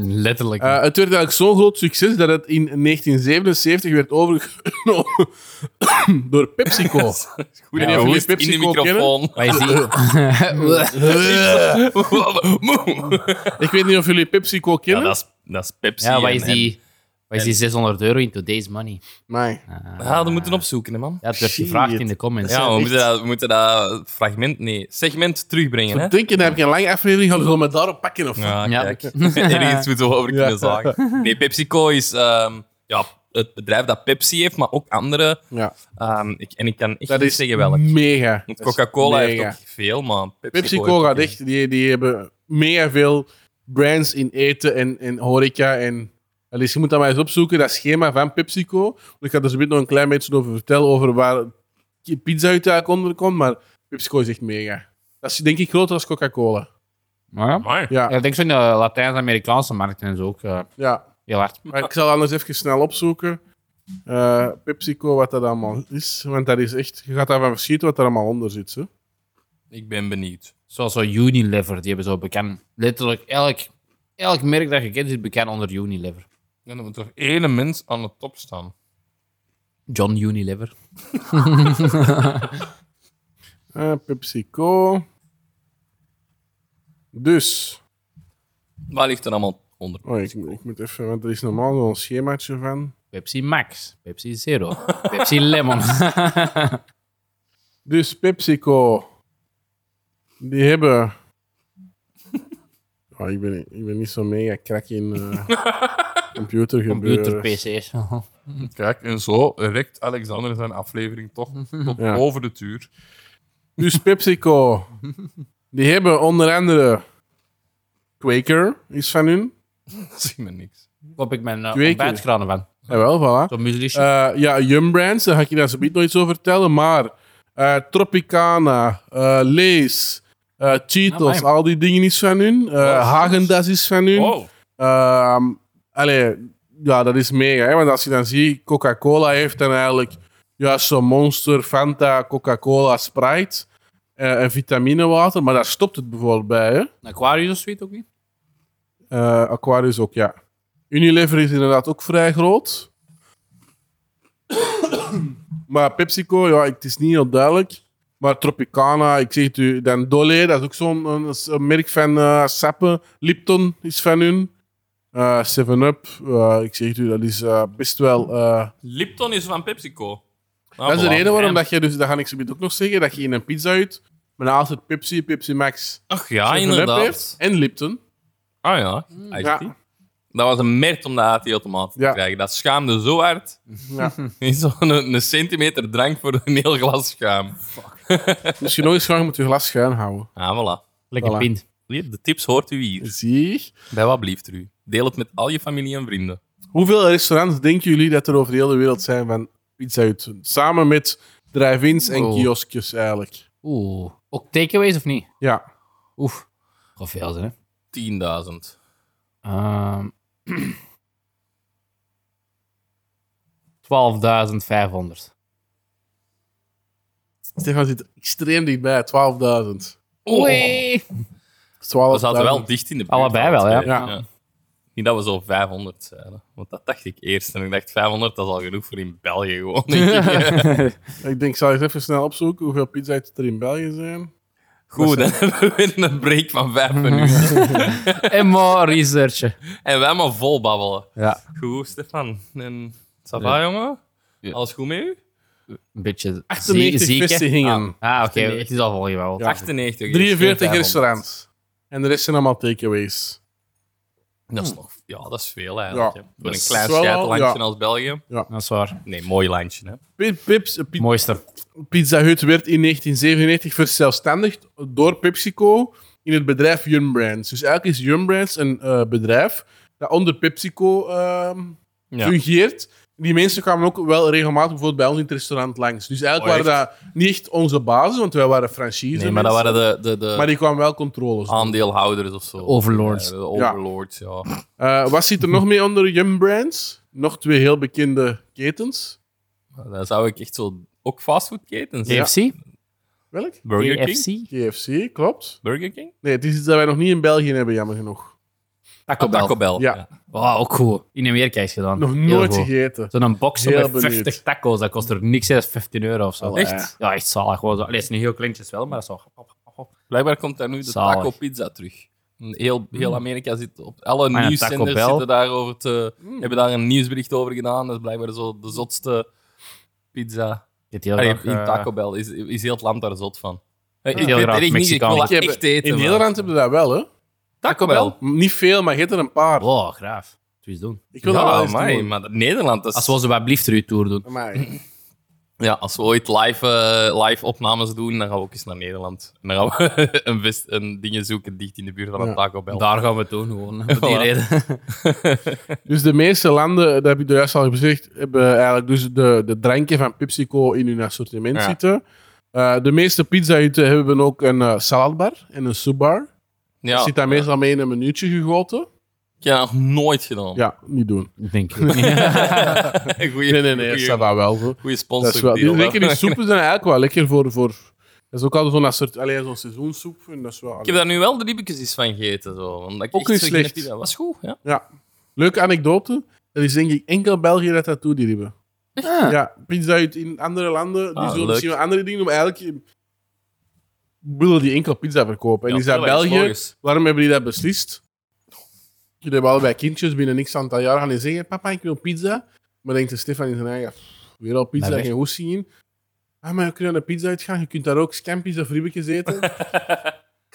Speaker 3: Letterlijk.
Speaker 2: Eh, het werd eigenlijk zo'n groot succes dat het in 1977 werd overgenomen door PepsiCo.
Speaker 1: Goed,
Speaker 2: Ja,
Speaker 1: ja,
Speaker 2: hoe is
Speaker 1: in
Speaker 2: Pepsi
Speaker 1: de
Speaker 2: Coke
Speaker 1: microfoon.
Speaker 3: maar je ziet...
Speaker 1: Moe.
Speaker 2: Ik weet niet of jullie PepsiCo
Speaker 1: ja,
Speaker 2: kennen.
Speaker 1: dat is, dat is Pepsi.
Speaker 3: Ja, wat is
Speaker 1: en-
Speaker 3: die... Wat is die 600 euro in today's money?
Speaker 2: Nee.
Speaker 1: en- Ja, dat moeten we opzoeken, hè, man.
Speaker 3: Ja, het werd
Speaker 2: Shit.
Speaker 3: gevraagd in de comments.
Speaker 1: Ja, we
Speaker 2: echt-
Speaker 1: moeten, dat, we moeten dat fragment, nee, segment terugbrengen. Hè?
Speaker 2: Ik denk, dan heb je een lange aflevering, gaan we gewoon met daarop pakken. Of
Speaker 1: Ja,
Speaker 3: Ja.
Speaker 1: kijk. Ergens moeten we over
Speaker 2: Ja.
Speaker 1: kunnen zagen. Nee, PepsiCo is ehm, ja, het bedrijf dat Pepsi heeft, maar ook andere.
Speaker 2: Ja.
Speaker 1: ehm, ik, en ik kan echt
Speaker 2: Dat
Speaker 1: niet
Speaker 2: is
Speaker 1: zeggen welk.
Speaker 2: mega.
Speaker 1: Want Coca-Cola heeft
Speaker 2: Mega.
Speaker 1: ook veel, maar PepsiCo,
Speaker 2: PepsiCo
Speaker 1: heeft
Speaker 2: gaat
Speaker 1: ook-
Speaker 2: echt, die, die hebben mega veel brands in eten en, en horeca. En, Allee, dus je moet dat maar eens opzoeken, dat schema van PepsiCo. Want Ik ga er zo meteen nog een klein beetje over vertellen, over waar pizza uit eigenlijk onder komt. Maar PepsiCo is echt mega. Dat is denk ik groter als Coca-Cola.
Speaker 3: Maar ja.
Speaker 1: Amai.
Speaker 2: Ja,
Speaker 3: Ja, ik denk zo in de Latijns-Amerikaanse markt en zo ook eh,
Speaker 2: ja.
Speaker 3: heel hard.
Speaker 2: Maar ik zal anders even snel opzoeken. eh, PepsiCo, wat dat allemaal is. Want dat is echt, je gaat daarvan verschieten wat er allemaal onder zit. Hè?
Speaker 1: Ik ben benieuwd.
Speaker 3: Zoals zo Unilever, die hebben zo bekend. Letterlijk elk, elk merk dat je kent is bekend onder Unilever.
Speaker 1: En dan moet er ene mens aan de top staan.
Speaker 3: John Unilever.
Speaker 2: Eh, PepsiCo. Dus,
Speaker 1: Waar ligt er allemaal onder?
Speaker 2: Oh, ik, ik moet even, want er is normaal wel een schemaatje van.
Speaker 3: Pepsi Max, Pepsi Zero, Pepsi Lemon.
Speaker 2: Dus PepsiCo, die hebben. Ah, ik, ben, ik ben niet zo mega crack in eh, computer computergebeuren.
Speaker 3: Computer PC's.
Speaker 4: Kijk, en zo rekt Alexander zijn aflevering toch tot
Speaker 2: Ja.
Speaker 4: over de tuur.
Speaker 2: Dus PepsiCo, die hebben onder andere. Quaker is van hun.
Speaker 4: Dat zie me niks.
Speaker 3: Koop ik mijn uh,
Speaker 2: Twee keer.
Speaker 3: ontbijtkranen van.
Speaker 2: Jawel, voilà.
Speaker 3: Zo'n mueslietje.
Speaker 2: Eh, ja, Yum Brands, daar ga ik je daar zo niet nog iets over vertellen. Maar eh, Tropicana, eh Lees, eh, Cheetos,
Speaker 3: Amai.
Speaker 2: al die dingen is van hun. Eh Hagendas is van hun.
Speaker 3: Oh,
Speaker 4: Wow.
Speaker 2: Ehm, allee, ja, dat is mega. Hè? Want als je dan ziet, Coca-Cola heeft dan eigenlijk juist zo'n monster, Fanta, Coca-Cola, Sprite eh, en vitaminewater. Maar daar stopt het bijvoorbeeld bij. Hè?
Speaker 3: Aquarius of zoiets ook niet?
Speaker 2: Eh, Aquarius ook, ja. Unilever is inderdaad ook vrij groot. maar PepsiCo, ja, het is niet heel duidelijk. Maar Tropicana, ik zeg het u, dan Dole, dat is ook zo'n een- een merk van eh sappen. Lipton is van hun. Eh, 7-Up, eh, ik zeg het u, dat is eh, best wel... eh,
Speaker 1: Lipton is van PepsiCo. Ah,
Speaker 2: dat is de reden waarom dat je, dus, dat ga ik zo meteen ook nog zeggen, dat je in een pizza uit, maar dan altijd Pepsi, Pepsi Max,
Speaker 1: Ach ja,
Speaker 2: 7-Up
Speaker 1: Ah, inderdaad.
Speaker 2: hebt en Lipton.
Speaker 1: Ah ja.
Speaker 4: Hmm.
Speaker 2: Ja.
Speaker 1: Echt? Dat was een merk om de ATL-tomaten
Speaker 2: Ja.
Speaker 1: te krijgen. Dat schaamde zo hard.
Speaker 2: Ja.
Speaker 1: Zo'n een, een centimeter drank voor een heel glas schaam.
Speaker 2: Dus je nog eens graag met je glas schuin houden.
Speaker 1: Ah, voilà.
Speaker 3: Lekker
Speaker 2: Voilà.
Speaker 3: pint.
Speaker 1: Hier, de tips hoort u hier.
Speaker 2: Zie
Speaker 1: Bij wat blieft u. Deel het met al je familie en vrienden.
Speaker 2: Hoeveel restaurants denken jullie dat er over de hele wereld zijn van pizza uit? Samen met drive-ins en
Speaker 3: Oh.
Speaker 2: kioskjes eigenlijk.
Speaker 3: Oeh. Ook takeaways of niet?
Speaker 2: Ja.
Speaker 3: Oef. Gaat veel zijn, hè?
Speaker 1: 10.000.
Speaker 3: Ehm 12.500.
Speaker 2: Stefan zit extreem dichtbij, 12.000.
Speaker 3: Oei!
Speaker 2: 12
Speaker 1: We zaten wel dicht in de buurt.
Speaker 3: Allebei wel, ja.
Speaker 2: Ja.
Speaker 1: Niet dat we zo 500 zeiden. Want dat dacht ik eerst. En ik dacht, 500, dat is al genoeg voor in België gewoon. denk ik.
Speaker 2: Ik denk, ik zal eens even snel opzoeken hoeveel pizza uit er in België zijn.
Speaker 1: Goed, dan hebben we weer een break van 5 minuten.
Speaker 3: en maar researchen.
Speaker 1: En wij maar vol babbelen.
Speaker 3: Ja.
Speaker 1: Goed, Stefan. En ça va, jongen?
Speaker 3: Ja.
Speaker 1: Alles goed met u?
Speaker 3: Een beetje
Speaker 2: 98
Speaker 3: zie- ziek, hè?
Speaker 2: vestigingen.
Speaker 3: Ah, oké. Het is al wel geweldig.
Speaker 2: Ja.
Speaker 1: 98. is
Speaker 2: 43
Speaker 1: geen 500.
Speaker 2: restaurants. En de rest zijn allemaal takeaways.
Speaker 1: Dat is nog... Ja, dat is veel eigenlijk.
Speaker 2: Ja.
Speaker 1: hè. Voor een
Speaker 2: is
Speaker 1: klein
Speaker 2: wel al-
Speaker 1: scheidlandje
Speaker 2: ja.
Speaker 1: als België.
Speaker 3: Dat is waar.
Speaker 1: Nee, mooi landje, hè.
Speaker 2: Pi- Pips, pi-
Speaker 3: Mooiste.
Speaker 2: Pizza Hut werd in 1997 verzelfstandigd door PepsiCo in het bedrijf Yum Brands. Dus eigenlijk is Yum Brands een eh, bedrijf dat onder PepsiCo ehm,
Speaker 1: Ja.
Speaker 2: fungeert. Die mensen kwamen ook wel regelmatig bijvoorbeeld bij ons in het restaurant langs. Dus eigenlijk
Speaker 1: Oh,
Speaker 2: waren dat niet echt onze bazen, want wij waren franchise.
Speaker 1: Nee, maar dat
Speaker 2: mensen.
Speaker 1: waren Ah. de, de, de
Speaker 2: Maar die kwamen wel controles. doen.
Speaker 1: aandeelhouders of zo.
Speaker 3: Overlords.
Speaker 1: Ja, de overlords, ja.
Speaker 2: Eh, wat zit er nog mee onder Yum Brands? Nog twee heel bekende ketens.
Speaker 1: Dan zou ik echt zo... Ook fastfoodketens.
Speaker 3: KFC?
Speaker 2: Welk?
Speaker 1: Burger King?
Speaker 3: KFC?
Speaker 2: KFC, klopt.
Speaker 1: Burger King?
Speaker 2: Nee, het is iets dat wij nog niet in België hebben, jammer genoeg.
Speaker 3: Taco Bell.
Speaker 1: Taco Bell.
Speaker 2: Ja.
Speaker 3: Wow, ook goed. In Amerika is
Speaker 1: Ah,
Speaker 3: gedaan.
Speaker 2: Nog
Speaker 3: Heel
Speaker 2: nooit
Speaker 3: goed.
Speaker 2: gegeten.
Speaker 3: Zo'n box
Speaker 2: Heel
Speaker 3: met 50
Speaker 2: benieuwd. Oh,
Speaker 3: tacos, dat kost er niks, hè. dat is 15 euro of zo.
Speaker 2: Allee.
Speaker 1: Echt?
Speaker 3: Ja, echt zalig. Gewoon zo. Allee, het is niet heel kleintjes wel, maar dat is wel... hop, hop, hop.
Speaker 1: Blijkbaar komt daar nu de
Speaker 3: Zalig. Hmm.
Speaker 1: taco pizza terug. Heel, heel Amerika zit op alle
Speaker 3: Maar ja,
Speaker 1: nieuwszenders
Speaker 3: Taco Bell.
Speaker 1: zitten daarover te, hebben daar een nieuwsbericht over gedaan. Dat is blijkbaar zo de zotste pizza.
Speaker 3: Dit heel
Speaker 1: Allee,
Speaker 3: graag,
Speaker 1: in
Speaker 3: eh,
Speaker 1: Taco Bell is, is heel het land daar zot van. Hey,
Speaker 3: Heel
Speaker 1: ik weet
Speaker 3: graag
Speaker 1: echt niet, ik wil dat
Speaker 3: Mexicaans.
Speaker 2: Ik heb-
Speaker 1: echt eten.
Speaker 2: In
Speaker 1: maar-
Speaker 2: Nederland hebben we dat wel, hè?
Speaker 1: Taco Bell.
Speaker 2: Niet veel, maar je hebt er een paar.
Speaker 3: Wow, graaf. Doe eens doen.
Speaker 2: Ik wil dat wel
Speaker 1: Ja,
Speaker 2: eens
Speaker 1: amai,
Speaker 2: doen.
Speaker 1: maar dat- Nederland, dat is...
Speaker 3: Als we onze Wablieft er uw tour doen.
Speaker 2: Amai.
Speaker 1: Ja, als we ooit live, eh, live opnames doen, dan gaan we ook eens naar Nederland. En dan gaan we een, vest, een dingen zoeken dicht in de buurt van een
Speaker 2: Ja.
Speaker 1: Taco Bell.
Speaker 3: Daar gaan we het doen, gewoon. Voor die
Speaker 1: Voilà.
Speaker 3: reden.
Speaker 2: Dus de meeste landen, dat heb ik juist al gezegd, hebben eigenlijk dus de, de dranken van PepsiCo in hun assortiment
Speaker 1: Ja.
Speaker 2: zitten. Eh, de meeste pizza-hutten hebben ook een eh, saladbar en een soepbar.
Speaker 1: ja,
Speaker 2: Zit daar meestal mee in een minuutje gegoten.
Speaker 1: ik heb dat nog nooit gedaan.
Speaker 2: Ja, niet doen.
Speaker 3: Ik Denk ik. Ja.
Speaker 1: Goeie,
Speaker 2: Nee, nee, nee,
Speaker 1: goeie-
Speaker 2: dat wel. Zo.
Speaker 1: goeie
Speaker 2: Dat is wel, die,
Speaker 1: sponsordeal.
Speaker 2: zeker
Speaker 1: hè.
Speaker 2: die soepen zijn eigenlijk wel lekker voor... voor dat is ook altijd zo'n soort, alleen zo'n seizoenssoep. En dat is wel,
Speaker 1: Ik heb daar nu wel de riebekjes eens van gegeten. Zo, want ik echt
Speaker 2: Ook niet
Speaker 1: zo geen
Speaker 2: slecht.
Speaker 1: heb- Dat was goed, ja.
Speaker 2: Ja. Leuke anekdote. Er is denk ik enkel België dat dat doet, die ribben. Ja, pizza uit in andere landen, die
Speaker 1: Ah,
Speaker 2: zullen
Speaker 1: leuk.
Speaker 2: misschien wel andere dingen doen, maar eigenlijk willen die enkel pizza verkopen. En
Speaker 1: Ja,
Speaker 2: is dat
Speaker 1: tuurlijk, is
Speaker 2: België?
Speaker 1: logisch.
Speaker 2: Waarom hebben die dat beslist? Jullie hebben allebei kindjes, binnen niks aan het jaar gaan die zeggen, papa, ik wil pizza. Maar denkt de Stefan in zijn eigen, "Pff, weer al pizza,
Speaker 3: Maar
Speaker 2: en
Speaker 3: weg.
Speaker 2: geen hoes zien. Ah, maar je kunt naar de pizza uitgaan, je kunt daar ook scampi's of ribbetjes eten.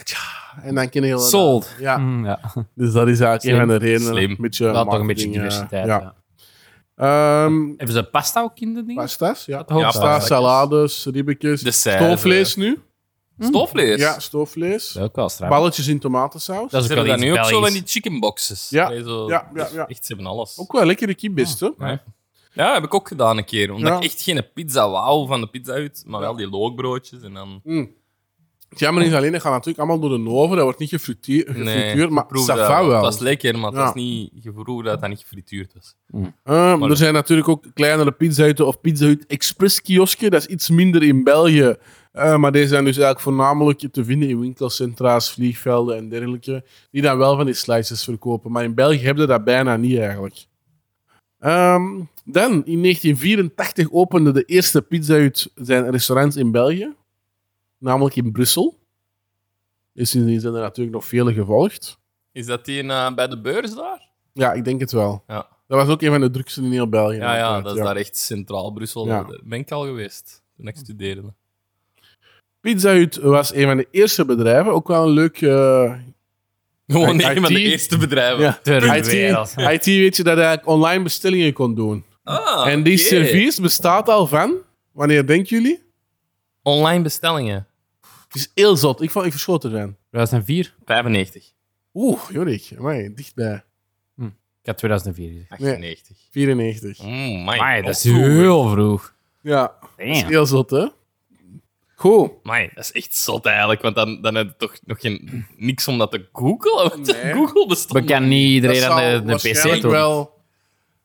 Speaker 2: Tja, en dan kun je... heel-
Speaker 3: Sold.
Speaker 2: Ja,
Speaker 3: Mm, ja.
Speaker 2: dus dat is eigenlijk
Speaker 3: Slim.
Speaker 2: een van de redenen.
Speaker 1: Slim.
Speaker 2: Een beetje
Speaker 3: Dat had toch een beetje
Speaker 2: marketing,
Speaker 3: diversiteit.
Speaker 2: eh,
Speaker 3: Ja.
Speaker 2: Ja. Ehm,
Speaker 3: Hebben ze pasta ook in de dingen?
Speaker 2: pasta's, ja.
Speaker 3: Dat hoop ik.
Speaker 2: Pasta,
Speaker 1: pasta's.
Speaker 2: salades, ribbetjes.
Speaker 1: Dessert.
Speaker 2: Stoofvlees nu.
Speaker 1: Stoofvlees?
Speaker 2: Hm. Ja, stoofvlees.
Speaker 3: Dat is ook wel straf.
Speaker 2: Balletjes in tomatensaus.
Speaker 3: Dat is
Speaker 1: Ze
Speaker 3: ook
Speaker 1: hebben
Speaker 3: wel
Speaker 1: daar
Speaker 3: iets
Speaker 1: nu ook zo
Speaker 3: Belgisch.
Speaker 1: van die chickenboxes.
Speaker 2: Ja,
Speaker 1: Allee, Zo, dus
Speaker 2: ja, ja, ja.
Speaker 1: Echt, ze hebben alles.
Speaker 2: Ook wel lekkere kibist, hoor.
Speaker 1: Ja. Ja, heb ik ook gedaan een keer. Omdat
Speaker 2: Ja.
Speaker 1: ik echt geen pizza wou van de pizza uit, maar wel die lookbroodjes en dan...
Speaker 2: Mm. Het jammer is alleen, dat gaat natuurlijk allemaal door de oven. Dat wordt niet gefrituurd, gefrituurd maar
Speaker 1: proef
Speaker 2: ça
Speaker 1: dat
Speaker 2: va wel.
Speaker 1: Het was lekker, maar het
Speaker 2: Ja.
Speaker 1: was niet... Je vroeg dat dat niet gefrituurd was.
Speaker 2: Eh,
Speaker 1: Maar-
Speaker 2: er zijn natuurlijk ook kleinere pizzahutten of pizzahut express kiosken. Dat is iets minder in België. Eh, maar deze zijn dus eigenlijk voornamelijk te vinden in winkelcentra's, vliegvelden en dergelijke. Die dan wel van die slices verkopen. Maar in België hebben ze dat bijna niet eigenlijk. Ehm, dan, in 1984 opende de eerste pizzahut zijn restaurants in België. Namelijk in Brussel. Dus sindsdien zijn er natuurlijk nog vele gevolgd.
Speaker 1: Is dat die eh, bij de beurs daar?
Speaker 2: Ja, ik denk het wel.
Speaker 1: Ja.
Speaker 2: Dat was ook een van de drukste in heel België.
Speaker 1: Ja, ja,
Speaker 2: uiteraard,
Speaker 1: dat is daar echt centraal Brussel.
Speaker 2: Ja.
Speaker 1: Daar ben ik al geweest, toen ik studeerde.
Speaker 2: Pizza Hut was een van de eerste bedrijven. Ook wel een leuk... eh,
Speaker 1: Gewoon
Speaker 2: IT?
Speaker 1: een van de eerste bedrijven.
Speaker 2: ja.
Speaker 3: Ter
Speaker 2: IT,
Speaker 3: wereld.
Speaker 2: IT weet je dat je eigenlijk online bestellingen kon doen.
Speaker 1: Ah,
Speaker 2: en die
Speaker 1: oké.
Speaker 2: service bestaat al van... Wanneer denken jullie?
Speaker 1: Online bestellingen.
Speaker 2: Het is heel zot. Ik, vond, ik verschoot ervan.
Speaker 3: 2004?
Speaker 1: 95.
Speaker 2: Oeh, Jorik. Amai, dichtbij.
Speaker 3: Ik had 2004 gezegd.
Speaker 1: 98.
Speaker 2: 94.
Speaker 1: Mm, my
Speaker 3: Amai, dat is heel vroeg.
Speaker 2: Ja, dat is
Speaker 3: Damn.
Speaker 2: heel zot, hè? Goed.
Speaker 1: Amai, dat is echt zot eigenlijk, want dan, dan heb je toch nog geen, niks om dat te googlen. want
Speaker 2: Nee.
Speaker 1: Google bestond.
Speaker 3: Bekend niet
Speaker 2: Dat
Speaker 3: iedereen
Speaker 2: zal
Speaker 3: aan de, de
Speaker 2: waarschijnlijk
Speaker 3: PC toch?
Speaker 2: wel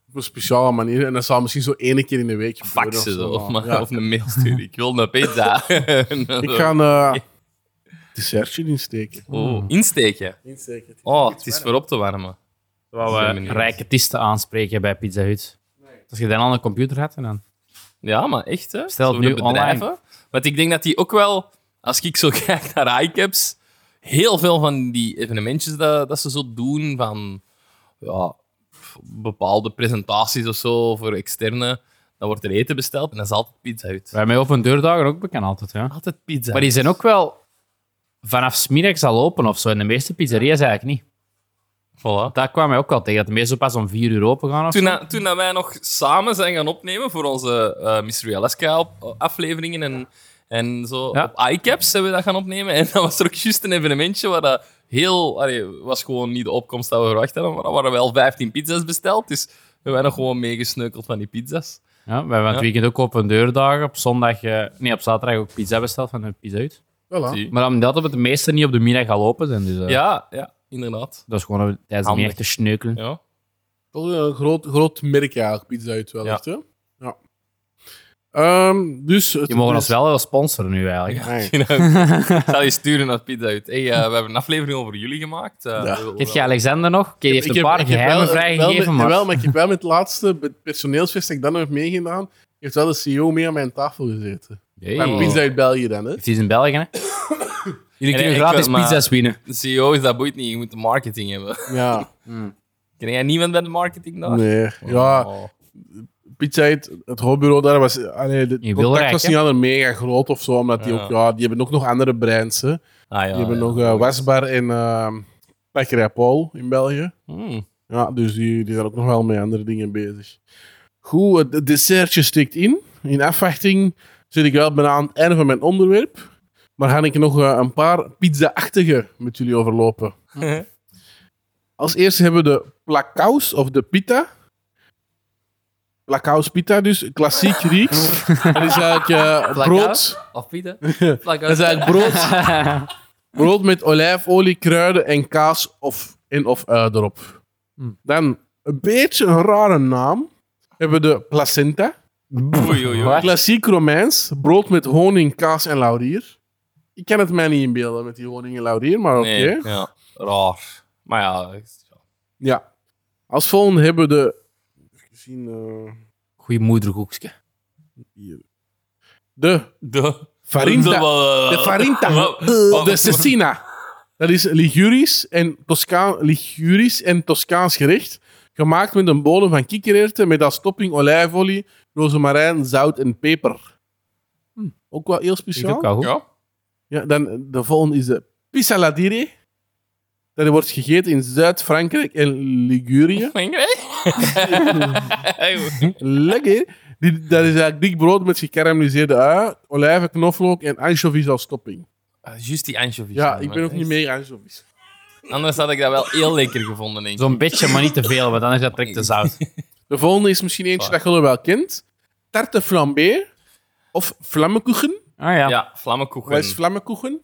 Speaker 2: op een speciale manier. En dat zal misschien zo ene keer in de week gebeuren.
Speaker 1: faxen
Speaker 2: of zo.
Speaker 1: zo, of, maar,
Speaker 2: Ja.
Speaker 1: of een mail sturen. Ik wil een pizza.
Speaker 2: Ik ga een eh, dessertje insteken.
Speaker 1: oh,
Speaker 3: Hmm.
Speaker 1: insteken.
Speaker 2: Insteken.
Speaker 1: Oh, het is voor op te warmen.
Speaker 3: Terwijl we rijke tisten aanspreken bij Pizza Hut. Dus Als je dan al een computer had en dan...
Speaker 1: Ja, maar echt, hè?
Speaker 3: Stel het
Speaker 1: Zo
Speaker 3: nu
Speaker 1: de bedrijven. Want ik denk dat die ook wel, als ik zo kijk naar iCaps, heel veel van die evenementjes dat, dat ze zo doen, van ja, f- bepaalde presentaties of zo voor externe, dan wordt er eten besteld en dan is altijd pizza uit.
Speaker 3: Wij mij open deurdagen ook bekend altijd,
Speaker 2: Ah,
Speaker 3: ja.
Speaker 1: Altijd pizza.
Speaker 3: Maar die zijn ook wel vanaf smiddags al open of zo. En de meeste pizzeria's eigenlijk niet.
Speaker 1: Voilà.
Speaker 3: Daar kwam mij ook wel tegen. Dat de meeste pas om vier uur open gaan of
Speaker 1: Toen,
Speaker 3: zo.
Speaker 1: dat- toen dat wij nog samen zijn gaan opnemen voor onze eh Mystery Alaska op- afleveringen en, en zo
Speaker 3: Ja.
Speaker 1: op iCaps hebben we dat gaan opnemen. En dat was er ook juist een evenementje waar dat heel... Allee, was gewoon niet de opkomst dat we verwacht hadden, maar er waren wel 15 pizza's besteld. Dus we hebben nog gewoon meegesneukeld van die pizza's.
Speaker 3: Ja, we hebben het
Speaker 1: Ja.
Speaker 3: weekend ook open deurdagen. Op zondag... eh, nee, op zaterdag ook pizza besteld van de Pizza Hut.
Speaker 2: Voilà.
Speaker 1: Zie.
Speaker 3: Maar omdat we de meeste niet op de middag al open zijn. Dus eh,
Speaker 1: Ja, ja, inderdaad.
Speaker 3: dat is gewoon om tijdens de
Speaker 1: Handig.
Speaker 3: middag te sneukelen.
Speaker 1: Ja.
Speaker 2: Dat is een groot, groot merk eigenlijk, Pizza Hut wel
Speaker 1: Ja.
Speaker 2: echt, hè? Ja. Ehm, dus... het
Speaker 3: Je mogen
Speaker 2: is-
Speaker 3: ons wel wel sponsoren nu eigenlijk.
Speaker 2: Nee.
Speaker 1: Ik zal je sturen naar Pizza Hut. Hey, eh, we hebben een aflevering over jullie gemaakt. Eh,
Speaker 2: Ja.
Speaker 1: we willen
Speaker 3: Kent je
Speaker 1: wel-
Speaker 3: Alexander nog? Oké, die heeft een paar
Speaker 2: ik heb
Speaker 3: geheimen
Speaker 2: wel- wel,
Speaker 3: vrijgegeven,
Speaker 2: met-
Speaker 3: maar...
Speaker 2: jawel, maar ik heb wel met het laatste be- personeelsfeest dat ik dan nog heb meegedaan, heeft wel de CEO mee aan mijn tafel gezeten.
Speaker 3: Hey.
Speaker 2: Bij Pizza Hut België dan, hè?
Speaker 3: Het is in België, hè? Jullie
Speaker 1: En
Speaker 3: kunnen
Speaker 1: ik
Speaker 3: gratis
Speaker 1: wil maar-
Speaker 3: pizza's winnen.
Speaker 1: De CEO is dat boeit niet. Je moet de marketing hebben.
Speaker 2: Ja,
Speaker 1: Ken jij niemand bij de marketing daar?
Speaker 2: nee. Ja,
Speaker 1: Oh.
Speaker 2: Pizza Hut, het hoofdbureau daar was... Allee, de
Speaker 3: In
Speaker 2: contact
Speaker 3: Wilrijk,
Speaker 2: was
Speaker 3: hè?
Speaker 2: niet altijd mega groot of zo, omdat die
Speaker 1: Ja.
Speaker 2: ook... Ja, die hebben ook nog andere brands, hè. Die
Speaker 1: Ah, ja,
Speaker 2: hebben
Speaker 1: ja.
Speaker 2: nog eh, Wasbar en ehm Bakkerij Paul in België.
Speaker 1: Hmm.
Speaker 2: Ja, dus die, die zijn ook nog wel met andere dingen bezig. Goed, het het dessertje stikt in. In afwachting zit ik wel bijna aan het einde van mijn onderwerp. Maar ga ik nog eh, een paar pizza-achtige met jullie overlopen. Als eerste hebben we de plakkaus of de pita. Plakkaus pita dus, klassiek Grieks. Dat is eigenlijk eh,
Speaker 1: Plakkaus?
Speaker 2: brood.
Speaker 1: Of Pieter?
Speaker 2: Dat is eigenlijk brood, brood met olijfolie, kruiden en kaas of in of uit erop.
Speaker 3: Hmm.
Speaker 2: Dan een beetje een rare naam. Hebben we de placenta.
Speaker 1: Oei, oei, oei.
Speaker 2: Klassiek Romeins. Brood met honing, kaas en laurier. Ik kan het mij niet inbeelden met die honing en laurier, maar oké.
Speaker 1: Nee, ja. Raar. Maar ja, ik- ja.
Speaker 2: Ja. Als volgende hebben we de... Even zien, eh,
Speaker 3: Goeie moederkoekske.
Speaker 2: hier. De
Speaker 1: de
Speaker 2: farinta.
Speaker 1: De, eh,
Speaker 2: De farinta.
Speaker 1: Wat- wat-
Speaker 2: De cecina. Dat is Ligurisch en Toscaan, Ligurisch en Toscaans gerecht. Gemaakt met een bodem van kikkererwten met als topping olijfolie, rozemarijn, zout en peper. Hm, Ook wel heel
Speaker 3: Ik vind
Speaker 2: speciaal.
Speaker 3: het wel goed.
Speaker 4: Ja.
Speaker 2: Ja, dan de volgende is de pissaladire. Dat wordt gegeten in Zuid-Frankrijk en Ligurië. Lekker. Die, dat is eigenlijk dik brood met gekarameliseerde ui, olijven, knoflook en anchovies als topping.
Speaker 1: Ah, Juist die anchovies.
Speaker 2: Ja,
Speaker 1: man,
Speaker 2: ik ben
Speaker 1: man.
Speaker 2: ook niet meer anchovies.
Speaker 1: Anders had ik dat wel heel lekker gevonden, denk ik.
Speaker 3: Zo'n beetje, maar niet te veel, want dan is dat direct te zout.
Speaker 2: De volgende is misschien eentje dat jullie wel kent. Tarte flambé of vlammenkoeken.
Speaker 3: Ah ja.
Speaker 1: Ja, vlammenkoeken.
Speaker 2: Wat is vlammenkoeken?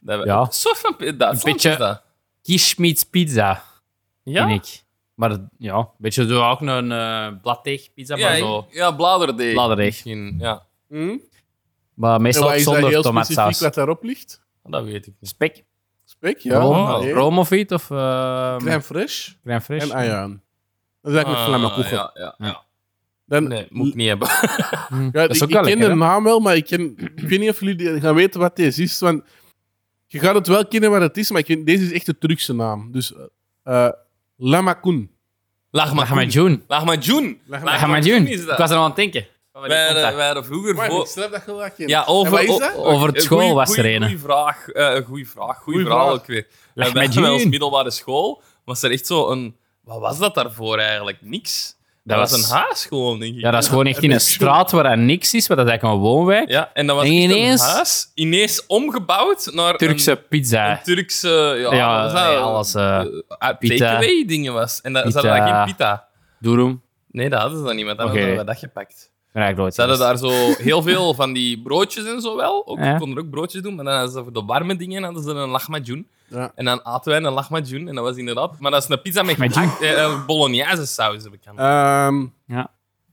Speaker 1: Dat we-
Speaker 3: Ja.
Speaker 1: Een soort van... pi- Dat,
Speaker 3: Een
Speaker 1: soort
Speaker 3: beetje-
Speaker 1: is dat.
Speaker 3: Quiche meets pizza,
Speaker 1: Ja?
Speaker 3: vind ik. Maar ja, een beetje zo ook een eh bladdeeg pizza,
Speaker 1: Ja,
Speaker 3: maar
Speaker 1: ik-
Speaker 3: zo.
Speaker 1: ja, bladerdeeg.
Speaker 3: Bladerdeeg.
Speaker 1: Misschien, ja.
Speaker 2: Hm?
Speaker 3: Maar
Speaker 2: En
Speaker 3: meestal
Speaker 2: wat is dat
Speaker 3: zonder
Speaker 2: heel specifiek
Speaker 3: tomaatsaus.
Speaker 2: wat daarop ligt?
Speaker 1: Dat weet ik niet.
Speaker 3: Spek,
Speaker 2: Spek, ja.
Speaker 3: room,
Speaker 2: nee.
Speaker 3: room Oh, of iets, of eh
Speaker 2: Crème fraîche
Speaker 3: crème fraîche.
Speaker 2: en ajuin. Dat is eigenlijk met vlammenkoeken.
Speaker 1: Ah, ja, ja, ja.
Speaker 2: Dan,
Speaker 1: Nee, moet ik niet hebben.
Speaker 2: Ja,
Speaker 3: Hm. is
Speaker 2: ik,
Speaker 3: ook
Speaker 2: ik
Speaker 3: wel
Speaker 2: ken
Speaker 3: lekker,
Speaker 2: de
Speaker 3: hè?
Speaker 2: naam wel, maar ik, ken, ik weet niet of jullie die- gaan weten wat deze is. Want je gaat het wel kennen wat het is, maar ik weet- deze is echt de Turkse naam. Dus eh Lamakun.
Speaker 3: Lahmacun.
Speaker 1: Lahmacun.
Speaker 3: Lahmacun.
Speaker 1: is
Speaker 3: Ik
Speaker 1: dat.
Speaker 3: was er al aan het denken.
Speaker 1: Wij waren- wij waren vroeger voor...
Speaker 2: snap dat je dat kent.
Speaker 1: Ja, over,
Speaker 2: wat is
Speaker 1: o-
Speaker 2: dat?
Speaker 1: o-
Speaker 3: Over het
Speaker 1: eh,
Speaker 3: school
Speaker 1: goeie-
Speaker 3: was er
Speaker 1: goeie-
Speaker 3: een, hè.
Speaker 1: Goeie vraag. eh goeie vraag. Goeie,
Speaker 2: Goeie
Speaker 1: verhaal
Speaker 2: vraag.
Speaker 1: ook weer.
Speaker 3: Leg
Speaker 1: Bij
Speaker 3: met
Speaker 1: bij ons
Speaker 3: Jean.
Speaker 1: middelbare school was er echt zo een... Wat was dat daarvoor eigenlijk? Niks. Dat,
Speaker 3: Dat
Speaker 1: was
Speaker 3: was-
Speaker 1: een huis gewoon, denk ik.
Speaker 3: Ja, dat is gewoon echt in een straat waar er niks is, want dat is eigenlijk een woonwijk.
Speaker 1: Ja, en dat was
Speaker 3: En
Speaker 1: echt
Speaker 3: ineens-
Speaker 1: een huis ineens omgebouwd naar
Speaker 3: Turkse
Speaker 1: een,
Speaker 3: pizza.
Speaker 1: een Turkse... Ja,
Speaker 3: Ja,
Speaker 1: wat was dat?
Speaker 3: nee, alles, eh,
Speaker 1: eh,
Speaker 3: pita.
Speaker 1: Takeaway-dingen was. En dat, ze
Speaker 3: Pita.
Speaker 1: hadden daar geen pita.
Speaker 3: Doeroem.
Speaker 1: Nee, dat hadden ze dan niet, want dan
Speaker 3: Oké.
Speaker 1: hadden we dat gepakt.
Speaker 3: Ik ben eigenlijk nooit
Speaker 1: Ze hadden
Speaker 3: geweest.
Speaker 1: daar zo heel veel van die broodjes en zo wel. Ook,
Speaker 3: Ja.
Speaker 1: Ze konden er ook broodjes doen, maar dan hadden ze voor de warme dingen hadden ze een lahmacun.
Speaker 2: Ja.
Speaker 1: En dan aten wij een lahmacun en dat was inderdaad... Maar dat is een pizza met
Speaker 3: Lahmacun.
Speaker 1: gehakt, eh, eh, bolognese saus, heb ik aan.
Speaker 2: Ehm,
Speaker 3: Ja.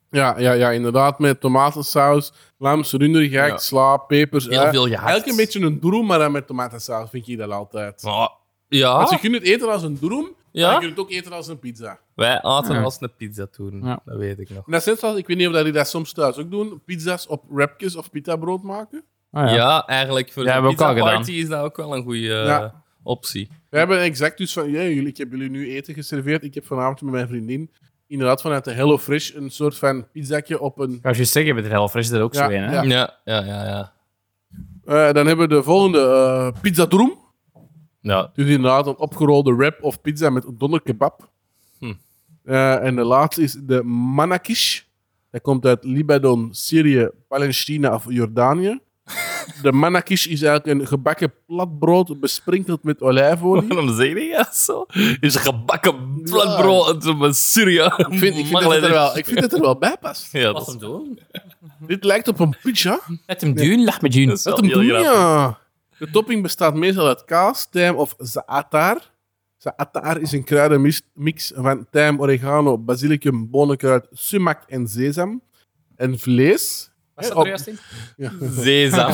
Speaker 2: ja, ja, ja, inderdaad. Met tomatensaus, lam, runder, gek,
Speaker 1: Ja.
Speaker 2: sla, pepers.
Speaker 1: Heel
Speaker 2: eh.
Speaker 1: veel gehakt.
Speaker 2: Eigenlijk een beetje een droom, maar dan met tomatensaus vind je dat altijd.
Speaker 1: Maar- ja,
Speaker 2: Want je kunt het eten als een droom,
Speaker 1: Ja?
Speaker 2: maar je kunt het ook eten als een pizza.
Speaker 1: wij aten
Speaker 3: Ja.
Speaker 1: als een pizza toen.
Speaker 3: Ja.
Speaker 1: Dat weet ik nog.
Speaker 2: En dat is net zoals, ik weet niet of jullie dat soms thuis ook doen, pizza's op wrapjes of pitabrood maken.
Speaker 3: Ah,
Speaker 1: Ja,
Speaker 3: ja.
Speaker 1: eigenlijk voor
Speaker 3: Ja,
Speaker 1: de
Speaker 3: hebben we ook
Speaker 1: pizza
Speaker 3: al
Speaker 1: party is dat ook wel een goede eh,
Speaker 2: Ja.
Speaker 1: optie.
Speaker 2: We hebben exact dus van, ja, jullie, ik heb jullie nu eten geserveerd. Ik heb vanavond met mijn vriendin inderdaad vanuit de Hello Fresh een soort van pizzakje op een...
Speaker 3: Ik wou je zeggen, bij de Hello Fresh is er ook
Speaker 2: Ja,
Speaker 3: zo een. Hè?
Speaker 2: ja.
Speaker 1: Ja, ja, ja. ja, ja.
Speaker 2: Eh, dan hebben we de volgende eh, pizza droom. Dus inderdaad een opgerolde wrap of pizza met donderkebab.
Speaker 1: Hm.
Speaker 2: Eh, en de laatste is de manakish. Dat komt uit Libanon, Syrië, Palestina of Jordanië. De manakish is eigenlijk een gebakken platbrood besprinkeld met olijfolie.
Speaker 1: Waarom zeg je dat zo? Is gebakken flatbrood met Syria.
Speaker 2: Ik vind, ik, vind dat het er wel, ik vind dat het er wel bij past.
Speaker 1: Ja,
Speaker 3: Laat
Speaker 1: dat is
Speaker 3: hem doen.
Speaker 2: Dit lijkt op een pizza.
Speaker 3: Laat hem doen, Lahmacun.
Speaker 1: Dat is
Speaker 2: Dat
Speaker 1: wel
Speaker 2: hem doen,
Speaker 1: heel grappig.
Speaker 2: ja. De topping bestaat meestal uit kaas, tijm of zaatar. Zaatar is een kruidenmix van tijm, oregano, basilicum, bonenkruid, sumac en sesam. En vlees.
Speaker 3: Wat
Speaker 2: Op-
Speaker 3: in?
Speaker 1: Sesam.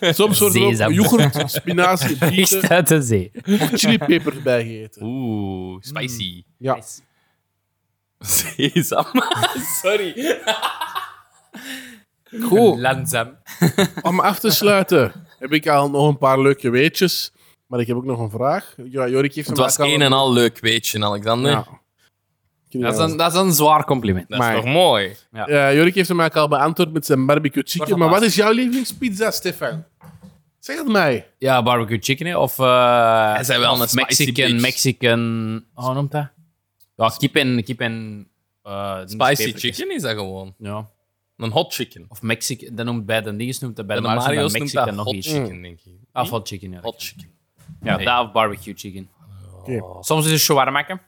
Speaker 2: Soms wordt er ook
Speaker 3: Sesam.
Speaker 2: yoghurt, spinazie,
Speaker 3: Is
Speaker 2: bieten
Speaker 3: dat te zee?
Speaker 2: of chilipepers bij gegeten.
Speaker 1: Oeh, spicy.
Speaker 3: Hmm.
Speaker 2: Ja.
Speaker 1: Sesam.
Speaker 2: ah,
Speaker 1: Sorry.
Speaker 2: Goed,
Speaker 3: Langzaam.
Speaker 2: om af te sluiten heb ik al nog een paar leuke weetjes. Maar ik heb ook nog een vraag. Ja, Jorik heeft
Speaker 1: Het was een en al leuk, weet je, Alexander.
Speaker 3: Dat is, een, dat is een zwaar compliment.
Speaker 1: Dat is
Speaker 2: Maar-
Speaker 1: toch mooi?
Speaker 2: Ja, Jorik heeft hem eigenlijk al beantwoord met zijn barbecue chicken.
Speaker 3: Wordt
Speaker 2: Maar
Speaker 3: dat
Speaker 2: wat is jouw lievelingspizza, Stefan? Zeg het mij.
Speaker 3: Ja, barbecue chicken, hè, of... eh,
Speaker 1: Hij zei wel
Speaker 3: of
Speaker 1: een spicy
Speaker 3: Mexican,
Speaker 1: bitch.
Speaker 3: Mexican... Hoe noemt dat? Ja, kip en... Kip en eh,
Speaker 1: Spicy
Speaker 3: pepertjes.
Speaker 1: chicken is dat gewoon.
Speaker 3: Ja.
Speaker 1: Een hot chicken.
Speaker 3: Of Mexican... Dat noemt bij de dinges noemt dat bij
Speaker 1: En
Speaker 3: de,
Speaker 1: de
Speaker 3: Mario's, en bij
Speaker 1: Mario's noemt dat
Speaker 3: Mexican nog Hmm.
Speaker 1: hot
Speaker 3: iets.
Speaker 1: chicken, denk ik.
Speaker 3: Of hot chicken, ja.
Speaker 1: Hot chicken.
Speaker 3: Ja, dat of barbecue chicken. Soms is het shawarmakken.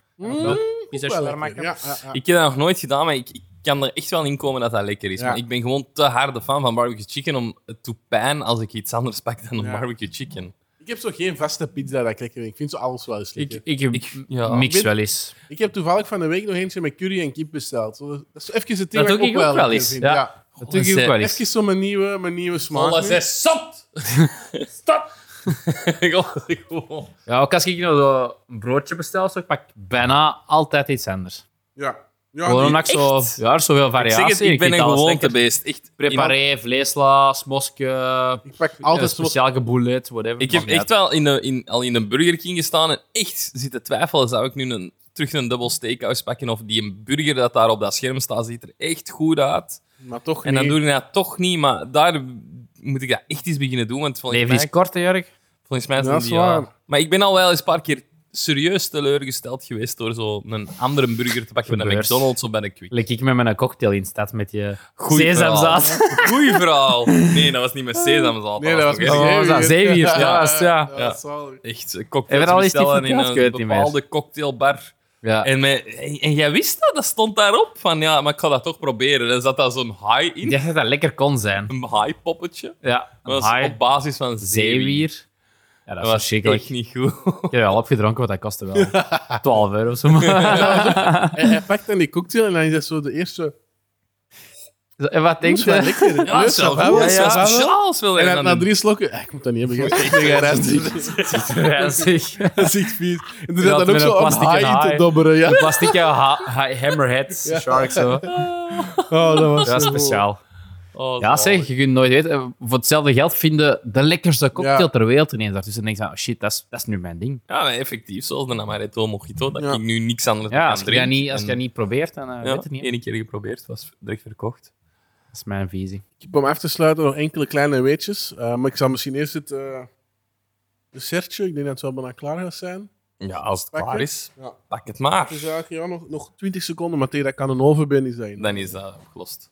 Speaker 3: Is dat shawarmakken?
Speaker 2: Ja, ja, ja.
Speaker 1: Ik heb dat nog nooit gedaan, maar ik, ik kan er echt wel in komen dat dat lekker is.
Speaker 2: Ja.
Speaker 1: Maar ik ben gewoon te harde fan van barbecue chicken om het te pijn als ik iets anders pak dan een
Speaker 2: Ja.
Speaker 1: barbecue chicken.
Speaker 2: Ik heb zo geen vaste pizza dat ik lekker vind. Ik vind zo alles wel eens
Speaker 3: Ik,
Speaker 2: lekker. Ik,
Speaker 3: ik,
Speaker 1: ja.
Speaker 3: mix
Speaker 2: Ik-
Speaker 3: wel eens.
Speaker 2: heb toevallig van de week nog eentje met curry en kip besteld. Zo, Dat is even het thema
Speaker 3: Dat doe ik ook wel eens.
Speaker 2: vind.
Speaker 3: Ja. Dat doe ik ook wel
Speaker 1: eh,
Speaker 3: eens.
Speaker 2: Even zo mijn nieuwe, mijn nieuwe smaak. nu.
Speaker 1: is zot! Stop! Gewoon.
Speaker 3: Ja, ook als ik nou zo een broodje bestel, zo, ik pak bijna altijd iets anders.
Speaker 2: Ja. Ja,
Speaker 3: Gewoon
Speaker 2: die-
Speaker 3: omdat ik zo, ja, er is zoveel
Speaker 1: Ik
Speaker 3: variatie.
Speaker 1: zeg het, ik ben
Speaker 3: vind
Speaker 1: een
Speaker 3: alles lekker.
Speaker 1: gewoontebeest. Echt iemand-
Speaker 3: Preparé, vleesla, smoske,
Speaker 2: ik pak
Speaker 3: eh,
Speaker 2: altijd zo.
Speaker 3: speciaal geboulet, whatever.
Speaker 1: Ik heb
Speaker 3: Maakt niet
Speaker 1: echt wel in de, in, al in een Burger King gestaan en echt zitten twijfelen. Zou ik nu een terug een dubbel steakhouse pakken. Of die burger dat daar op dat scherm staat, ziet er echt goed uit.
Speaker 2: Maar toch
Speaker 1: En dan
Speaker 2: niet.
Speaker 1: doe je dat toch niet, maar daar moet ik dat echt eens beginnen doen. Want volgens
Speaker 3: Leven is
Speaker 1: mij,
Speaker 3: kort, hè, Jurk?
Speaker 1: volgens mij zijn
Speaker 2: Dat is
Speaker 1: die,
Speaker 2: waar.
Speaker 1: ja. Maar ik ben al wel eens een paar keer serieus teleurgesteld geweest door zo'n andere burger te pakken bij de
Speaker 3: Gebeurt.
Speaker 1: McDonald's of bij de Quick.
Speaker 3: Lek ik met mijn cocktail in staat met je
Speaker 1: Goeie
Speaker 3: sesamzaad.
Speaker 1: Goeie verhaal. Nee, dat was niet met sesamzaad.
Speaker 2: Nee, dat was
Speaker 1: toch
Speaker 2: met
Speaker 1: echt-
Speaker 2: zeewier.
Speaker 3: Oh, was dat zeewier?
Speaker 2: Ja.
Speaker 3: Ja, was- ja.
Speaker 2: Ja, dat is wel-
Speaker 1: Echt, eh,
Speaker 3: Hebben
Speaker 1: cocktails
Speaker 3: we al eens die
Speaker 1: bestellen in
Speaker 3: verteld? Ik weet
Speaker 1: een
Speaker 3: het niet meer.
Speaker 1: bepaalde cocktailbar.
Speaker 3: Ja.
Speaker 1: En, mij- en, en jij wist dat, dat stond daarop. Van ja, maar ik ga dat toch proberen. En zat daar zo'n haai in,
Speaker 3: Ik dacht dat dat lekker kon zijn.
Speaker 1: een haai-poppetje.
Speaker 3: Ja,
Speaker 1: Dat was
Speaker 3: haai,
Speaker 1: op basis van zeewier.
Speaker 3: zeewier. Ja,
Speaker 1: Dat
Speaker 3: dat is
Speaker 1: was
Speaker 3: verschrikkelijk.
Speaker 1: echt
Speaker 3: Ik
Speaker 1: niet goed.
Speaker 3: heb wel opgedronken, want dat kostte wel 12 euro of zo. maar-
Speaker 2: Hij, hij pakt dan die cocktail en dan is dat zo de eerste...
Speaker 3: en wat
Speaker 2: Dat
Speaker 3: denk
Speaker 2: is wel
Speaker 3: je?
Speaker 2: lekker.
Speaker 1: Ja,
Speaker 2: Nee,
Speaker 1: het zou
Speaker 2: ça va
Speaker 1: goed
Speaker 2: wel,
Speaker 1: zijn.
Speaker 2: ça va wel.
Speaker 1: speciaals wil
Speaker 2: En
Speaker 1: hij
Speaker 2: dan na
Speaker 1: dan
Speaker 2: drie slokken... eh, Ik moet dat niet hebben. Ik ben gerend.
Speaker 3: Ja, zeg.
Speaker 2: Dat is echt vies. En er
Speaker 3: Ja,
Speaker 2: zat
Speaker 3: met
Speaker 2: dan ook
Speaker 3: een
Speaker 2: zo een
Speaker 3: plastic
Speaker 2: haai in
Speaker 3: haai.
Speaker 2: te dobberen. Ja.
Speaker 3: Plastic ha- ha- hammerheads, sharks, zo.
Speaker 2: Oh, dat was
Speaker 3: Dat is
Speaker 2: zo
Speaker 3: speciaal.
Speaker 1: Oh,
Speaker 3: Ja,
Speaker 1: zalig.
Speaker 3: zeg, je kunt nooit weten. Eh, Voor hetzelfde geld vinden de lekkerste cocktail
Speaker 2: Ja.
Speaker 3: ter wereld ineens daar. Dus dan denk je, van, oh shit, dat is, dat is nu mijn ding.
Speaker 1: Ja, maar effectief. Zoals de Amaretto Mojito. Dat
Speaker 2: Ja.
Speaker 1: ik nu niks anders
Speaker 3: Ja,
Speaker 1: kan
Speaker 3: als je dat
Speaker 1: drinken.
Speaker 3: niet, als je
Speaker 1: En-
Speaker 3: dat niet probeert, dan eh,
Speaker 1: ja,
Speaker 3: weet het niet. hè.
Speaker 1: één keer geprobeerd. Was direct verkocht.
Speaker 3: Dat is mijn visie.
Speaker 2: goed. Om af te sluiten nog enkele kleine weetjes. Eh, maar ik zal misschien eerst het eh dessertje, ik denk dat het wel bijna klaar gaat zijn.
Speaker 1: Ja, als het
Speaker 2: Pak
Speaker 1: klaar
Speaker 2: het.
Speaker 1: is,
Speaker 2: Ja.
Speaker 1: pak het maar.
Speaker 2: Dus eigenlijk ja, nog, nog 20 seconden, maar tegen dat ik aan een oven ben, is dat in.
Speaker 1: Dan is dat opgelost.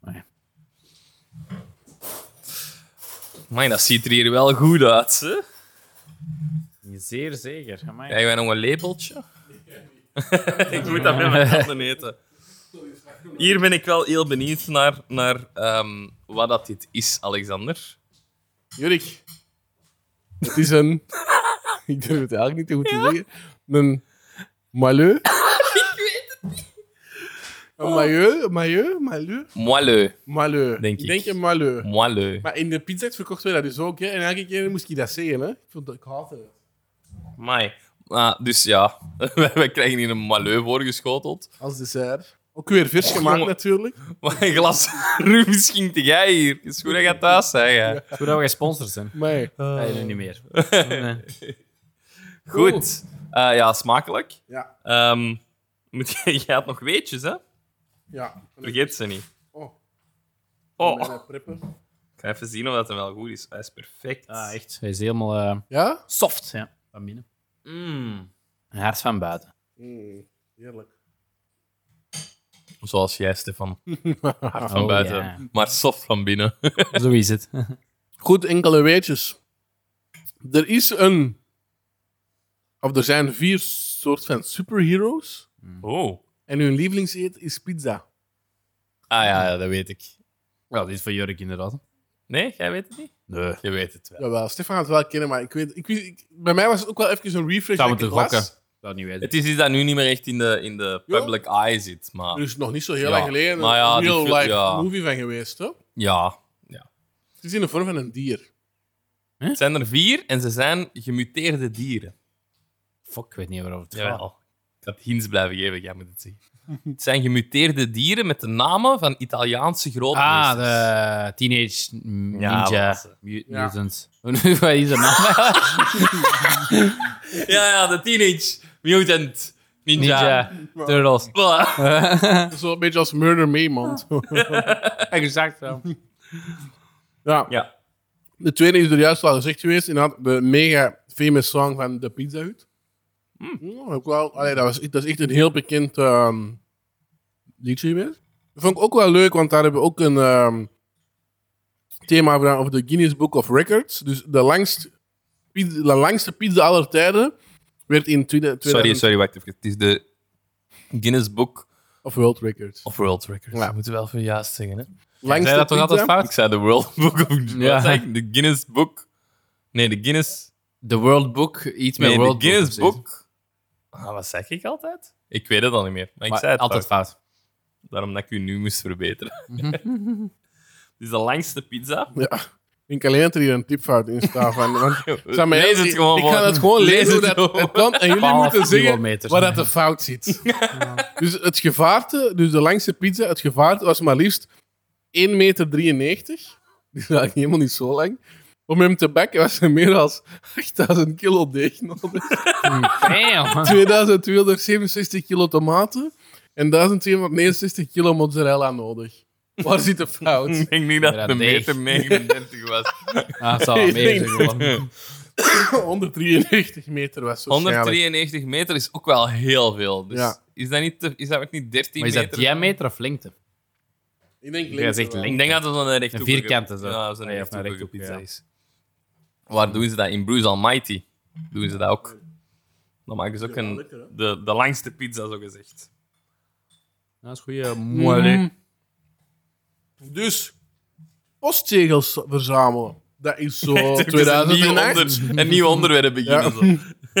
Speaker 3: Nee.
Speaker 1: Maar dat ziet er hier wel goed uit, hè?
Speaker 3: Zeer zeker.
Speaker 1: Krijgen wij nog een lepeltje? ik moet dat met mijn handen eten. Hier ben ik wel heel benieuwd naar, naar ehm, wat dat dit is, Alexander.
Speaker 2: Jurik, het is een... ik durf het eigenlijk niet te goed te zeggen. Een malheur. ik weet het niet. Een malheur, malheur, malheur,
Speaker 1: Moileux,
Speaker 2: malheur.
Speaker 1: Denk
Speaker 2: ik
Speaker 1: ik.
Speaker 2: denk een malheur.
Speaker 1: moileux.
Speaker 2: Maar in de pizza verkochten we dat dus ook, hè. En elke keer moest ik dat zeggen, hè. Ik, vond dat, ik haatte het.
Speaker 1: Mai. Ah, dus ja, wij wij krijgen hier een moileux voorgeschoteld.
Speaker 2: Als dessert. Ook weer vers gemaakt,
Speaker 3: Oh.
Speaker 1: jongen.
Speaker 2: natuurlijk.
Speaker 1: Maar een glas rum schinkt jij hier. Is goed dat je thuis bent, jij.
Speaker 3: Goed dat we geen sponsors zijn.
Speaker 2: Maar
Speaker 3: Nee, nu niet meer.
Speaker 1: Goed. Eh, ja, smakelijk.
Speaker 2: ja,
Speaker 1: Ehm, moet je, jij had nog weetjes, hè?
Speaker 2: ja.
Speaker 1: Vergeet ze niet.
Speaker 2: Oh,
Speaker 1: Oh,
Speaker 2: bijna preppen.
Speaker 1: ik ga even zien of dat hem wel goed is. Hij is perfect.
Speaker 3: Ah, echt. Hij is helemaal eh,
Speaker 2: Ja?
Speaker 3: soft. Ja. Van binnen.
Speaker 1: Mm.
Speaker 3: En hard van buiten.
Speaker 2: Mm, heerlijk.
Speaker 1: Zoals jij, Stefan. Hard van
Speaker 3: Oh,
Speaker 1: buiten,
Speaker 3: ja.
Speaker 1: maar soft van binnen.
Speaker 3: Zo is het.
Speaker 2: Goed, enkele weetjes. Er is een... Of er zijn vier soort van superheroes.
Speaker 1: Oh.
Speaker 2: En hun lievelingseet is pizza.
Speaker 1: Ah ja, ja, dat weet ik.
Speaker 3: Wel, dit is voor Jurk inderdaad.
Speaker 1: Nee, jij weet het niet?
Speaker 3: Nee.
Speaker 1: Je weet het wel.
Speaker 2: Jawel, Stefan gaat het wel kennen, maar ik weet... Ik, wist- ik- bij mij was het ook wel even een refresh.
Speaker 3: Zou
Speaker 2: dat
Speaker 3: moeten
Speaker 2: ik het
Speaker 3: gokken.
Speaker 2: las.
Speaker 3: Dat niet weten.
Speaker 1: Het is iets dat nu niet meer echt in de, in de
Speaker 2: Ja.
Speaker 1: public eye zit, maar...
Speaker 2: Dus nog niet zo heel
Speaker 1: Ah. Ja,
Speaker 2: lang geleden
Speaker 1: maar ja,
Speaker 2: een
Speaker 1: die
Speaker 2: real
Speaker 1: film-
Speaker 2: life
Speaker 1: ja.
Speaker 2: movie van geweest, hè?
Speaker 1: Ja.
Speaker 2: Het is in de vorm van een dier.
Speaker 1: Het zijn er vier en ze zijn gemuteerde dieren.
Speaker 3: Fuck, ik weet niet waarover het gaat.
Speaker 1: Jawel. Ik had hints blijven geven, jij moet het zeggen. Het zijn gemuteerde dieren met de namen van Italiaanse grootmeesters.
Speaker 3: Ah, de Teenage Ninja
Speaker 1: Ja, wat is het?
Speaker 3: Mut-
Speaker 2: Ja.
Speaker 3: Mutants. Wat is dat naam?
Speaker 1: Ja, ja, de Teenage Mutant Ninja.
Speaker 3: Ninja Turtles.
Speaker 1: Voilà.
Speaker 2: Zo een beetje als Murder Me, man. Zo.
Speaker 3: Exact zo.
Speaker 2: Ja.
Speaker 1: Ja.
Speaker 2: De tweede is er juist al gezegd geweest. Inderdaad, de mega famous song van de Pizza Hut.
Speaker 1: Hmm.
Speaker 2: Ja, ook wel, allee, dat, was, echt- dat is echt een heel bekend ehm, liedje geweest. Dat vond ik ook wel leuk, want daar hebben we ook een ehm, thema gedaan over de Guinness Book of Records. Dus de, langst, pizza- de langste pizza aller tijden werd in 2000...
Speaker 1: Sorry, sorry, wacht even. Het is de Guinness Book
Speaker 2: Of World Records.
Speaker 1: of World Records.
Speaker 2: Ja.
Speaker 1: Dat moeten we wel voor juist zeggen, hè?
Speaker 2: langste
Speaker 3: Zei dat toch altijd
Speaker 2: pizza-
Speaker 1: Ik
Speaker 3: fout?
Speaker 1: zei de World Book of...
Speaker 3: Ja.
Speaker 1: Wat zei ik? De Guinness Book... Nee, de Guinness...
Speaker 3: The World Book, iets met
Speaker 1: Nee,
Speaker 3: World
Speaker 1: de Guinness
Speaker 3: Book. of zoiets.
Speaker 1: Book... Ah, wat zeg ik altijd? Ik weet het al niet meer, maar ik
Speaker 3: Maar
Speaker 1: zei het
Speaker 3: altijd
Speaker 1: altijd. Mhm.
Speaker 3: fout.
Speaker 1: Daarom dat ik u nu moest verbeteren. Het is de langste pizza.
Speaker 2: Ja. Ik denk alleen dat er hier een tipfout in staat. Van, want, zeg maar,
Speaker 1: Lees het
Speaker 2: ik-
Speaker 1: gewoon
Speaker 2: Ik
Speaker 1: voor.
Speaker 2: ga het gewoon
Speaker 1: Lees
Speaker 2: lezen hoe
Speaker 1: het
Speaker 2: dat
Speaker 1: gewoon.
Speaker 2: het kan. En jullie
Speaker 3: Twaalf
Speaker 2: moeten zeggen
Speaker 3: kilometers.
Speaker 2: waar dat de fout zit. Dus het gevaarte, dus de langste pizza, het gevaarte was maar liefst 1,93 meter. Dus dat is helemaal niet zo lang. Om hem te bakken was er meer dan 8000 kilo deeg nodig.
Speaker 3: Damn.
Speaker 2: 2267 kilo tomaten en 1269 kilo mozzarella nodig. Waar zit de fout?
Speaker 1: Ik denk niet dat
Speaker 3: Ja,
Speaker 1: het de
Speaker 3: deeg.
Speaker 1: meter 39 was.
Speaker 3: Ah, zal wel meer zijn gewoon.
Speaker 2: 193 meter was waarschijnlijk.
Speaker 1: 193 meter is ook wel heel veel. Dus
Speaker 2: Ja.
Speaker 1: is, dat niet te- is dat ook niet 13
Speaker 3: Maar is dat
Speaker 1: meter?
Speaker 3: diameter of lengte?
Speaker 2: Ik denk
Speaker 3: Jij zegt
Speaker 2: wel.
Speaker 3: link.
Speaker 1: Ik denk dat het een rechthoekige...
Speaker 3: Een vierkante, zo.
Speaker 1: Ja, dat is een
Speaker 3: Ja, of een
Speaker 1: rechthoekige
Speaker 3: rechthoek,
Speaker 1: pizza
Speaker 3: ja.
Speaker 1: is. Waar doen ze dat? In Bruce Almighty doen ze dat ook. Dan maken ze ook een,
Speaker 2: lekker, hè?
Speaker 1: de, de langste pizza, zo gezegd.
Speaker 3: Dat is goeie.
Speaker 2: Dus, postzegels verzamelen. Dat is
Speaker 3: Oh,
Speaker 2: zo
Speaker 1: Het is een nieuw,
Speaker 2: 2008.
Speaker 1: onder, een nieuw onderwerp
Speaker 2: Ja.
Speaker 1: beginnen. Zo.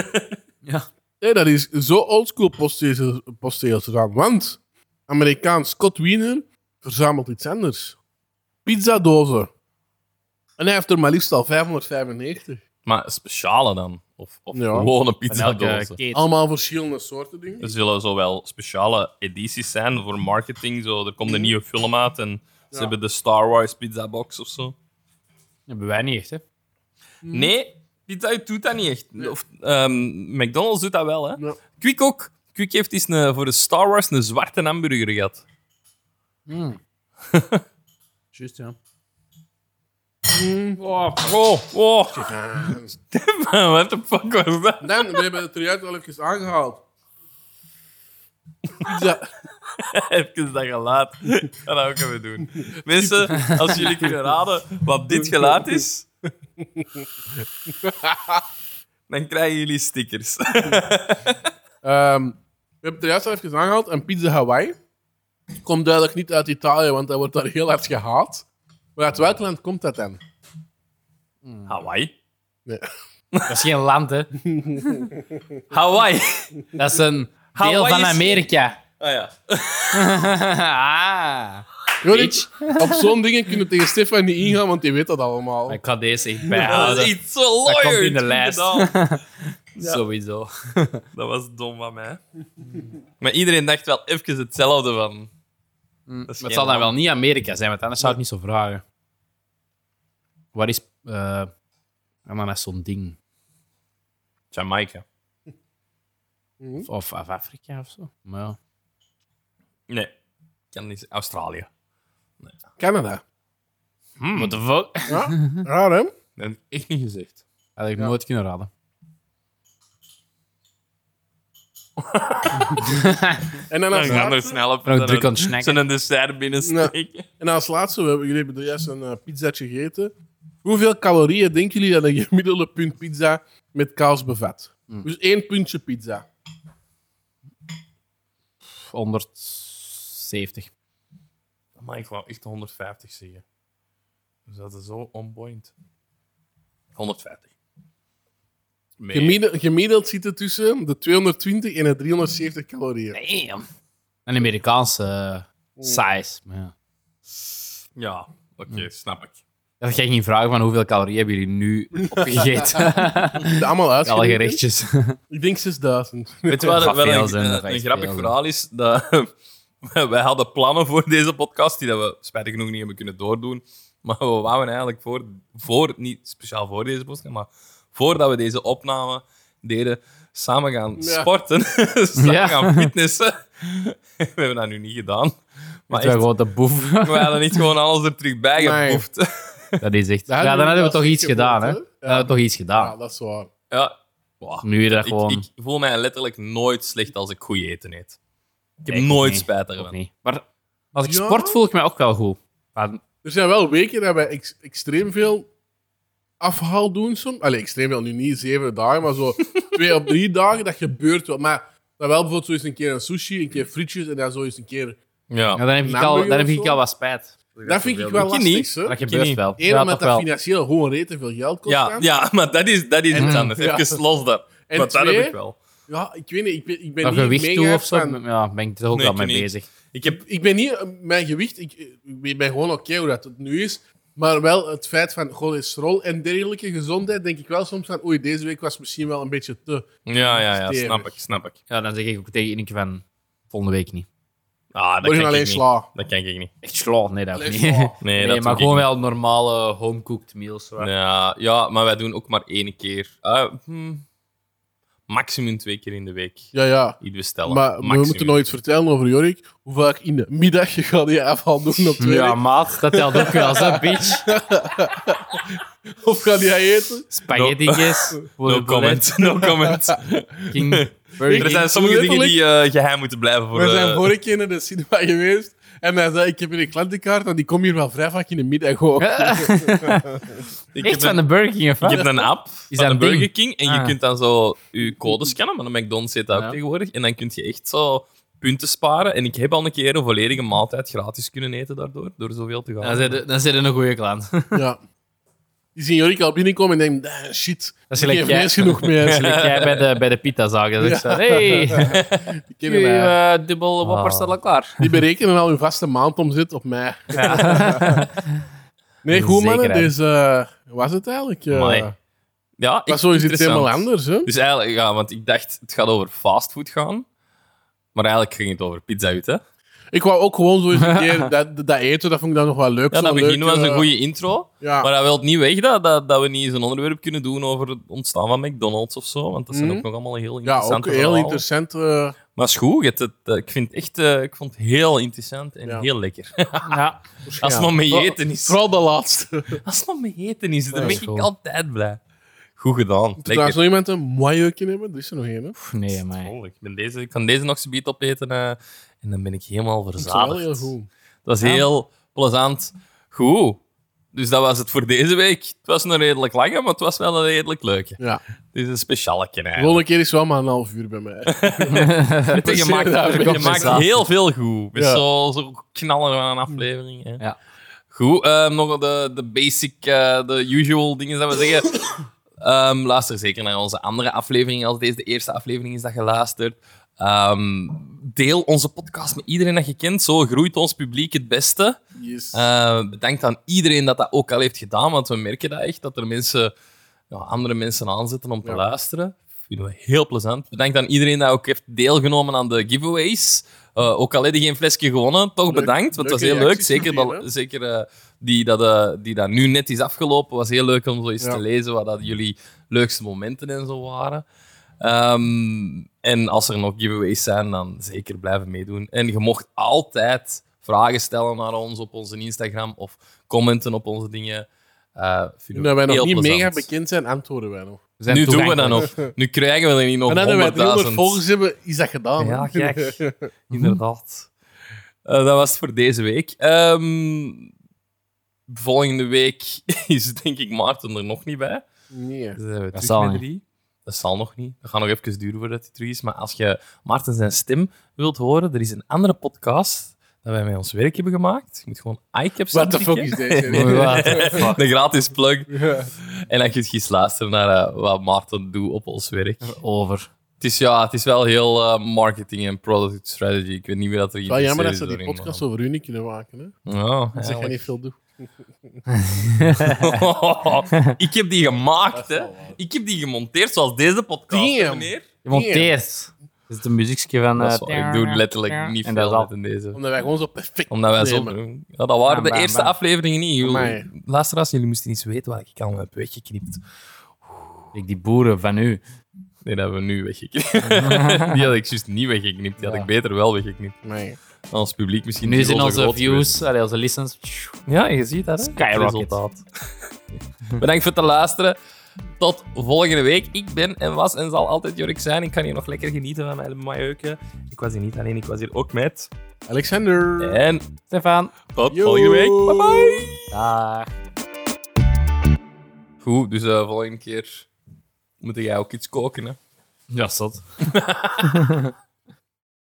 Speaker 3: Ja.
Speaker 2: Nee, dat is zo oldschool postzegels, postzegels verzamelen. Want Amerikaan Scott Wiener verzamelt iets anders. Pizzadozen. En hij heeft er maar liefst al 595.
Speaker 1: Maar speciale dan? Of, of
Speaker 2: Ja.
Speaker 1: gewone
Speaker 3: En
Speaker 1: pizza
Speaker 3: elke
Speaker 1: dozen?
Speaker 3: keten.
Speaker 2: Allemaal verschillende soorten dingen.
Speaker 1: Er zullen zowel speciale edities zijn voor marketing. Zo, er komt
Speaker 3: Mhm.
Speaker 1: een nieuwe film uit en ze
Speaker 2: Ja.
Speaker 1: hebben de Star Wars pizza box of zo.
Speaker 3: hebben wij niet echt, hè?
Speaker 1: Nee, Pizza Hut doet dat niet echt. Of, ehm, McDonald's doet dat wel, hè?
Speaker 2: Ja.
Speaker 1: Quick ook. Quick heeft eens een, voor de Star Wars een zwarte hamburger gehad.
Speaker 3: Juist, ja.
Speaker 1: Oh, oh.
Speaker 2: Ah,
Speaker 1: Stefan, what the fuck was dat?
Speaker 2: Dan, we hebben het er juist al even aangehaald. Pizza.
Speaker 1: Even dat geluid. Ik ga dat ook even doen. Mensen, als jullie kunnen raden wat dit geluid is, dan krijgen jullie stickers.
Speaker 2: Ehm, we hebben het er juist al even aangehaald. En pizza Hawaii komt duidelijk niet uit Italië, want dat wordt daar heel hard gehaat. Maar uit welk land komt dat dan?
Speaker 1: Hawaii.
Speaker 2: Nee.
Speaker 3: Dat is geen land, hè?
Speaker 1: Hawaii.
Speaker 3: Dat is een deel
Speaker 1: Hawaii
Speaker 3: van
Speaker 1: is-
Speaker 3: Amerika.
Speaker 1: Ah ja.
Speaker 3: ah.
Speaker 2: Jorik, op zo'n dingen kunnen we tegen Stefan niet ingaan, want die weet dat allemaal.
Speaker 3: Ik ga deze echt
Speaker 1: Dat is
Speaker 3: bijhouden.
Speaker 1: iets zo lawyer.
Speaker 3: komt in de
Speaker 1: Goed
Speaker 3: lijst.
Speaker 1: gedaan.
Speaker 3: Sowieso.
Speaker 1: Dat was dom van mij. Maar iedereen dacht wel even hetzelfde van. Dat is
Speaker 3: Maar het
Speaker 1: geen
Speaker 3: zal dan
Speaker 1: man.
Speaker 3: wel niet Amerika zijn, want anders zou ik niet zo vragen. Waar is... eh ananas zo'n ding?
Speaker 1: Jamaica.
Speaker 3: Of, of of Afrika of zo? Maar ja.
Speaker 1: Nee. Kan niet. Australië.
Speaker 2: Canada.
Speaker 3: What the fuck?
Speaker 2: Ja, raar hè?
Speaker 1: Hmm. Dat heb ik echt niet gezegd.
Speaker 3: Had ik nooit kunnen raden.
Speaker 2: En dan als
Speaker 1: We gaan er
Speaker 2: laatste,
Speaker 1: snel op.
Speaker 3: ben ook
Speaker 1: dat
Speaker 3: druk
Speaker 1: we
Speaker 3: aan het snacken.
Speaker 1: Zo'n dessert binnensteken.
Speaker 2: en als laatste we hebben, jullie hebben er juist een eh, pizzaatje gegeten. Hoeveel calorieën denken jullie dat een gemiddelde punt pizza met kaas bevat? Dus één puntje pizza.
Speaker 3: 170.
Speaker 1: Maar ik wou echt 150 zeggen. Dus dat is zo onboeiend. 150. Meer.
Speaker 2: Gemiddeld, gemiddeld zit het tussen de 220 en de 370 calorieën.
Speaker 3: Damn. Een Amerikaanse eh, size. Maar ja.
Speaker 1: Ja, oké, snap ik.
Speaker 3: Dat ging geen vragen van hoeveel calorieën hebben jullie nu opgegeten?
Speaker 2: Het allemaal
Speaker 3: Alle
Speaker 2: uitgerekend.
Speaker 3: gerechtjes. Ah.
Speaker 2: Ik denk 6000.
Speaker 1: Weet je wat,
Speaker 3: Dat gaat
Speaker 1: wel
Speaker 3: veel
Speaker 1: een,
Speaker 3: zijn,
Speaker 1: een-
Speaker 3: dat gaat
Speaker 1: een
Speaker 3: echt
Speaker 1: grappig
Speaker 3: veel zijn.
Speaker 1: verhaal is? Dat, wij hadden plannen voor deze podcast die dat we spijtig genoeg niet hebben kunnen doordoen. Maar we wouden eigenlijk voor, voor niet speciaal voor deze podcast, maar voordat we deze opname deden, samen gaan
Speaker 2: Ja.
Speaker 1: sporten, samen
Speaker 3: Ja.
Speaker 1: gaan fitnessen. we hebben dat nu niet gedaan. Maar
Speaker 3: Dat is
Speaker 1: echt,
Speaker 3: gewoon de boef.
Speaker 1: we hadden niet gewoon alles er terug bij
Speaker 2: Nee.
Speaker 1: geboefd.
Speaker 3: Dat is echt...
Speaker 2: Dat
Speaker 3: Ja, dan hadden we toch iets
Speaker 2: geboord,
Speaker 3: gedaan, hè?
Speaker 2: hè?
Speaker 3: Dan
Speaker 2: Ja.
Speaker 3: hadden we toch iets
Speaker 2: Ja,
Speaker 3: gedaan.
Speaker 2: dat is waar.
Speaker 1: Ja. Wow.
Speaker 3: Nu dat
Speaker 1: Ik,
Speaker 3: gewoon...
Speaker 1: ik voel mij letterlijk nooit slecht als ik goed eten eet. Ik heb
Speaker 3: Ik
Speaker 1: nooit
Speaker 3: niet.
Speaker 1: spijt
Speaker 3: Ook
Speaker 1: ervan.
Speaker 3: niet. Maar als ik
Speaker 2: Ja?
Speaker 3: sport voel ik mij ook wel goed. Maar
Speaker 2: Er zijn wel weken dat wij ex- extreem veel afhaal doen soms. Allee, extreem veel, nu niet zeven dagen, maar zo twee op drie dagen, dat gebeurt wel. Maar dan wel bijvoorbeeld zo eens een keer een sushi, een keer frietjes en dan zo eens een keer...
Speaker 1: Ja.
Speaker 3: ja, dan heb ik
Speaker 2: Namelijk
Speaker 3: al, dan heb
Speaker 2: of
Speaker 3: ik
Speaker 2: zo?
Speaker 3: al wat spijt.
Speaker 2: Dat vind ik wel
Speaker 1: Ik
Speaker 2: lastig,
Speaker 1: niet.
Speaker 2: hè.
Speaker 3: Dat
Speaker 1: ken
Speaker 3: gebeurt
Speaker 1: niet.
Speaker 3: wel.
Speaker 2: Eén,
Speaker 3: Ja,
Speaker 2: omdat dat
Speaker 3: toch wel.
Speaker 2: financieel gewoon reten veel geld kost.
Speaker 1: Ja,
Speaker 2: dan.
Speaker 1: ja, maar dat is, dat is iets anders.
Speaker 2: Ja.
Speaker 1: Even los dat.
Speaker 2: En
Speaker 1: Want dat
Speaker 2: twee-
Speaker 1: heb ik wel.
Speaker 2: Ja, ik weet niet, ik ben, ik ben
Speaker 3: Dat
Speaker 2: niet
Speaker 3: gewicht toe
Speaker 2: mega
Speaker 3: of zo,
Speaker 2: fan.
Speaker 3: ja, ben ik er ook
Speaker 1: Nee,
Speaker 3: wel
Speaker 1: ik
Speaker 3: mee
Speaker 1: niet.
Speaker 3: bezig.
Speaker 1: Ik heb,
Speaker 2: Ik ben niet eh, mijn gewicht, ik, ik ben gewoon oké hoe dat het nu is. Maar wel het feit van cholesterol en dergelijke gezondheid, denk ik wel soms van oei, deze week was misschien wel een beetje te.
Speaker 1: ja, ja, ja,
Speaker 2: Stevig.
Speaker 1: snap ik, snap ik.
Speaker 3: Ja, dan zeg ik ook tegen Ineke van volgende week niet.
Speaker 1: Ah, dat
Speaker 2: Moet je
Speaker 1: kan ik
Speaker 2: alleen
Speaker 1: niet.
Speaker 2: sla.
Speaker 1: Dat kan ik niet.
Speaker 3: Echt sla, nee, dat ook niet.
Speaker 2: Alleen sla.
Speaker 1: Nee,
Speaker 3: Nee,
Speaker 1: dat doe
Speaker 3: maar
Speaker 1: ik
Speaker 3: gewoon
Speaker 1: niet.
Speaker 3: wel normale homecooked meals. zo.
Speaker 1: Ja, ja, maar wij doen ook maar één keer. Ah, hmm. maximum twee keer in de week
Speaker 2: Ja, ja.
Speaker 1: iets bestellen.
Speaker 2: Maar we
Speaker 1: Maximum.
Speaker 2: moeten nooit vertellen over Jorik hoe vaak in de middag je gaat die afhaal doen op het werk.
Speaker 3: Ja, maat, dat telt ook wel, hè, bitch.
Speaker 2: Of gaat die eten?
Speaker 3: Spaghetti's.
Speaker 1: No comment, no comment.
Speaker 3: King,
Speaker 1: er zijn sommige dingen die eh, geheim moeten blijven voor...
Speaker 2: We
Speaker 1: eh,
Speaker 2: zijn vorige keer naar de cinema geweest en hij zei, ik heb hier een klantenkaart en die komt hier wel vrij vaak in de middag ook.
Speaker 1: ik, heb
Speaker 3: Echt van
Speaker 1: een,
Speaker 3: de Burger King, of
Speaker 1: ik
Speaker 3: wat?
Speaker 1: heb een app
Speaker 3: Is
Speaker 1: van
Speaker 3: Ah, dat
Speaker 1: de
Speaker 3: een ding?
Speaker 1: Burger King en je
Speaker 3: Ah.
Speaker 1: kunt dan zo je code scannen, maar de McDonald's heet dat ook
Speaker 3: Ja.
Speaker 1: tegenwoordig. En dan kun je echt zo punten sparen. En ik heb al een keer een volledige maaltijd gratis kunnen eten daardoor, door zoveel te gaan.
Speaker 3: Dan zit je- Dan zit je een goede klant. Dat
Speaker 2: Ja. Die zien Jorik al binnenkomen en denken, "Ah, shit,
Speaker 3: is
Speaker 2: ik
Speaker 3: gelijk
Speaker 2: heb
Speaker 3: jij,
Speaker 2: eens genoeg
Speaker 3: dat is
Speaker 2: meer.
Speaker 3: gelijk jij bij de, bij de pita zagen. Dat ik zo, hey,
Speaker 2: Die kennen
Speaker 3: jullie
Speaker 2: mij.
Speaker 3: eh, dubbel
Speaker 1: Ah.
Speaker 3: whoppers staan al klaar.
Speaker 2: Die berekenen al hun vaste maandomzet op mij. Nee,
Speaker 3: Dat is
Speaker 2: goed mannen,
Speaker 3: zekerheid.
Speaker 2: dus eh, hoe was het eigenlijk? eh
Speaker 1: Amai. ja,
Speaker 2: maar
Speaker 1: echt
Speaker 2: zo is het
Speaker 1: interessant.
Speaker 2: helemaal anders, hè?
Speaker 1: Dus eigenlijk, ja, want ik dacht, het gaat over fastfood gaan. Maar eigenlijk ging het over pizza uit, hè?
Speaker 2: Ik wou ook gewoon zo eens een keer dat, dat eten, dat vond ik dan nog wel leuk.
Speaker 1: Ja,
Speaker 2: zo'n
Speaker 1: dat begin
Speaker 2: leuke,
Speaker 1: was een
Speaker 2: eh,
Speaker 1: goede intro.
Speaker 2: Ja.
Speaker 1: Maar dat wil niet weg dat, dat, dat we niet eens een onderwerp kunnen doen over het ontstaan van McDonald's of zo. Want dat zijn
Speaker 2: Mhm.
Speaker 1: ook nog allemaal heel
Speaker 2: Ja, ook
Speaker 1: interessante
Speaker 2: heel
Speaker 1: verhalen.
Speaker 2: interessant. eh,
Speaker 1: Maar is goed. je hebt het, eh, ik, vind het echt, eh, ik vond het heel interessant en
Speaker 2: Ja.
Speaker 1: heel lekker.
Speaker 3: Ja.
Speaker 1: Als het maar mee eten is.
Speaker 2: vooral de laatste. Dus
Speaker 1: Als het maar mee eten is, dan
Speaker 3: Ja,
Speaker 1: ben
Speaker 3: is
Speaker 1: ik
Speaker 3: goed.
Speaker 1: altijd blij. Goed gedaan.
Speaker 2: Daar is
Speaker 1: Lekker.
Speaker 2: nog iemand een mooi jeukje hebben. Er is er nog één. hè.
Speaker 3: Pff, Nee, man.
Speaker 1: Oh, Ik, ben deze, ik kan deze nog zo'n beetje opeten eh, en dan ben ik helemaal
Speaker 2: Dat is wel
Speaker 1: verzadigd.
Speaker 2: heel goed.
Speaker 1: Dat is heel plezant. Goed. Dus dat was het voor deze week. Het was een redelijk lange, maar het was wel een redelijk leuke.
Speaker 2: Ja.
Speaker 1: Het is een speciale
Speaker 2: De
Speaker 1: eigenlijk.
Speaker 2: volgende keer is wel maar een half uur bij mij.
Speaker 1: Je,
Speaker 2: precies,
Speaker 1: maakt,
Speaker 2: daar ben ik
Speaker 1: je
Speaker 2: op
Speaker 1: maakt
Speaker 3: zaterdag.
Speaker 1: heel veel goed. Met
Speaker 2: Ja.
Speaker 1: zo, zo knallen van een aflevering. Hè.
Speaker 3: Ja.
Speaker 1: Goed, ehm, nog de, de basic, eh, de usual dingen dat we zeggen. Ehm, luister zeker naar onze andere afleveringen als deze de eerste aflevering is dat je luistert. Ehm, deel onze podcast met iedereen dat je kent. Zo groeit ons publiek het beste.
Speaker 2: Yes.
Speaker 1: Eh, bedankt aan iedereen dat dat ook al heeft gedaan, want we merken dat echt, dat er mensen, ja, andere mensen aanzetten om te
Speaker 2: Ja.
Speaker 1: luisteren. Vinden we heel plezant. Bedankt aan iedereen dat ook heeft deelgenomen aan de giveaways. Eh, ook al heb je geen flesje gewonnen, toch
Speaker 2: Leuk-
Speaker 1: bedankt, want het was
Speaker 2: leuke
Speaker 1: heel leuk.
Speaker 2: reacties
Speaker 1: Zeker,
Speaker 2: gezien,
Speaker 1: dat,
Speaker 2: hè?
Speaker 1: zeker eh, die, dat, eh, die dat nu net is afgelopen, was heel leuk om zo eens
Speaker 2: Ja.
Speaker 1: te lezen wat dat jullie leukste momenten en zo waren. Ehm, en als er nog giveaways zijn, dan zeker blijven meedoen. En je mocht altijd vragen stellen naar ons op onze Instagram of commenten op onze dingen. Eh vinden
Speaker 2: Omdat
Speaker 1: we
Speaker 2: wij nog
Speaker 1: heel
Speaker 2: niet
Speaker 1: plezant.
Speaker 2: mega bekend zijn, antwoorden wij nog.
Speaker 3: We zijn
Speaker 1: Nu doen we dat
Speaker 3: toegankelijk.
Speaker 1: nog. Nu krijgen we er niet nog
Speaker 2: en dan wij 300
Speaker 1: 100.000.
Speaker 2: volgers hebben, is dat gedaan.
Speaker 1: Ja,
Speaker 2: hè.
Speaker 1: kijk. Inderdaad. Eh, dat was het voor deze week. Ehm, volgende week is denk ik Maarten er nog niet bij.
Speaker 2: nee.
Speaker 1: Dus dan zijn we
Speaker 3: Dat
Speaker 1: terug
Speaker 3: zal
Speaker 1: met
Speaker 3: niet.
Speaker 1: drie. Dat zal nog niet. Dat gaat nog even duren voordat hij terug is. Maar als je Maarten zijn stem wilt horen, er is een andere podcast dat wij met ons werk hebben gemaakt. Je moet gewoon iCaps
Speaker 2: What the fuck
Speaker 1: aanklikken.
Speaker 2: is deze?
Speaker 1: Nee, nee.
Speaker 3: What the fuck?
Speaker 1: Een gratis plug.
Speaker 2: Ja.
Speaker 1: En dan kun je eens luisteren naar eh, wat Maarten doet op ons werk.
Speaker 3: Over.
Speaker 1: Het is, ja, het is wel heel eh, marketing en product strategy. Ik weet niet meer dat er iets
Speaker 2: Wel jammer dat ze die podcast over hun niet kunnen maken. Hè.
Speaker 1: Oh,
Speaker 2: Dat ze gaan niet veel doen.
Speaker 1: ik heb die gemaakt, hè. Ik heb die gemonteerd zoals deze podcast,
Speaker 2: Damn.
Speaker 1: meneer.
Speaker 3: Je monteert. Dat is de muziekje van...
Speaker 1: Dat
Speaker 3: eh,
Speaker 1: is waar. Ik doe letterlijk niet
Speaker 3: En dat
Speaker 1: veel
Speaker 3: is al.
Speaker 1: met in deze.
Speaker 2: Omdat wij gewoon zo perfect
Speaker 1: Omdat wij zo...
Speaker 2: nemen.
Speaker 1: Ja, dat waren
Speaker 3: Bam,
Speaker 1: de
Speaker 3: bam,
Speaker 1: eerste
Speaker 3: bam.
Speaker 1: afleveringen niet. Jullie,
Speaker 2: Amai.
Speaker 1: luisteraars, jullie moesten eens weten waar ik al heb weggeknipt.
Speaker 3: Ik die boeren van u.
Speaker 1: Nee, dat hebben we nu weggeknipt. die had ik juist niet weggeknipt. Die had ik beter wel weggeknipt.
Speaker 2: Nee.
Speaker 1: Dan Ons publiek misschien
Speaker 3: Nu
Speaker 1: niet
Speaker 3: zijn
Speaker 1: zo
Speaker 3: onze
Speaker 1: groot geweest.
Speaker 3: views, allee, onze listens...
Speaker 1: Ja, je ziet dat, hè?
Speaker 3: Skyrocket.
Speaker 1: Resultaat. Bedankt voor het luisteren. Tot volgende week. Ik ben en was en zal altijd Jorik zijn. Ik kan hier nog lekker genieten van mijn majeuken. Ik was hier niet alleen, ik was hier ook met.
Speaker 2: Alexander.
Speaker 1: En
Speaker 3: Stefan.
Speaker 1: tot
Speaker 2: Yo.
Speaker 1: volgende week. Bye bye.
Speaker 3: Dag.
Speaker 1: Goed, dus eh, volgende keer moet jij ook iets koken, hè?
Speaker 3: Ja, zot.